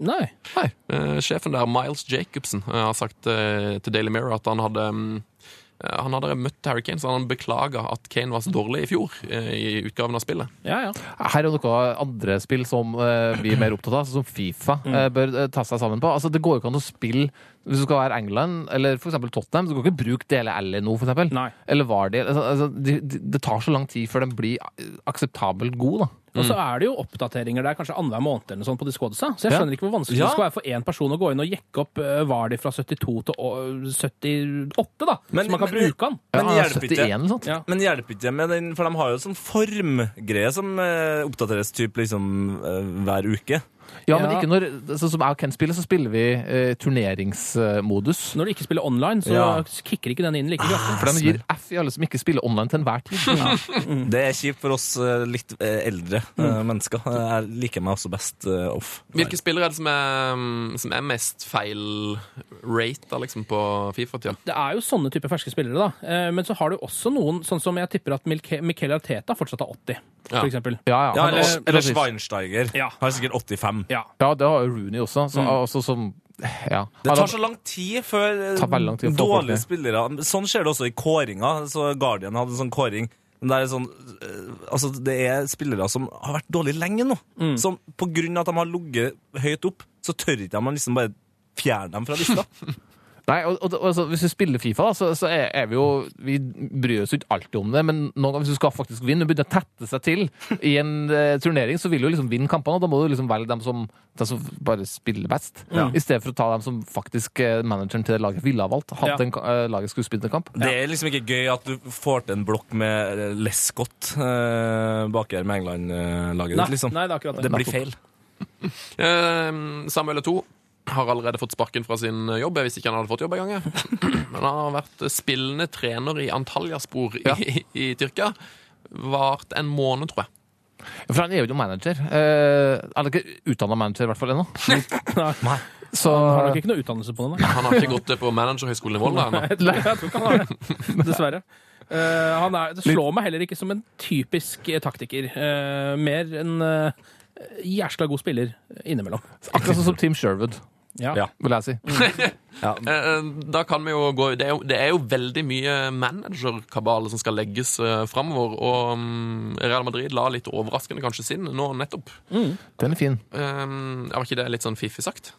S4: Nei.
S3: Nei. Eh, sjefen der, Miles Jacobsen, eh, har sagt eh, til Daily Mirror at han hadde mm, eh, han hadde møtt Harry Kane, så han beklaga at Kane var så dårlig i fjor. eh, I utgaven av spillet.
S4: Ja, ja.
S5: Her er noe andre spill som eh, vi er mer opptatt av, sånn som Fifa, eh, bør eh, ta seg sammen på. Altså, Det går jo ikke an å spille hvis du skal være England eller for eksempel Tottenham. Så du kan ikke bruke dele L nå, for eksempel.
S4: Nei.
S5: Eller var det altså, altså, de, de, Det tar så lang tid før den blir eh, akseptabelt god, da.
S4: Og så er det jo oppdateringer der kanskje annenhver måned eller noe sånt på Discordsa. Så jeg
S5: Ja.
S4: skjønner ikke hvor vanskelig
S5: Ja.
S4: det skal være for én person å gå inn og jekke opp uh, var de fra 72 til å- 78, da.
S8: Men-
S4: så man kan
S8: men-
S4: bruke den.
S8: Men
S5: Ja, sånn.
S8: hjelper
S5: 71
S8: ikke.
S5: eller sånt.
S4: Ja.
S8: Men hjelper ikke med den, for de har jo sånn formgreie som eh, oppdateres typ liksom eh, hver uke.
S5: Ja, men
S4: Ja.
S5: ikke når Sånn som jeg og Ken spiller, så spiller vi eh, turneringsmodus.
S4: Når du ikke spiller online, så
S8: Ja.
S4: kicker ikke den inn like kraftig.
S5: For de gir F i alle som ikke spiller online til enhver tid. Mm.
S8: Det er kjipt for oss eh, litt eh, eldre eh, mennesker. Jeg liker meg også best eh, off.
S3: Hvilke spillere er det som er, mm, som er mest feil-rata liksom, på Fifa-tida?
S4: Det er jo sånne typer ferske spillere, da. Eh, Men så har du også noen, sånn som jeg tipper at Milke- Mikel Arteta fortsatt har 80,
S3: Ja.
S4: for eksempel.
S5: Ja, ja.
S8: Ja,
S5: Han-
S8: eller,
S5: og-
S8: eller
S5: precis.
S8: Schweinsteiger.
S4: Ja.
S8: Har sikkert 85.
S4: Ja.
S5: Ja, det har jo Rooney også.
S4: Mm.
S5: Så, også som, ja.
S8: Det tar så lang tid før eh,
S5: Tar veldig lang tid å få folk
S8: dårlige
S5: ned.
S8: spillere Sånn skjer det også i kåringa. Så Guardian hadde en sånn kåring. Men Det er, sånn, eh, altså det er spillere som har vært dårlige lenge nå. Som på grunn av at de har ligget høyt opp, så tør ikke man liksom bare fjerne dem fra lista.
S5: Nei, og, og, og, altså, Hvis vi spiller Fifa, da, så, så er, er vi jo Vi bryr oss jo ikke alltid om det, men noen ganger hvis du skal faktisk vinne, og begynner å tette seg til i en eh, turnering, så vil du liksom vinne kampene, og da må du liksom velge dem som, dem som bare spiller best, i stedet for å ta dem som faktisk eh, manageren til det laget ville ha valgt,
S4: Ja.
S5: hadde den, ka- eh, laget skulle spille en kamp.
S8: Det er liksom ikke gøy at du får til en blokk med eh, Lescott eh, bak her med England-laget
S4: Nei,
S8: ditt, liksom.
S4: nei, det er akkurat det.
S8: Det blir feil.
S3: Eh, Samuel Eto'o har allerede fått sparken fra sin jobb. Jeg visste ikke han hadde fått jobb engang. jeg. Men han har vært spillende trener i Antalyaspor i, i, Tyrkia. Vart en måned, tror jeg.
S5: For han er jo ikke manager. Eh, han er ikke utdanna manager, i hvert fall ennå.
S4: Nei.
S5: Så
S4: Han har nok ikke noe utdannelse på den. da.
S3: Han har ikke gått på managerhøgskolen i Volda ennå.
S4: Jeg tror, jeg tror ikke han har det, dessverre. Eh, han er, det slår meg heller ikke som en typisk eh, taktiker. Eh, mer en eh, jæskla god spiller innimellom.
S5: akkurat sånn som Team Sherwood,
S4: Ja. Mm.
S8: Ja.
S5: vil jeg si.
S3: Eh, Da kan vi jo gå Det er jo, det er jo veldig mye managerkabal som skal legges eh, framover. Og mm, Real Madrid la litt overraskende kanskje sin nå nettopp.
S5: Den er fin.
S3: Eh, Var ikke det litt sånn fiffig sagt?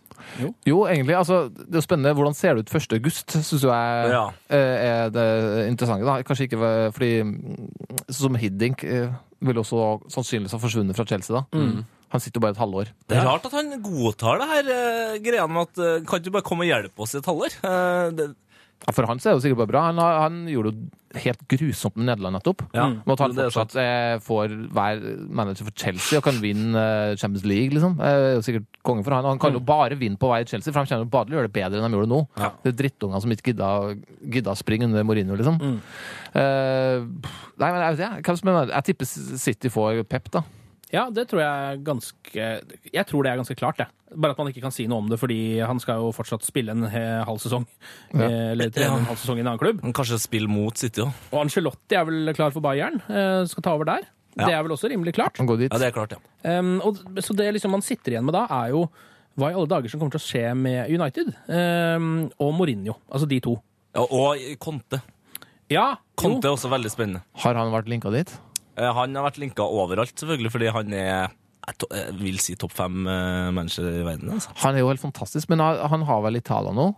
S5: Jo, egentlig. altså, Det er jo spennende. Hvordan ser det ut 1. august, syns jo jeg
S8: Ja.
S5: eh, er det interessante. da. Kanskje ikke eh, fordi mm, Sånn som Hiddink eh, vil også sannsynligvis ha forsvunnet fra Chelsea, da. Han sitter jo bare et halvår.
S8: Det er rart at han godtar det her eh, greia med at eh, Kan ikke du bare komme og hjelpe oss i et halvår? Eh, det,
S5: Ja, For han så er det jo sikkert bare bra. Han, har- han gjorde det jo helt grusomt med Nederland nettopp.
S8: Ja,
S5: Med at han
S8: det er sant.
S5: fortsatt eh, får være manager for Chelsea og kan vinne eh, Champions League, liksom. Eh, Det er jo sikkert konge for han. Og han
S8: Mm.
S5: kan jo bare vinne på vei til Chelsea, for han kommer jo bare til å gjøre det bedre enn de gjorde nå. Det er drittungene som ikke gidda, gidda springe under Mourinho, liksom.
S8: Mm.
S5: Eh, nei, men jeg vet ikke, hvem som er Jeg tipper City får pep, da.
S4: ja, det tror jeg er ganske Jeg tror det er ganske klart, jeg. Bare at man ikke kan si noe om det, fordi han skal jo fortsatt spille en he- halv sesong. Eh, Eller trene en halv sesong i en annen klubb.
S8: han kanskje spiller mot City òg.
S4: Og Angelotti er vel klar for Bayern. eh, Skal ta over der. Det er vel også rimelig klart.
S5: Han går dit.
S8: Ja, det er klart, ja.
S4: Um, og, så det liksom man sitter igjen med da, er jo hva i alle dager som kommer til å skje med United um, og Mourinho. Altså de to.
S8: ja og Conte.
S4: Ja, jo.
S8: Conte er også veldig spennende.
S5: Har han vært linka dit?
S8: Eh, Han har vært linka overalt, selvfølgelig, fordi han er jeg to- jeg vil si topp fem eh, mennesker i verden. Altså.
S5: Han er jo helt fantastisk, men han han har vel Italia nå?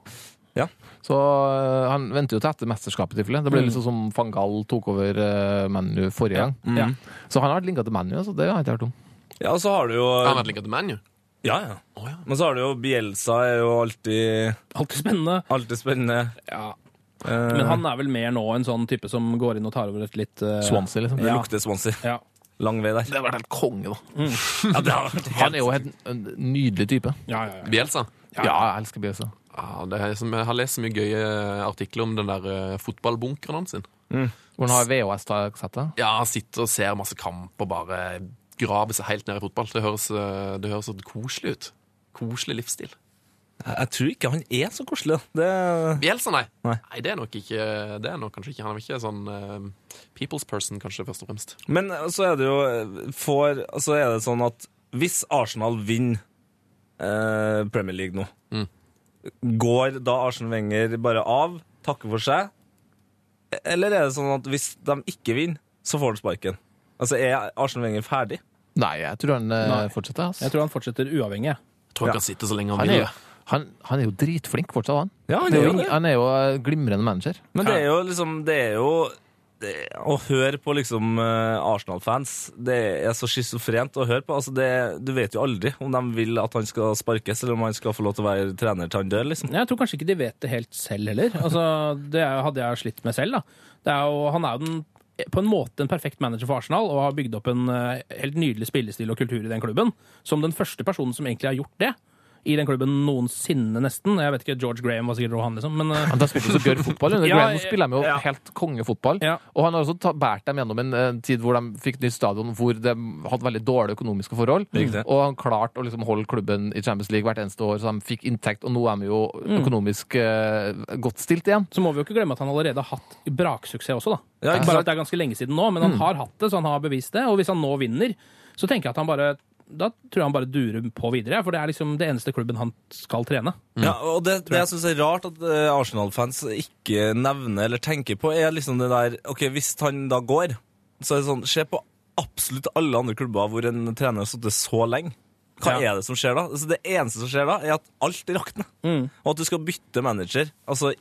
S8: Ja.
S5: Så øh, han venter jo til etter mesterskapet, tilfellet. Det ble litt sånn som van Gaal tok over øh, ManU forrige gang.
S8: Ja.
S5: Så han har vært linka til ManU, altså. Det har jeg ikke hørt om.
S8: Ja, og så har du jo
S3: Han har vært linket til Man, jo.
S8: Ja, ja. Men så har du jo Bielsa er jo alltid,
S4: Alltid spennende.
S8: alltid spennende.
S4: Ja.
S8: Eh,
S4: Men han er vel mer nå en sånn type som går inn og tar over et litt eh,
S5: Swansea, liksom.
S8: det lukter Swansea.
S4: Ja.
S8: Lang vei der.
S5: Det har vært helt konge, da.
S8: Ja, det har vært
S5: Han er jo helt en nydelig type.
S4: Ja, ja, ja.
S3: Bielsa.
S5: Ja, jeg elsker Bielsa.
S3: Ja, det er som, jeg har lest så mye gøye artikler om den der eh, fotballbunkeren hans. sin.
S5: Hvor han har VHS-settet.
S3: Ja, han sitter og ser masse kamp og bare graver seg helt ned i fotball. Det høres, eh, det høres så koselig ut. Koselig livsstil.
S8: Jeg tror ikke han er så koselig. da. Det,
S3: Bielsa, nei. nei.
S8: Nei.
S3: det er nok ikke Det er nok kanskje ikke. Han er ikke sånn eh, people's person, kanskje, først og fremst.
S8: men eh, så er det jo for, Så er det sånn at hvis Arsenal vinner eh, Premier League nå,
S5: Mm.
S8: går da Arsen Wenger bare av, takker for seg? Eller er det sånn at hvis de ikke vinner, så får han sparken? Altså, er Arsen Wenger ferdig?
S5: Nei, jeg tror han øh,
S4: Nei.
S5: fortsetter. ass.
S4: Jeg tror han fortsetter uavhengig. jeg.
S3: Jeg tror han kan sitte så lenge han
S5: Han er,
S3: vil.
S5: jo, han, han er jo dritflink fortsatt, han.
S8: Ja,
S5: Det er jo, ing- han er jo øh, glimrende manager.
S8: Men det er jo liksom Det er jo det, Å høre på liksom eh, Arsenal-fans Det er så schizofrent å høre på. Altså det, du vet jo aldri om de vil at han skal sparkes, eller om han skal få lov til å være trener til han dør. liksom.
S4: Jeg tror kanskje ikke de vet det helt selv heller. Altså, det er- hadde jeg slitt med selv. da. Det er jo, han er jo den, på en måte en perfekt manager for Arsenal og har bygd opp en eh, helt nydelig spillestil og kultur i den klubben. Som den første personen som egentlig har gjort det i den klubben noensinne, nesten. Jeg vet ikke, George Graham var sikkert også han, liksom. Men eh,
S5: Men da spilte jo så gørr fotball. Under
S4: Ja,
S5: Graham spiller de jo
S4: ja.
S5: helt kongefotball.
S4: Ja.
S5: Og han har også ta- båret dem gjennom en eh, tid hvor de fikk nytt stadion, hvor de hadde veldig dårlige økonomiske forhold.
S8: Riktig.
S5: Og han klarte å liksom holde klubben i Champions League hvert eneste år, så de fikk inntekt. Og nå er de jo
S4: Mm.
S5: økonomisk eh, godt stilt igjen.
S4: så må vi jo ikke glemme at han allerede har hatt braksuksess også, da.
S8: Ja,
S4: bare
S8: ikke sant? Mm.
S4: at det er ganske lenge siden nå, men han har hatt det, så han har bevist det. Og hvis han nå vinner, så tenker jeg at han bare da tror jeg han bare durer på videre, for det er liksom det eneste klubben han skal trene.
S8: Ja, og det, det Mm. jeg syns er rart at eh, Arsenal-fans ikke nevner eller tenker på, er liksom det der Ok, hvis han da går, så er det sånn Se på absolutt alle andre klubber hvor en trener har sittet så lenge. Hva
S4: Ja.
S8: er det som skjer da? Altså, det eneste som skjer da, er at alt rakner. Og at du skal bytte manager altså,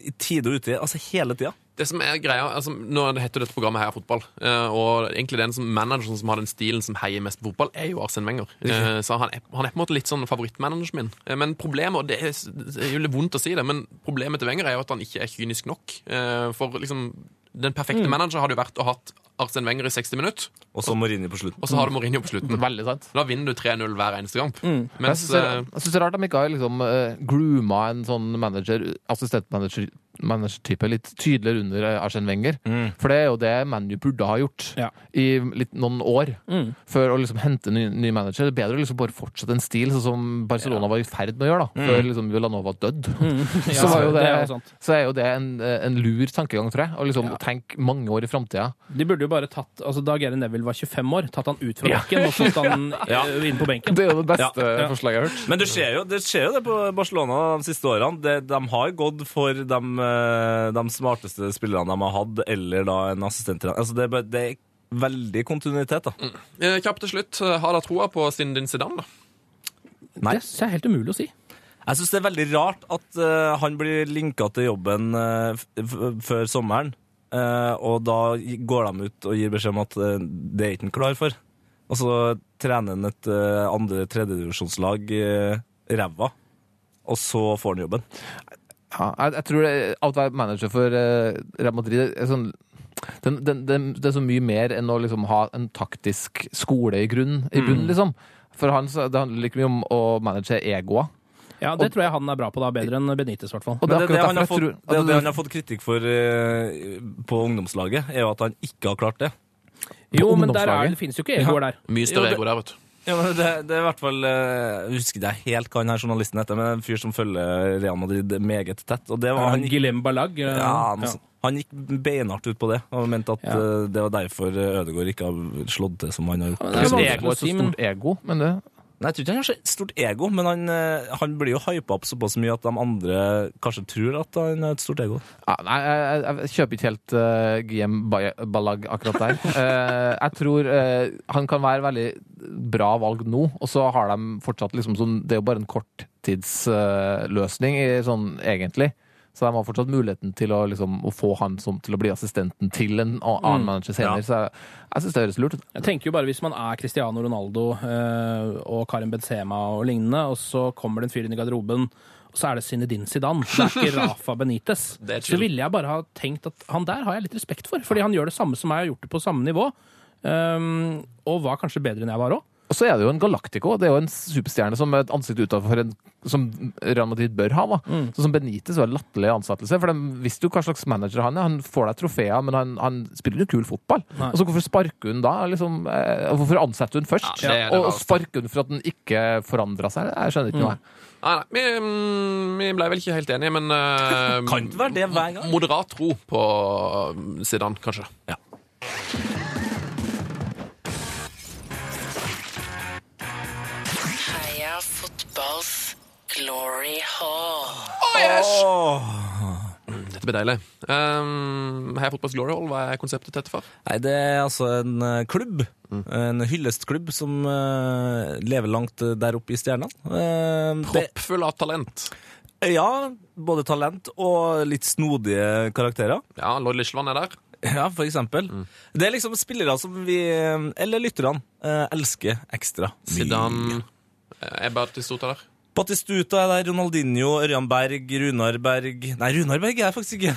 S8: i tide og utide. Altså hele tida.
S3: Det som er greia, altså Nå heter dette programmet her fotball, eh, og egentlig den som manageren som har den stilen som heier mest på fotball, er jo Arsen Wenger. Eh, Så han er, han er på en måte litt sånn favorittmanageren min. Eh, Men problemet, og det er, det er jo litt vondt å si det, men problemet til Wenger er jo at han ikke er kynisk nok. Eh, For liksom den perfekte manager hadde jo vært å hatt Arsen Wenger i 60 minutter,
S8: Og så Mourinho på slutten.
S3: og så har du Mourinho på slutten.
S5: Veldig sant.
S3: Da vinner du 3-0 hver eneste kamp.
S5: Jeg
S3: Mens
S5: syns det, er- jeg synes det er rart de ikke har liksom, eh, grooma en sånn manager, assistentmanager manager-type litt tydeligere under eh, Arsène Wenger. For det er jo det ManU burde ha gjort
S4: Ja.
S5: i litt, noen år. For å liksom hente en ny, ny manager. Det er bedre å liksom bare fortsette en stil, sånn som Barcelona var i ferd med å gjøre, da, før liksom Villanova døde. så, var jo
S4: det er jo
S5: Mm. det,
S4: sant.
S5: så er jo det en, eh, en lur tankegang, tror jeg. Å liksom tenke mange år i framtida.
S4: De burde jo bare tatt altså Da Gary Neville var 25 år, tatt han ut fra benken og satt han eh, inn på benken.
S5: Det er jo det beste
S8: Ja,
S4: ja.
S5: forslaget jeg har hørt.
S8: Men det skjer, jo, det skjer jo det på Barcelona de siste årene. De, de har gått for de, eh, de smarteste spillerne de har hatt, eller da en assistenttrener. Altså, det, er bare- det er veldig kontinuitet, da.
S3: eh, kjapt til slutt, eh, har dere troa på Sindin Zidane, da?
S8: Nei.
S4: Det synes jeg er helt umulig å si.
S8: Jeg syns det er veldig rart at eh, han blir linka til jobben eh, f f før sommeren, eh, og da går de ut og gir beskjed om at eh, det er ikke han klar for. Og så trener han et eh, andre- tredjedivisjonslag uh, ræva, og så får han jobben.
S5: Ja, jeg, jeg tror det, at å være manager for eh, Real Madrid er sånn den, den, den, Det er så mye mer enn å liksom ha en taktisk skole i grunnen.
S8: Mm.
S5: I grunnen liksom. For han, så, det handler like mye om å manage egoer.
S4: Ja, Det tror jeg han er bra på, da, bedre enn Benitez, i hvert fall.
S5: Og
S8: Men
S5: det er
S8: det, er det,
S5: akkurat
S8: han har
S5: derfor
S8: fått,
S5: jeg
S8: det, er
S5: tror
S8: det
S5: at
S8: han har fått kritikk for eh, på ungdomslaget, er jo at han ikke har klart det.
S4: Jo, men der
S5: ungdomslaget.
S4: er, det finnes jo ikke egoer der.
S3: Mye
S8: Jo,
S3: større
S8: det-
S3: ego der, vet du.
S8: Ja, men det, det er i hvert fall eh, Jeg husker ikke helt hva han her journalisten heter, men det er en fyr som følger Real Madrid meget tett. Og det var han, gikk-
S4: Guillem Ballag. eh,
S8: ja, noe
S4: ja.
S8: sånt. han gikk beinhardt ut på det, og mente at
S4: Ja.
S8: eh, det var derfor Ødegaard ikke har slått til som han har gjort.
S4: det er
S5: Hvis
S4: vanskelig
S5: ego er
S4: å
S5: et så
S4: si, men-
S5: stort ego, men det
S8: Nei, jeg tror ikke han har så stort ego, men han, eh, han blir jo hypa opp såpass mye at de andre kanskje tror at han har et stort ego.
S5: Ja, Ah, nei, jeg, jeg, jeg kjøper ikke helt uh, GM Bay- Ballag akkurat der. Eh, jeg tror eh, han kan være veldig bra valg nå, og så har de fortsatt liksom sånn Det er jo bare en korttidsløsning, sånn egentlig. Så de har fortsatt muligheten til å, liksom, å få han som, til å bli assistenten til en a- annen manager senere. Så jeg, jeg syns det høres lurt ut.
S4: Jeg tenker jo bare hvis man er Cristiano Ronaldo eh, og Karim Benzema og lignende, og så kommer det en fyr inn i garderoben, og så er det Zinedine Zidane. Det er ikke Rafa Benitez.
S3: Det er
S4: Så
S3: chill.
S4: ville jeg bare ha tenkt at han der har jeg litt respekt for, fordi han gjør det samme som meg og har gjort det på samme nivå. Um, og var kanskje bedre enn jeg var òg.
S5: Og så er det jo en Galactico. Det er jo en superstjerne som et ansikt utenfor en, som Real Madrid bør ha. Da.
S4: Mm.
S5: Sånn som Benitez var en latterlig ansettelse. For de visste jo hva slags manager han er. Han får deg trofeer, men han, han spiller jo kul fotball.
S4: Nei.
S5: Og så hvorfor sparke hun da? Liksom, eh, hvorfor ansette hun først?
S3: Ja, det er det
S5: og, og
S3: rareste.
S5: sparke hun for at den ikke forandra seg? Jeg skjønner
S4: Mm.
S5: ikke noe. jeg.
S3: Nei, nei, vi, mm, vi ble vel ikke helt enige, men eh,
S8: Kan ikke være det hver gang.
S3: Moderat tro på mm, Zidane, kanskje.
S12: Heia fotballs glory hall.
S3: Dette blir deilig. Um, Heia Fotballs Glory Hall, hva er konseptet til dette for?
S8: Nei, det er altså en eh, klubb. En hyllestklubb som eh, lever langt eh, der oppe i stjernene. Eh, det-
S3: Proppfull av talent.
S8: Ja, både talent og litt snodige karakterer.
S3: Ja, Lloyd Lichland er der.
S8: Ja, for eksempel. Det er liksom spillere som vi, eller lytterne, eh, elsker ekstra.
S3: Zidane eh, er Batistota der.
S8: Batistuta er der, Ronaldinho, Ørjan Berg, Runar Berg Nei, Runar Berg er jeg faktisk ikke.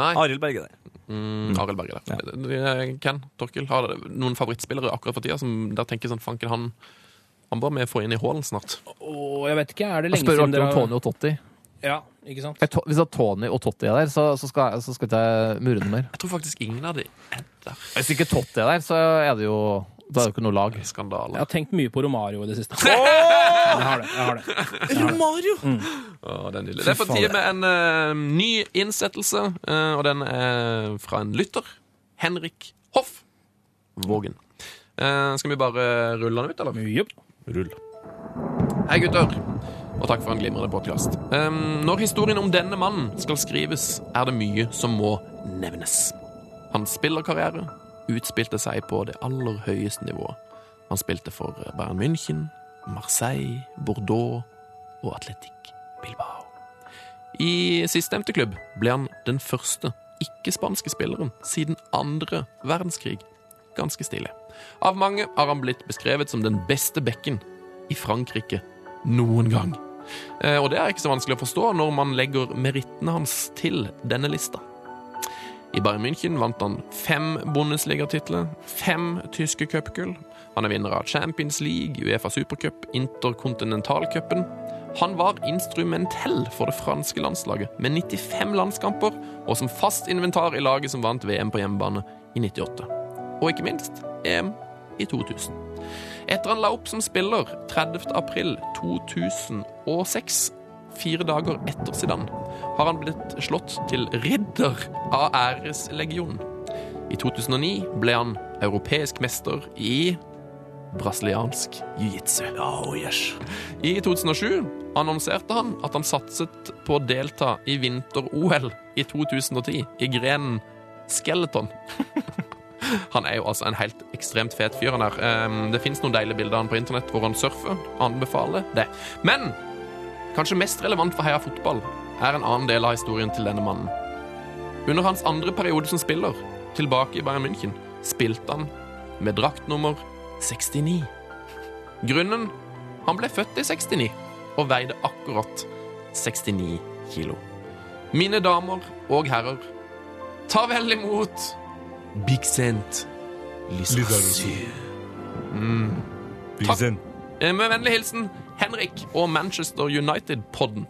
S3: Nei,
S8: Arild Berg er der.
S3: mm, Arild Berge er der. Eh, Ken Torkil har dere noen favorittspillere akkurat for tida som der tenker sånn Fanken, han, han bør vi få inn i hallen snart.
S4: Og jeg vet ikke, er det
S5: Jeg
S4: lenge
S5: spør
S4: siden
S5: alltid
S4: dere
S5: om
S4: har-
S5: Tony og Totti.
S4: Ja, ikke sant?
S5: Eh, To- Hvis at Tony og Totti er der, så, så, skal, så skal ikke jeg mure noe mer.
S3: Jeg tror faktisk ingen av de er der.
S5: Hvis ikke Totti er der, så er det jo Da er det jo ikke noe lag.
S4: Jeg
S3: Skandale.
S4: har tenkt mye på Romario i det siste. Jeg har det. jeg har det.
S8: Romario!
S3: Å, det, er nydelig. det er på tide med en eh, ny innsettelse, eh, og den er fra en lytter. Henrik Hoff Vågen. Eh, skal vi bare rulle den ut, eller?
S4: Jupp.
S3: Hei, gutter. Og takk for en glimrende podkast. når historien om denne mannen skal skrives, er det mye som må nevnes. Hans spillerkarriere utspilte seg på det aller høyeste nivået. Han spilte for eh, Bayern München, Marseille, Bordeaux og Atletic Bilbao. I sistnevnte klubb ble han den første ikke-spanske spilleren siden andre verdenskrig. Ganske stilig. Av mange har han blitt beskrevet som den beste bekken i Frankrike noen gang. Eh, Og det er ikke så vanskelig å forstå når man legger merittene hans til denne lista. I Bayern München vant han fem Bundesliga-titler, fem tyske cupgull. Han er vinner av Champions League, Uefa supercup, interkontinentalcupen. Han var instrumentell for det franske landslaget med 95 landskamper og som fast inventar i laget som vant VM på hjemmebane i 98. Og ikke minst EM i 2000. Etter han la opp som spiller 30. april 2006, fire dager etter Zidane, har han blitt slått til ridder av æreslegionen. I 2009 ble han europeisk mester i brasiliansk jiu-jitsu. I 2007 annonserte han at han satset på å delta i vinter-OL i 2010 i grenen skeleton. Han er jo altså en helt ekstremt fet fyr, han her. Ehm, Det fins noen deilige bilder av han på internett hvor han surfer. Anbefaler det. Men kanskje mest relevant for Heia Fotball er en annen del av historien til denne mannen. Under hans andre periode som spiller, tilbake i Bayern München, spilte han med draktnummer 69. Grunnen? Han ble født i 69 og veide akkurat 69 kilo. Mine damer og herrer, ta vel imot Big Sent Lysarsu.
S8: Byggesund.
S3: Eh, Med vennlig hilsen Henrik og Manchester United-podden.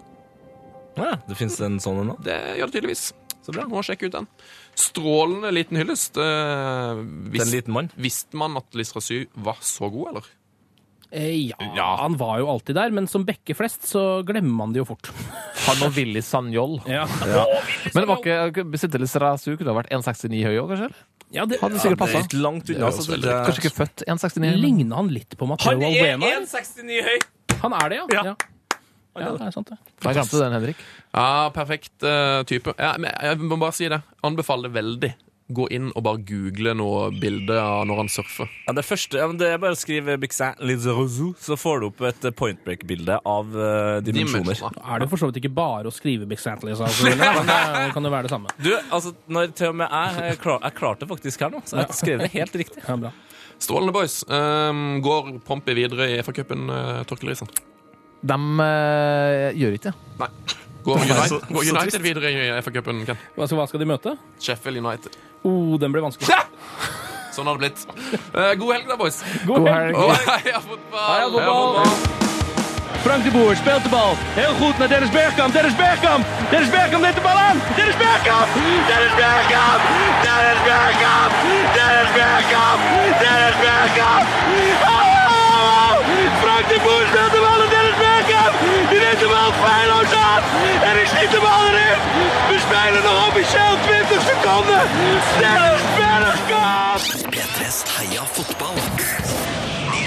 S8: Ja, det fins en sånn en òg.
S3: Det gjør det tydeligvis.
S8: Så bra.
S3: Må sjekke ut den. Strålende liten hyllest. Eh,
S8: Til en
S3: visst-
S8: liten mann.
S3: Visste man at Lysarsu var så god, eller?
S4: Eh, Ja,
S3: Ja.
S4: han var jo alltid der, men som bekke flest så glemmer man det jo fort.
S5: Han og Willy Sanjol.
S4: Ja.
S5: Men var ikke Besittelsen Rasu kunne ha vært 1,69 høy òg, kanskje? eller?
S4: Ja, det,
S5: Hadde sikkert
S8: Det er
S5: passa.
S8: litt langt unna.
S3: Det høres
S8: så det-
S3: veldig rart
S5: Kanskje ikke født 1,69. men-
S4: Ligner han litt på Matteo
S8: Han er
S4: Alvena?
S8: 1,69 høy!
S4: Han er det, ja.
S8: Ja.
S4: ja. Ja, det er sant, det.
S5: Da glemte du den, Henrik.
S3: Ja, perfekt eh, type. Ja, men jeg må bare si det. Anbefaler det veldig. Gå inn og bare google noe bilde av når han surfer.
S8: Ja, det første, ja, men det er bare å skrive Bixin Lizerozu, så får du opp et eh, point break-bilde av eh, dimensjoner.
S3: Dimensjoner.
S4: Da er det jo for så vidt ikke bare å skrive Big Santley, så altså, men det kan jo være det samme.
S8: Du, altså, når til og med jeg, jeg, klar, jeg klarte det faktisk her nå, så jeg skrev det helt riktig.
S4: Ja, bra.
S3: Strålende boys. Um, går Pompey videre i FA-cupen, uh, Torkel Risan?
S5: De eh, gjør ikke det.
S3: Nei. Går United,
S8: så-
S3: går
S8: så
S3: United videre i FA-cupen, Ken?
S4: Hva skal, hva skal de møte?
S3: Sheffield United.
S4: Oh, den blir vanskelig.
S3: Sånn har det blitt. Eh, god helg, da, boys.
S4: God helg!
S3: Og heia fotball!
S4: Heia fotball!
S1: Frank de Boer speelt de bal. Heel goed naar Dennis Bergkamp. Dennis Bergkamp. Dennis Bergkamp neemt de bal aan. Dennis Bergkamp. Dennis Bergkamp. Dennis Bergkamp. Dennis Bergkamp. Dennis Bergkamp. Oh! Frank de Boer speelt de bal aan Dennis Bergkamp. Die neemt de bal feilloos aan. En is niet de bal erin. We spelen nog officieel 20 seconden. Dennis Bergkamp.
S2: P3s Heia fotball. Ny